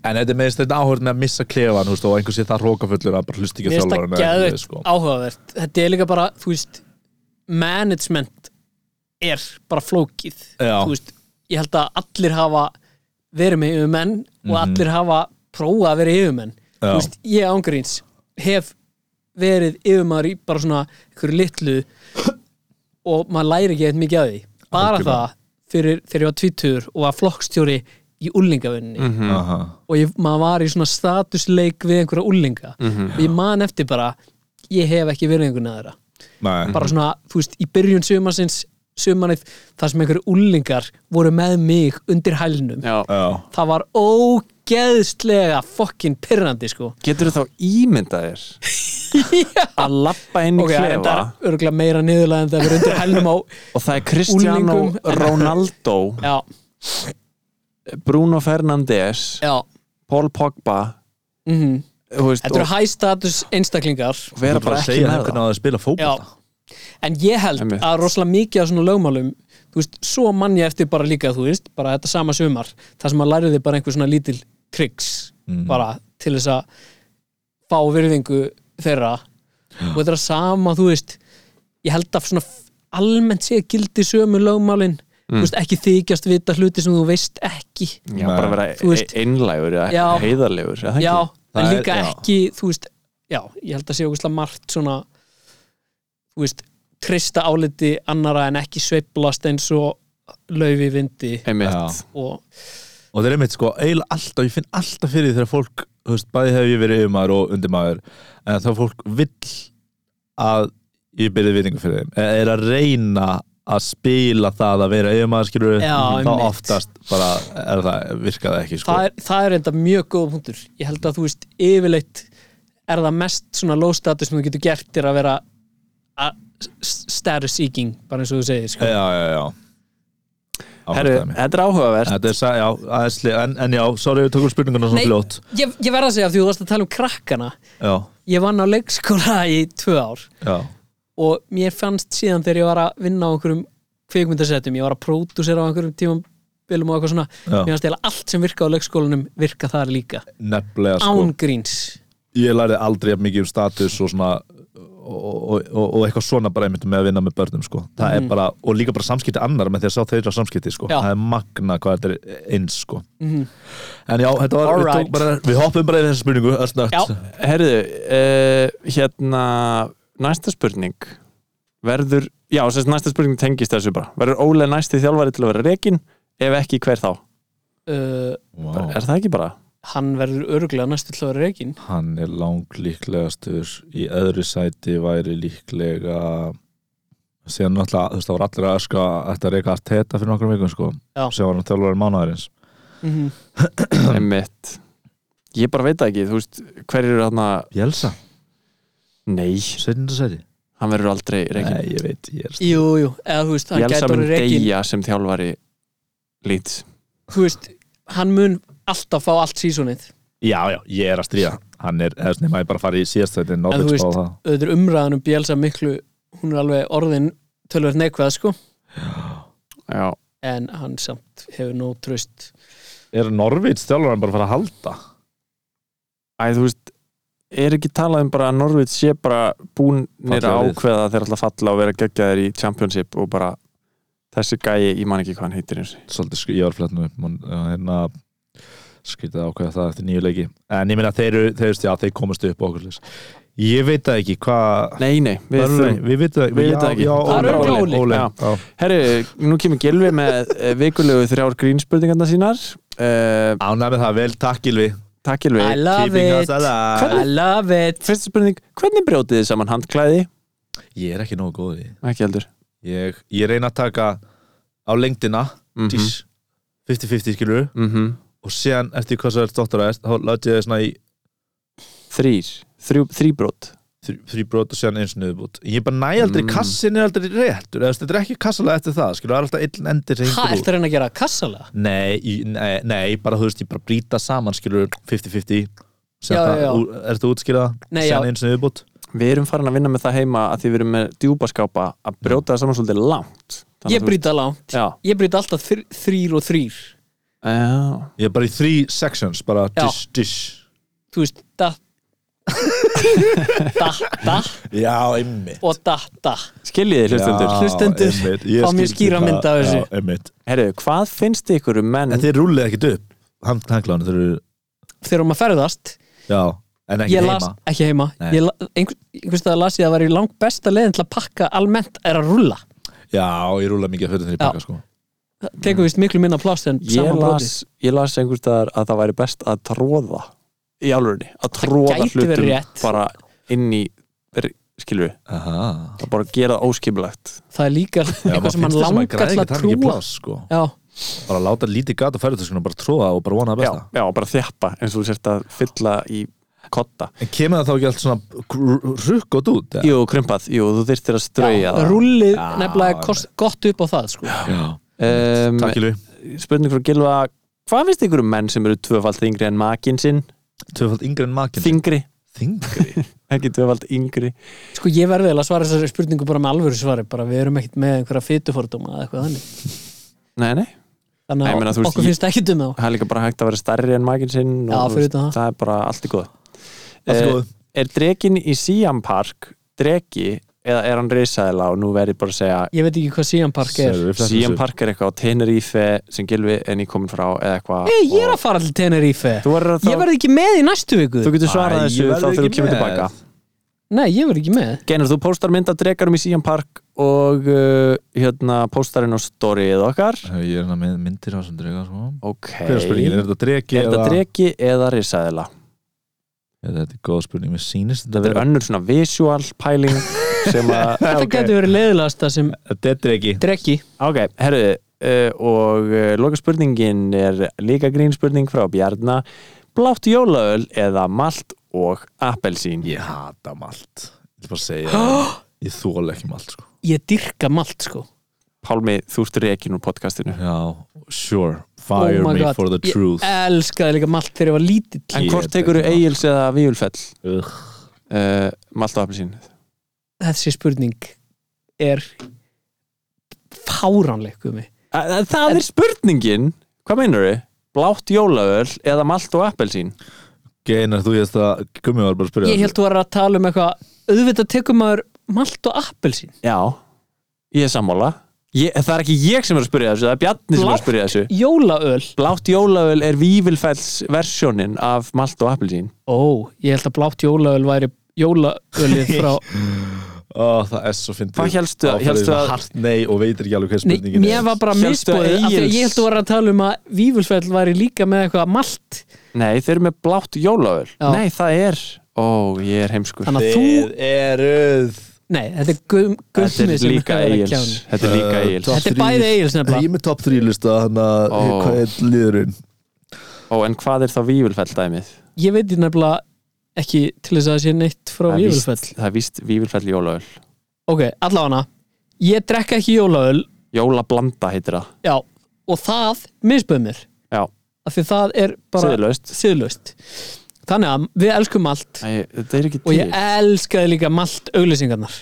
[SPEAKER 4] en þetta er meðist þetta áhörð með að missa klefan þú veist, og einhvers ég það rókafullur að bara hlusta
[SPEAKER 3] mér
[SPEAKER 4] ekki
[SPEAKER 3] finnst það
[SPEAKER 4] þjálfarinn eða eitthvað,
[SPEAKER 3] geðveikt
[SPEAKER 4] sko.
[SPEAKER 3] áhugavert Þetta er líka bara, þú veist management er bara flókið
[SPEAKER 4] Já.
[SPEAKER 3] Þú veist, Ég held að allir hafa verið með yfirmenn og allir hafa prófað að vera yfirmenn Þú
[SPEAKER 4] Mhm. Já.
[SPEAKER 3] veist, Ég ángríns hef verið yfirmaður í bara svona einhverju litlu og maður læri ekki eitthvað mikið af því bara
[SPEAKER 4] Algjörlega.
[SPEAKER 3] það fyrir þegar ég var tvítur og var flokkstjóri í úlingavinni
[SPEAKER 4] Mhm. Aha.
[SPEAKER 3] og ég, maður var í svona statusleik við einhverja úlinga
[SPEAKER 2] Mhm.
[SPEAKER 3] og ég man eftir bara ég hef ekki verið einhvern aðra
[SPEAKER 4] Nei.
[SPEAKER 2] Mhm.
[SPEAKER 3] bara svona, þú veist, í byrjun sumarsins sumanið, þar sem einhverju úlingar voru með mig undir hælnum
[SPEAKER 2] Já
[SPEAKER 4] Já.
[SPEAKER 3] það var ógeðslega fokkin pyrrandi sko
[SPEAKER 2] Getur þú þá ímyndað þér að lappa inn í
[SPEAKER 3] ok, en
[SPEAKER 2] klefa
[SPEAKER 3] það er örgulega meira niðurlega en það verið undir hælnum á
[SPEAKER 2] og það er Cristiano
[SPEAKER 3] Unglingum.
[SPEAKER 2] Ronaldo
[SPEAKER 3] já,
[SPEAKER 2] Bruno Fernandes
[SPEAKER 3] já,
[SPEAKER 2] Paul Pogba
[SPEAKER 3] mhm
[SPEAKER 2] þú veist,
[SPEAKER 3] Þetta eru
[SPEAKER 2] og
[SPEAKER 3] high status einstaklingar
[SPEAKER 2] vera
[SPEAKER 4] Þú ert
[SPEAKER 2] bara
[SPEAKER 4] að
[SPEAKER 2] ekki
[SPEAKER 4] segja
[SPEAKER 2] með
[SPEAKER 4] hvernig
[SPEAKER 2] það
[SPEAKER 4] á það að spila
[SPEAKER 3] Já.
[SPEAKER 4] fótbolta
[SPEAKER 3] En ég held
[SPEAKER 2] Einmitt.
[SPEAKER 3] að rosalega mikið af svona lögmálum þú veist, svo mann ég eftir bara líka þú veist, bara þetta sama sumar þar sem að læriði bara einhver svona lítil kriks bara til þess að fá virðingu þeirra og þetta er að sama, þú veist ég held að svona f- almennt sé gildi sömu lögmálin þú veist, ekki þykjast vita hluti sem þú veist ekki
[SPEAKER 2] Já, bara vera e-
[SPEAKER 3] Þú veist-
[SPEAKER 2] einlægur eða
[SPEAKER 3] Já.
[SPEAKER 2] heiðarlegur eða
[SPEAKER 3] já,
[SPEAKER 2] ekki?
[SPEAKER 4] Það
[SPEAKER 3] en
[SPEAKER 4] er-
[SPEAKER 3] líka
[SPEAKER 4] já.
[SPEAKER 3] ekki þú veist, já, ég held að sé okkur margt svona þú veist, trista áliti annara en ekki sveiflast eins og laufi vindi
[SPEAKER 2] einmitt
[SPEAKER 4] Já.
[SPEAKER 3] og
[SPEAKER 4] og það er einmitt sko, eiginlega alltaf, ég finn alltaf fyrir því þegar fólk, þú veist, bæði hefur ég verið yfirmaður og undirmaður, en þá fólk vill að ég byrði vinningu fyrir þeim, eða er að reyna að spila það að vera yfirmaður skilur,
[SPEAKER 3] Já,
[SPEAKER 4] þá
[SPEAKER 3] einmitt.
[SPEAKER 4] oftast bara er það, virka það ekki sko.
[SPEAKER 3] það er, það er enda mjög góð punktur ég held að þú veist, yfirleitt er það mest svona low status sem þú getur gert er að vera a- s- status seeking, bara eins og þú segir sko.
[SPEAKER 4] Já, já, já.
[SPEAKER 2] Herru,
[SPEAKER 4] Áfram dæmi.
[SPEAKER 2] þetta er áhugavert
[SPEAKER 4] Þetta er, sa- já, aðeins li- en, en já, sorry, við tökum spurninguna svona
[SPEAKER 3] Nei,
[SPEAKER 4] fljótt.
[SPEAKER 3] ég, ég verð að segja af því þú varst að tala um krakkana
[SPEAKER 4] Já,
[SPEAKER 3] ég vann á leikskóla í tvö ár
[SPEAKER 4] já,
[SPEAKER 3] og mér fannst síðan þegar ég var að vinna á einhverjum kvikmyndasettum, ég var að pródúsera á einhverjum tímambilum og eitthvað svona
[SPEAKER 4] Já.
[SPEAKER 3] mér fannst eða allt sem virka á leikskólanum virka þar líka,
[SPEAKER 4] nefnilega sko.
[SPEAKER 3] án gríns
[SPEAKER 4] Ég lærði aldrei jafn mikið um status og svona og, og, og eitthvað svona bara einmitt með að vinna með börnum sko. það er bara, og líka bara samskipti annar með því að sjá þeirra samskipti sko.
[SPEAKER 3] Mhm. Já.
[SPEAKER 4] það er magna hvað þetta er eins sko.
[SPEAKER 3] Mhm.
[SPEAKER 4] en já, þetta var, við,
[SPEAKER 3] Alright.
[SPEAKER 4] tók bara, við hoppum bara í þessa spurningu örsnögt.
[SPEAKER 3] Já.
[SPEAKER 2] Herðu, uh, hérna næsta spurning verður, já, þess að næsta spurning tengist þessu bara, verður Óle næsti þjálfari til að vera rekin, ef ekki hver þá
[SPEAKER 3] uh,
[SPEAKER 4] Vá.
[SPEAKER 2] er það ekki bara?
[SPEAKER 3] hann verður örglega næstu til að vera reygin
[SPEAKER 4] hann er lang líklegastur í öðru sæti væri líklega síðan náttúrulega, þú veist, það var allir að öska þetta reyka Arteta fyrir nokkrum vikum sko.
[SPEAKER 3] Já.
[SPEAKER 4] sem var hann þjálfur mánuðarins
[SPEAKER 3] mm -hmm.
[SPEAKER 2] Einmitt. ég bara veit það ekki, þú veist hver eru þarna,
[SPEAKER 4] Jelsa,
[SPEAKER 2] nei,
[SPEAKER 4] 17. sæti
[SPEAKER 2] hann verður aldrei rekin
[SPEAKER 4] Nei, ég veit, ég er
[SPEAKER 3] jú, jú, eða þú veist hann
[SPEAKER 2] Jelsa
[SPEAKER 3] gæti
[SPEAKER 2] mun
[SPEAKER 3] orðið reygin
[SPEAKER 2] deyja sem þjálfari lít
[SPEAKER 3] þú veist, hann mun alltaf fá allt sísonið
[SPEAKER 4] Já, já, ég er að stríða Hann er, eða snið, maður bara farið í
[SPEAKER 3] En
[SPEAKER 4] síðastættin
[SPEAKER 3] þú
[SPEAKER 4] Nóbils
[SPEAKER 3] veist-
[SPEAKER 4] bá það
[SPEAKER 3] auðvitað umræðan um Bielsa miklu hún er alveg orðin tölvöld neikvæð sko
[SPEAKER 2] já,
[SPEAKER 3] en hann samt hefur nóg tröst
[SPEAKER 4] Er Norvits þjálfur hann bara að fara að halda?
[SPEAKER 2] æ, þú veist er ekki talað um bara að Norvits sé bara búnir
[SPEAKER 4] Falla
[SPEAKER 2] að
[SPEAKER 4] lið.
[SPEAKER 2] ákveða að þeir alltaf falla og vera geggjaðir í Championship og bara þessi gæi, ég man ekki hvað hann heitir eins og
[SPEAKER 4] Svolítið, sk- ég var flætnum upp man- já, Hérna skrítið ákveða það eftir nýju leiki En ég meina þeir, eru- þeir, þeir, já, þeir komast upp og okkur leis Ég veit það ekki hvað
[SPEAKER 2] Nei, nei, við
[SPEAKER 4] Örlög,
[SPEAKER 2] þurfum
[SPEAKER 4] Við veitum
[SPEAKER 2] við vitum það ekki.
[SPEAKER 4] Já,
[SPEAKER 2] Það
[SPEAKER 3] er
[SPEAKER 4] Óli,
[SPEAKER 3] örugglega
[SPEAKER 4] Óli,
[SPEAKER 2] Óli.
[SPEAKER 4] Óli,
[SPEAKER 2] Já.
[SPEAKER 4] já.
[SPEAKER 2] Herru, nú kemur Gilvi með eh, vikulegu þrjár grínspurningarna sínar uh,
[SPEAKER 4] Ánæg með það, vel takk Gilvi
[SPEAKER 2] Takk Gilvi
[SPEAKER 3] I love
[SPEAKER 4] Keeping us
[SPEAKER 3] it I
[SPEAKER 4] alive.
[SPEAKER 3] love it
[SPEAKER 2] Fyrsta spurning, hvernig brjótið þið saman handklæði?
[SPEAKER 4] Ég er ekki nógu góð í því.
[SPEAKER 2] Ekki heldur
[SPEAKER 4] Ég, ég reyna að taka á lengdina
[SPEAKER 2] mm
[SPEAKER 4] 50-50 skilur og síðan eftir hvað svo er stótturæðist þá láti ég það svona í
[SPEAKER 2] Þrýr, þrjú, þrýbrot
[SPEAKER 4] þrjú- þrjú brot og síðan eins og niðurbútt ég bara næ aldrei,
[SPEAKER 2] Mm.
[SPEAKER 4] kassin er aldrei réttur eða þú veist, þetta er ekki kassalega eftir það skilur, það er alltaf einn endir sem
[SPEAKER 3] Hvað
[SPEAKER 4] hingur
[SPEAKER 3] ertu
[SPEAKER 4] úr
[SPEAKER 3] að reyna að gera? Kassala?
[SPEAKER 4] nei, í- nei, nei, bara þú veist, ég bara brýta saman skilur 50-50
[SPEAKER 3] Já, já, já.
[SPEAKER 4] er þetta útskýrað,
[SPEAKER 3] Nei, já.
[SPEAKER 4] síðan eins og niðurbútt
[SPEAKER 2] Við erum farin að vinna með það heima að því við erum með djúbaskápa að brjóta það saman svolítið langt Þannig
[SPEAKER 3] Ég
[SPEAKER 2] að þú-
[SPEAKER 3] brýta langt
[SPEAKER 2] Já,
[SPEAKER 3] Ég brýta alltaf þr þrýr og þrýr
[SPEAKER 2] já,
[SPEAKER 4] ég er bara í þrý sections, bara
[SPEAKER 3] Já.
[SPEAKER 4] dish, dish
[SPEAKER 3] Þú veist, da Datta
[SPEAKER 4] já, einmitt
[SPEAKER 3] og datta
[SPEAKER 2] skiljið þið hlustundur
[SPEAKER 3] Hlustendur, fá mér skýra mynd af þessu. Mhm.
[SPEAKER 2] Herru, hvað finnst ykkur um menn
[SPEAKER 4] en þið rúlið ekkert upp Hand- handklæðin, þeir eru,
[SPEAKER 3] Þegar maður ferðast
[SPEAKER 4] já, en ekki
[SPEAKER 3] ég
[SPEAKER 4] heima
[SPEAKER 3] las, Ekki heima
[SPEAKER 4] Nei.
[SPEAKER 3] Ég la- einhver- Einhvers staðar las ég að það væri langt besta leiðin til að pakka almennt er að rulla
[SPEAKER 4] já, ég rúla mikið að fötum þeir
[SPEAKER 3] Já.
[SPEAKER 4] í baka sko
[SPEAKER 3] Það tekur vist miklu minna plást en
[SPEAKER 2] Ég
[SPEAKER 3] saman broti
[SPEAKER 2] las, ég las einhvers staðar að það væri best að tróða í álurni, að tróða
[SPEAKER 3] gæti verið
[SPEAKER 2] hlutum
[SPEAKER 3] rétt.
[SPEAKER 2] bara inn í skilju,
[SPEAKER 4] Aha.
[SPEAKER 2] það bara gera það óskipulegt
[SPEAKER 3] Það er líka eitthvað sem mann langar til að trúa
[SPEAKER 4] pláss, sko.
[SPEAKER 3] Já,
[SPEAKER 4] bara láta lítið gat og færi þessum bara tróða og bara vona að
[SPEAKER 2] já,
[SPEAKER 4] besta
[SPEAKER 2] já, bara þjappa eins og þú sért að fylla í kotta
[SPEAKER 4] en kemur það þá ekki allt svona rukkot út eða?
[SPEAKER 2] Jú, krumpað, jú, þú þyrftir að strauja það
[SPEAKER 3] rúllið
[SPEAKER 4] Já,
[SPEAKER 3] nefnilega kost, gott upp á það sko.
[SPEAKER 4] já,
[SPEAKER 3] Ehm,
[SPEAKER 2] um,
[SPEAKER 4] takk Ylvi
[SPEAKER 2] Spurning frá Gilva Hvað finnst ykkur um menn sem eru tvöfald yngri en makin sinn?
[SPEAKER 4] tvöfald yngri en makin
[SPEAKER 2] Þingri,
[SPEAKER 4] þingri
[SPEAKER 2] ekki tvöfald yngri
[SPEAKER 3] sko ég verði eiginlega að svara þessari spurningu bara með alvöru svari bara við erum ekkert með einhverja fytufordóma eða eitthvað þannig
[SPEAKER 2] Nei, nei,
[SPEAKER 3] þannig
[SPEAKER 2] Nei, ég
[SPEAKER 3] að
[SPEAKER 2] meina, þú veist,
[SPEAKER 3] okkur
[SPEAKER 2] ég-
[SPEAKER 3] finnst ekki dum þá
[SPEAKER 2] það er líka bara hægt að vera stærri en makin sinn og
[SPEAKER 3] Já,
[SPEAKER 2] þú
[SPEAKER 3] fyrir
[SPEAKER 2] veist,
[SPEAKER 3] utan það.
[SPEAKER 2] það er bara allt í góð
[SPEAKER 4] allt
[SPEAKER 2] Eh,
[SPEAKER 4] góð
[SPEAKER 2] er drekin í Siam Park dreki eða er hann risaðila og nú verði bara að segja
[SPEAKER 3] ég veit ekki hvað Sian Park er
[SPEAKER 4] Sérðu, við flettum
[SPEAKER 2] Siam
[SPEAKER 4] þessu.
[SPEAKER 2] Park er eitthvað á Tenerife sem Gilvi er nýkomin frá eða eitthvað
[SPEAKER 3] Nei, ég er
[SPEAKER 2] og-
[SPEAKER 3] að fara til Tenerife
[SPEAKER 2] þú, verður að
[SPEAKER 3] ég
[SPEAKER 2] þá,
[SPEAKER 3] verði ekki með í næstu viku
[SPEAKER 2] þú getur
[SPEAKER 4] Æ,
[SPEAKER 2] svarað
[SPEAKER 4] ég
[SPEAKER 2] þessu
[SPEAKER 4] verð
[SPEAKER 2] þá þegar þú
[SPEAKER 4] ekki
[SPEAKER 2] kemur
[SPEAKER 4] með.
[SPEAKER 2] tilbaka
[SPEAKER 3] nei, ég verði ekki með
[SPEAKER 2] Genur, þú póstar mynd af drekarum í Siam Park og uh, hérna póstarinn á storyið okkar
[SPEAKER 4] ég er hérna með myndir á þessum drega sko.
[SPEAKER 2] ok,
[SPEAKER 4] hver er spurningin, er
[SPEAKER 2] er
[SPEAKER 4] þetta dregi
[SPEAKER 2] þetta dreki eða risaðila
[SPEAKER 4] eða þetta er góð spurning, mér sýnist
[SPEAKER 2] þetta er
[SPEAKER 4] vera-
[SPEAKER 2] önnur svona visual pæling sem að
[SPEAKER 3] þetta
[SPEAKER 4] ok.
[SPEAKER 3] getur verið leiðilegasta sem
[SPEAKER 4] þetta er dregi
[SPEAKER 3] drekki
[SPEAKER 2] Ok, herruðu uh, og uh, loka spurningin er líka grínspurning frá Bjarnar Blátt jólaöl eða malt og appelsín
[SPEAKER 4] ég hata malt ég vil bara segja það. ég þóla ekki malt sko.
[SPEAKER 3] ég dyrka malt sko
[SPEAKER 2] Pálmi, þú ert rekin úr podcastinu
[SPEAKER 4] já, sure, fire
[SPEAKER 3] my
[SPEAKER 4] me
[SPEAKER 3] God.
[SPEAKER 4] for the truth
[SPEAKER 3] ég Eh. elskaði líka malt þegar ég var lítill
[SPEAKER 2] En
[SPEAKER 4] Ég
[SPEAKER 2] hvort
[SPEAKER 4] veit
[SPEAKER 2] tekur
[SPEAKER 4] ekki
[SPEAKER 2] Egil's eða Víulfell
[SPEAKER 4] Ugh.
[SPEAKER 2] uh, malt og appelsín
[SPEAKER 3] þessi spurning er fáránleik um mig
[SPEAKER 2] Uh, uh, Það er spurningin Hvað meinar þau? Blátt jólaöl eða malt og appelsín
[SPEAKER 4] Geinar, þú veist að Gummi var bara að spyrja
[SPEAKER 3] Ég held þú var að tala um eitthvað auðvitað tekum maður malt og appelsín
[SPEAKER 2] Já, ég er sammála ég, Það er ekki ég sem er að spyrja þessu, það er Bjarni sem er að spyrja þessu
[SPEAKER 3] Jólaöl
[SPEAKER 2] Blátt jólaöl er vívilfells versjónin af malt og appelsín
[SPEAKER 3] Ó, ég held að blátt jólaöl væri jólaölið frá
[SPEAKER 4] Ó, það er svo fyndið
[SPEAKER 2] Hvað hélstu-
[SPEAKER 4] Áfram
[SPEAKER 2] hélstu
[SPEAKER 4] í það
[SPEAKER 2] að-
[SPEAKER 4] Hart nei og veitir ekki alveg
[SPEAKER 3] Nei,
[SPEAKER 4] hvað spurningin
[SPEAKER 3] mér var bara
[SPEAKER 2] Hélstu að
[SPEAKER 3] misbóðið af því að
[SPEAKER 2] Egils-
[SPEAKER 3] ég held þú var að tala um að Vífulfell væri líka með eitthvað malt
[SPEAKER 2] Nei, þeir eru með blátt jólaöl
[SPEAKER 3] Já.
[SPEAKER 2] Nei, það er, ó, ég er heimskur
[SPEAKER 3] Þannig að þú,
[SPEAKER 4] Þið eruð
[SPEAKER 3] nei, þetta er gum,
[SPEAKER 2] Þetta
[SPEAKER 3] gummi
[SPEAKER 2] er
[SPEAKER 3] sem
[SPEAKER 2] líka
[SPEAKER 3] hefur verið að
[SPEAKER 2] Egils
[SPEAKER 3] kjáni.
[SPEAKER 2] Þetta er líka
[SPEAKER 4] Uh,
[SPEAKER 2] Egils
[SPEAKER 4] Top
[SPEAKER 3] Þetta er
[SPEAKER 4] three-
[SPEAKER 3] bæði Egils nefnilega.
[SPEAKER 4] Ég er með top 3 lista Þannig að
[SPEAKER 2] Ó.
[SPEAKER 4] hvað er liðurinn?
[SPEAKER 2] Ó, en hvað er þá vívilfell dæmið?
[SPEAKER 3] Ég veit ég nefnilega ekki til þess að það sé neitt frá
[SPEAKER 2] Það er víst-
[SPEAKER 3] Vífulfell
[SPEAKER 2] Það er víst vívilfell jólaöl
[SPEAKER 3] Ok, allavega Ég drekka ekki jólaöl
[SPEAKER 2] Jólablanda heitir það
[SPEAKER 3] Já, og það misböð mér
[SPEAKER 2] Já,
[SPEAKER 3] af því það er bara
[SPEAKER 2] siðlaust
[SPEAKER 3] siðlaust Þannig að við elskum malt
[SPEAKER 2] Æ, Þetta er ekki
[SPEAKER 3] og
[SPEAKER 2] til
[SPEAKER 3] ég elskaði líka malt auglýsingarnar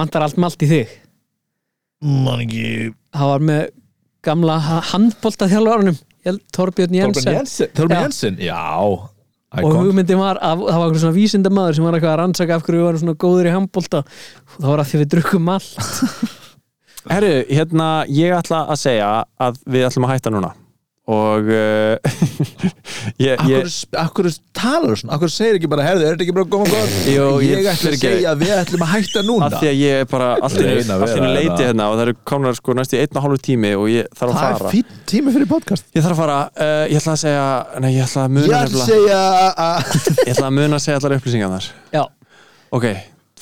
[SPEAKER 3] Vantar allt malt í þig
[SPEAKER 4] Man ekki
[SPEAKER 3] Það var með gamla handbólta þjálfarunum Torbjörn Jensen
[SPEAKER 4] Jensen Þorbjörn
[SPEAKER 3] Já.
[SPEAKER 4] Jensen, já
[SPEAKER 3] og
[SPEAKER 4] Icon.
[SPEAKER 3] hugmyndin var að það var einhver svona vísindamaður sem var eitthvað að rannsaka af hverju við varum svona góður í handbólta og það var að því við drukkum allt
[SPEAKER 2] Herru, hérna, ég ætla að segja að við ætlum að hætta núna og uh, ég, ég,
[SPEAKER 4] Akkur, akkur talar svona, akkur segir ekki bara herðu, er þetta ekki bara góma gott
[SPEAKER 2] Jú, ég
[SPEAKER 4] ég, ætla að
[SPEAKER 2] fyrirgef.
[SPEAKER 4] segja að við ætlum að hætta núna
[SPEAKER 2] að því að ég er bara allt í
[SPEAKER 4] Reyna að vera
[SPEAKER 2] hennu leiti
[SPEAKER 4] þetta.
[SPEAKER 2] hérna og það eru komnar sko næst í einn og hálfu tími og ég þarf að
[SPEAKER 4] það
[SPEAKER 2] fara
[SPEAKER 4] er fín tími fyrir podcast
[SPEAKER 2] Ég þarf að fara, uh, ég ætla að segja Nei, ég ætla að
[SPEAKER 4] ég
[SPEAKER 2] muna
[SPEAKER 4] ætla að
[SPEAKER 2] nefnilega
[SPEAKER 4] segja að
[SPEAKER 2] Ég ætla að muna að segja allar upplýsingarnar
[SPEAKER 3] Já,
[SPEAKER 2] Ok,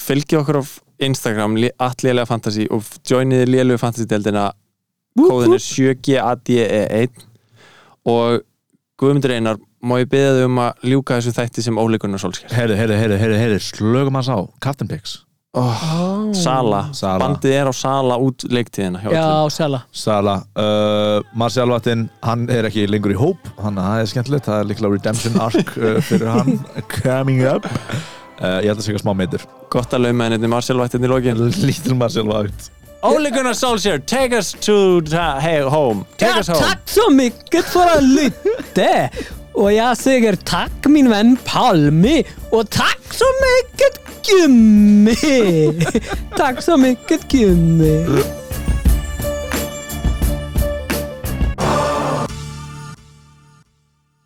[SPEAKER 2] fylgið okkur á Instagram allélega fantasy og joinið lélega fantasy deildina kóðinu 7GADE1 E og Guðmundur Einar má ég beða þau um að ljúka þessu þætti sem óleikunar sólsker
[SPEAKER 4] herðu, herðu, herðu, herðu, herðu, slögum hans á Captain Picks,
[SPEAKER 2] oh,
[SPEAKER 3] Ah. Mm.
[SPEAKER 2] Sala.
[SPEAKER 4] Sala.
[SPEAKER 2] bandið er á Sala út leiktíðina hjá
[SPEAKER 3] já,
[SPEAKER 2] öllum.
[SPEAKER 3] sæla
[SPEAKER 4] Sala uh, Marcial Vattin, hann er ekki lengur í hóp hann það er skemmtilegt, það er líklega redemption arc uh, fyrir hann coming up uh, ég ætla að segja smá meitur
[SPEAKER 2] gott að lauma henni Marcel Vættin í lokin
[SPEAKER 4] lítur Marcial Vattin
[SPEAKER 2] óleikunar sólsker, take us to the, hey, home take
[SPEAKER 3] Já,
[SPEAKER 2] us home
[SPEAKER 3] takk svo mikið fyrir að lytte og ég segir takk mín venn Palmi og takk svo mikið Gummi Takk svo mikið Gummi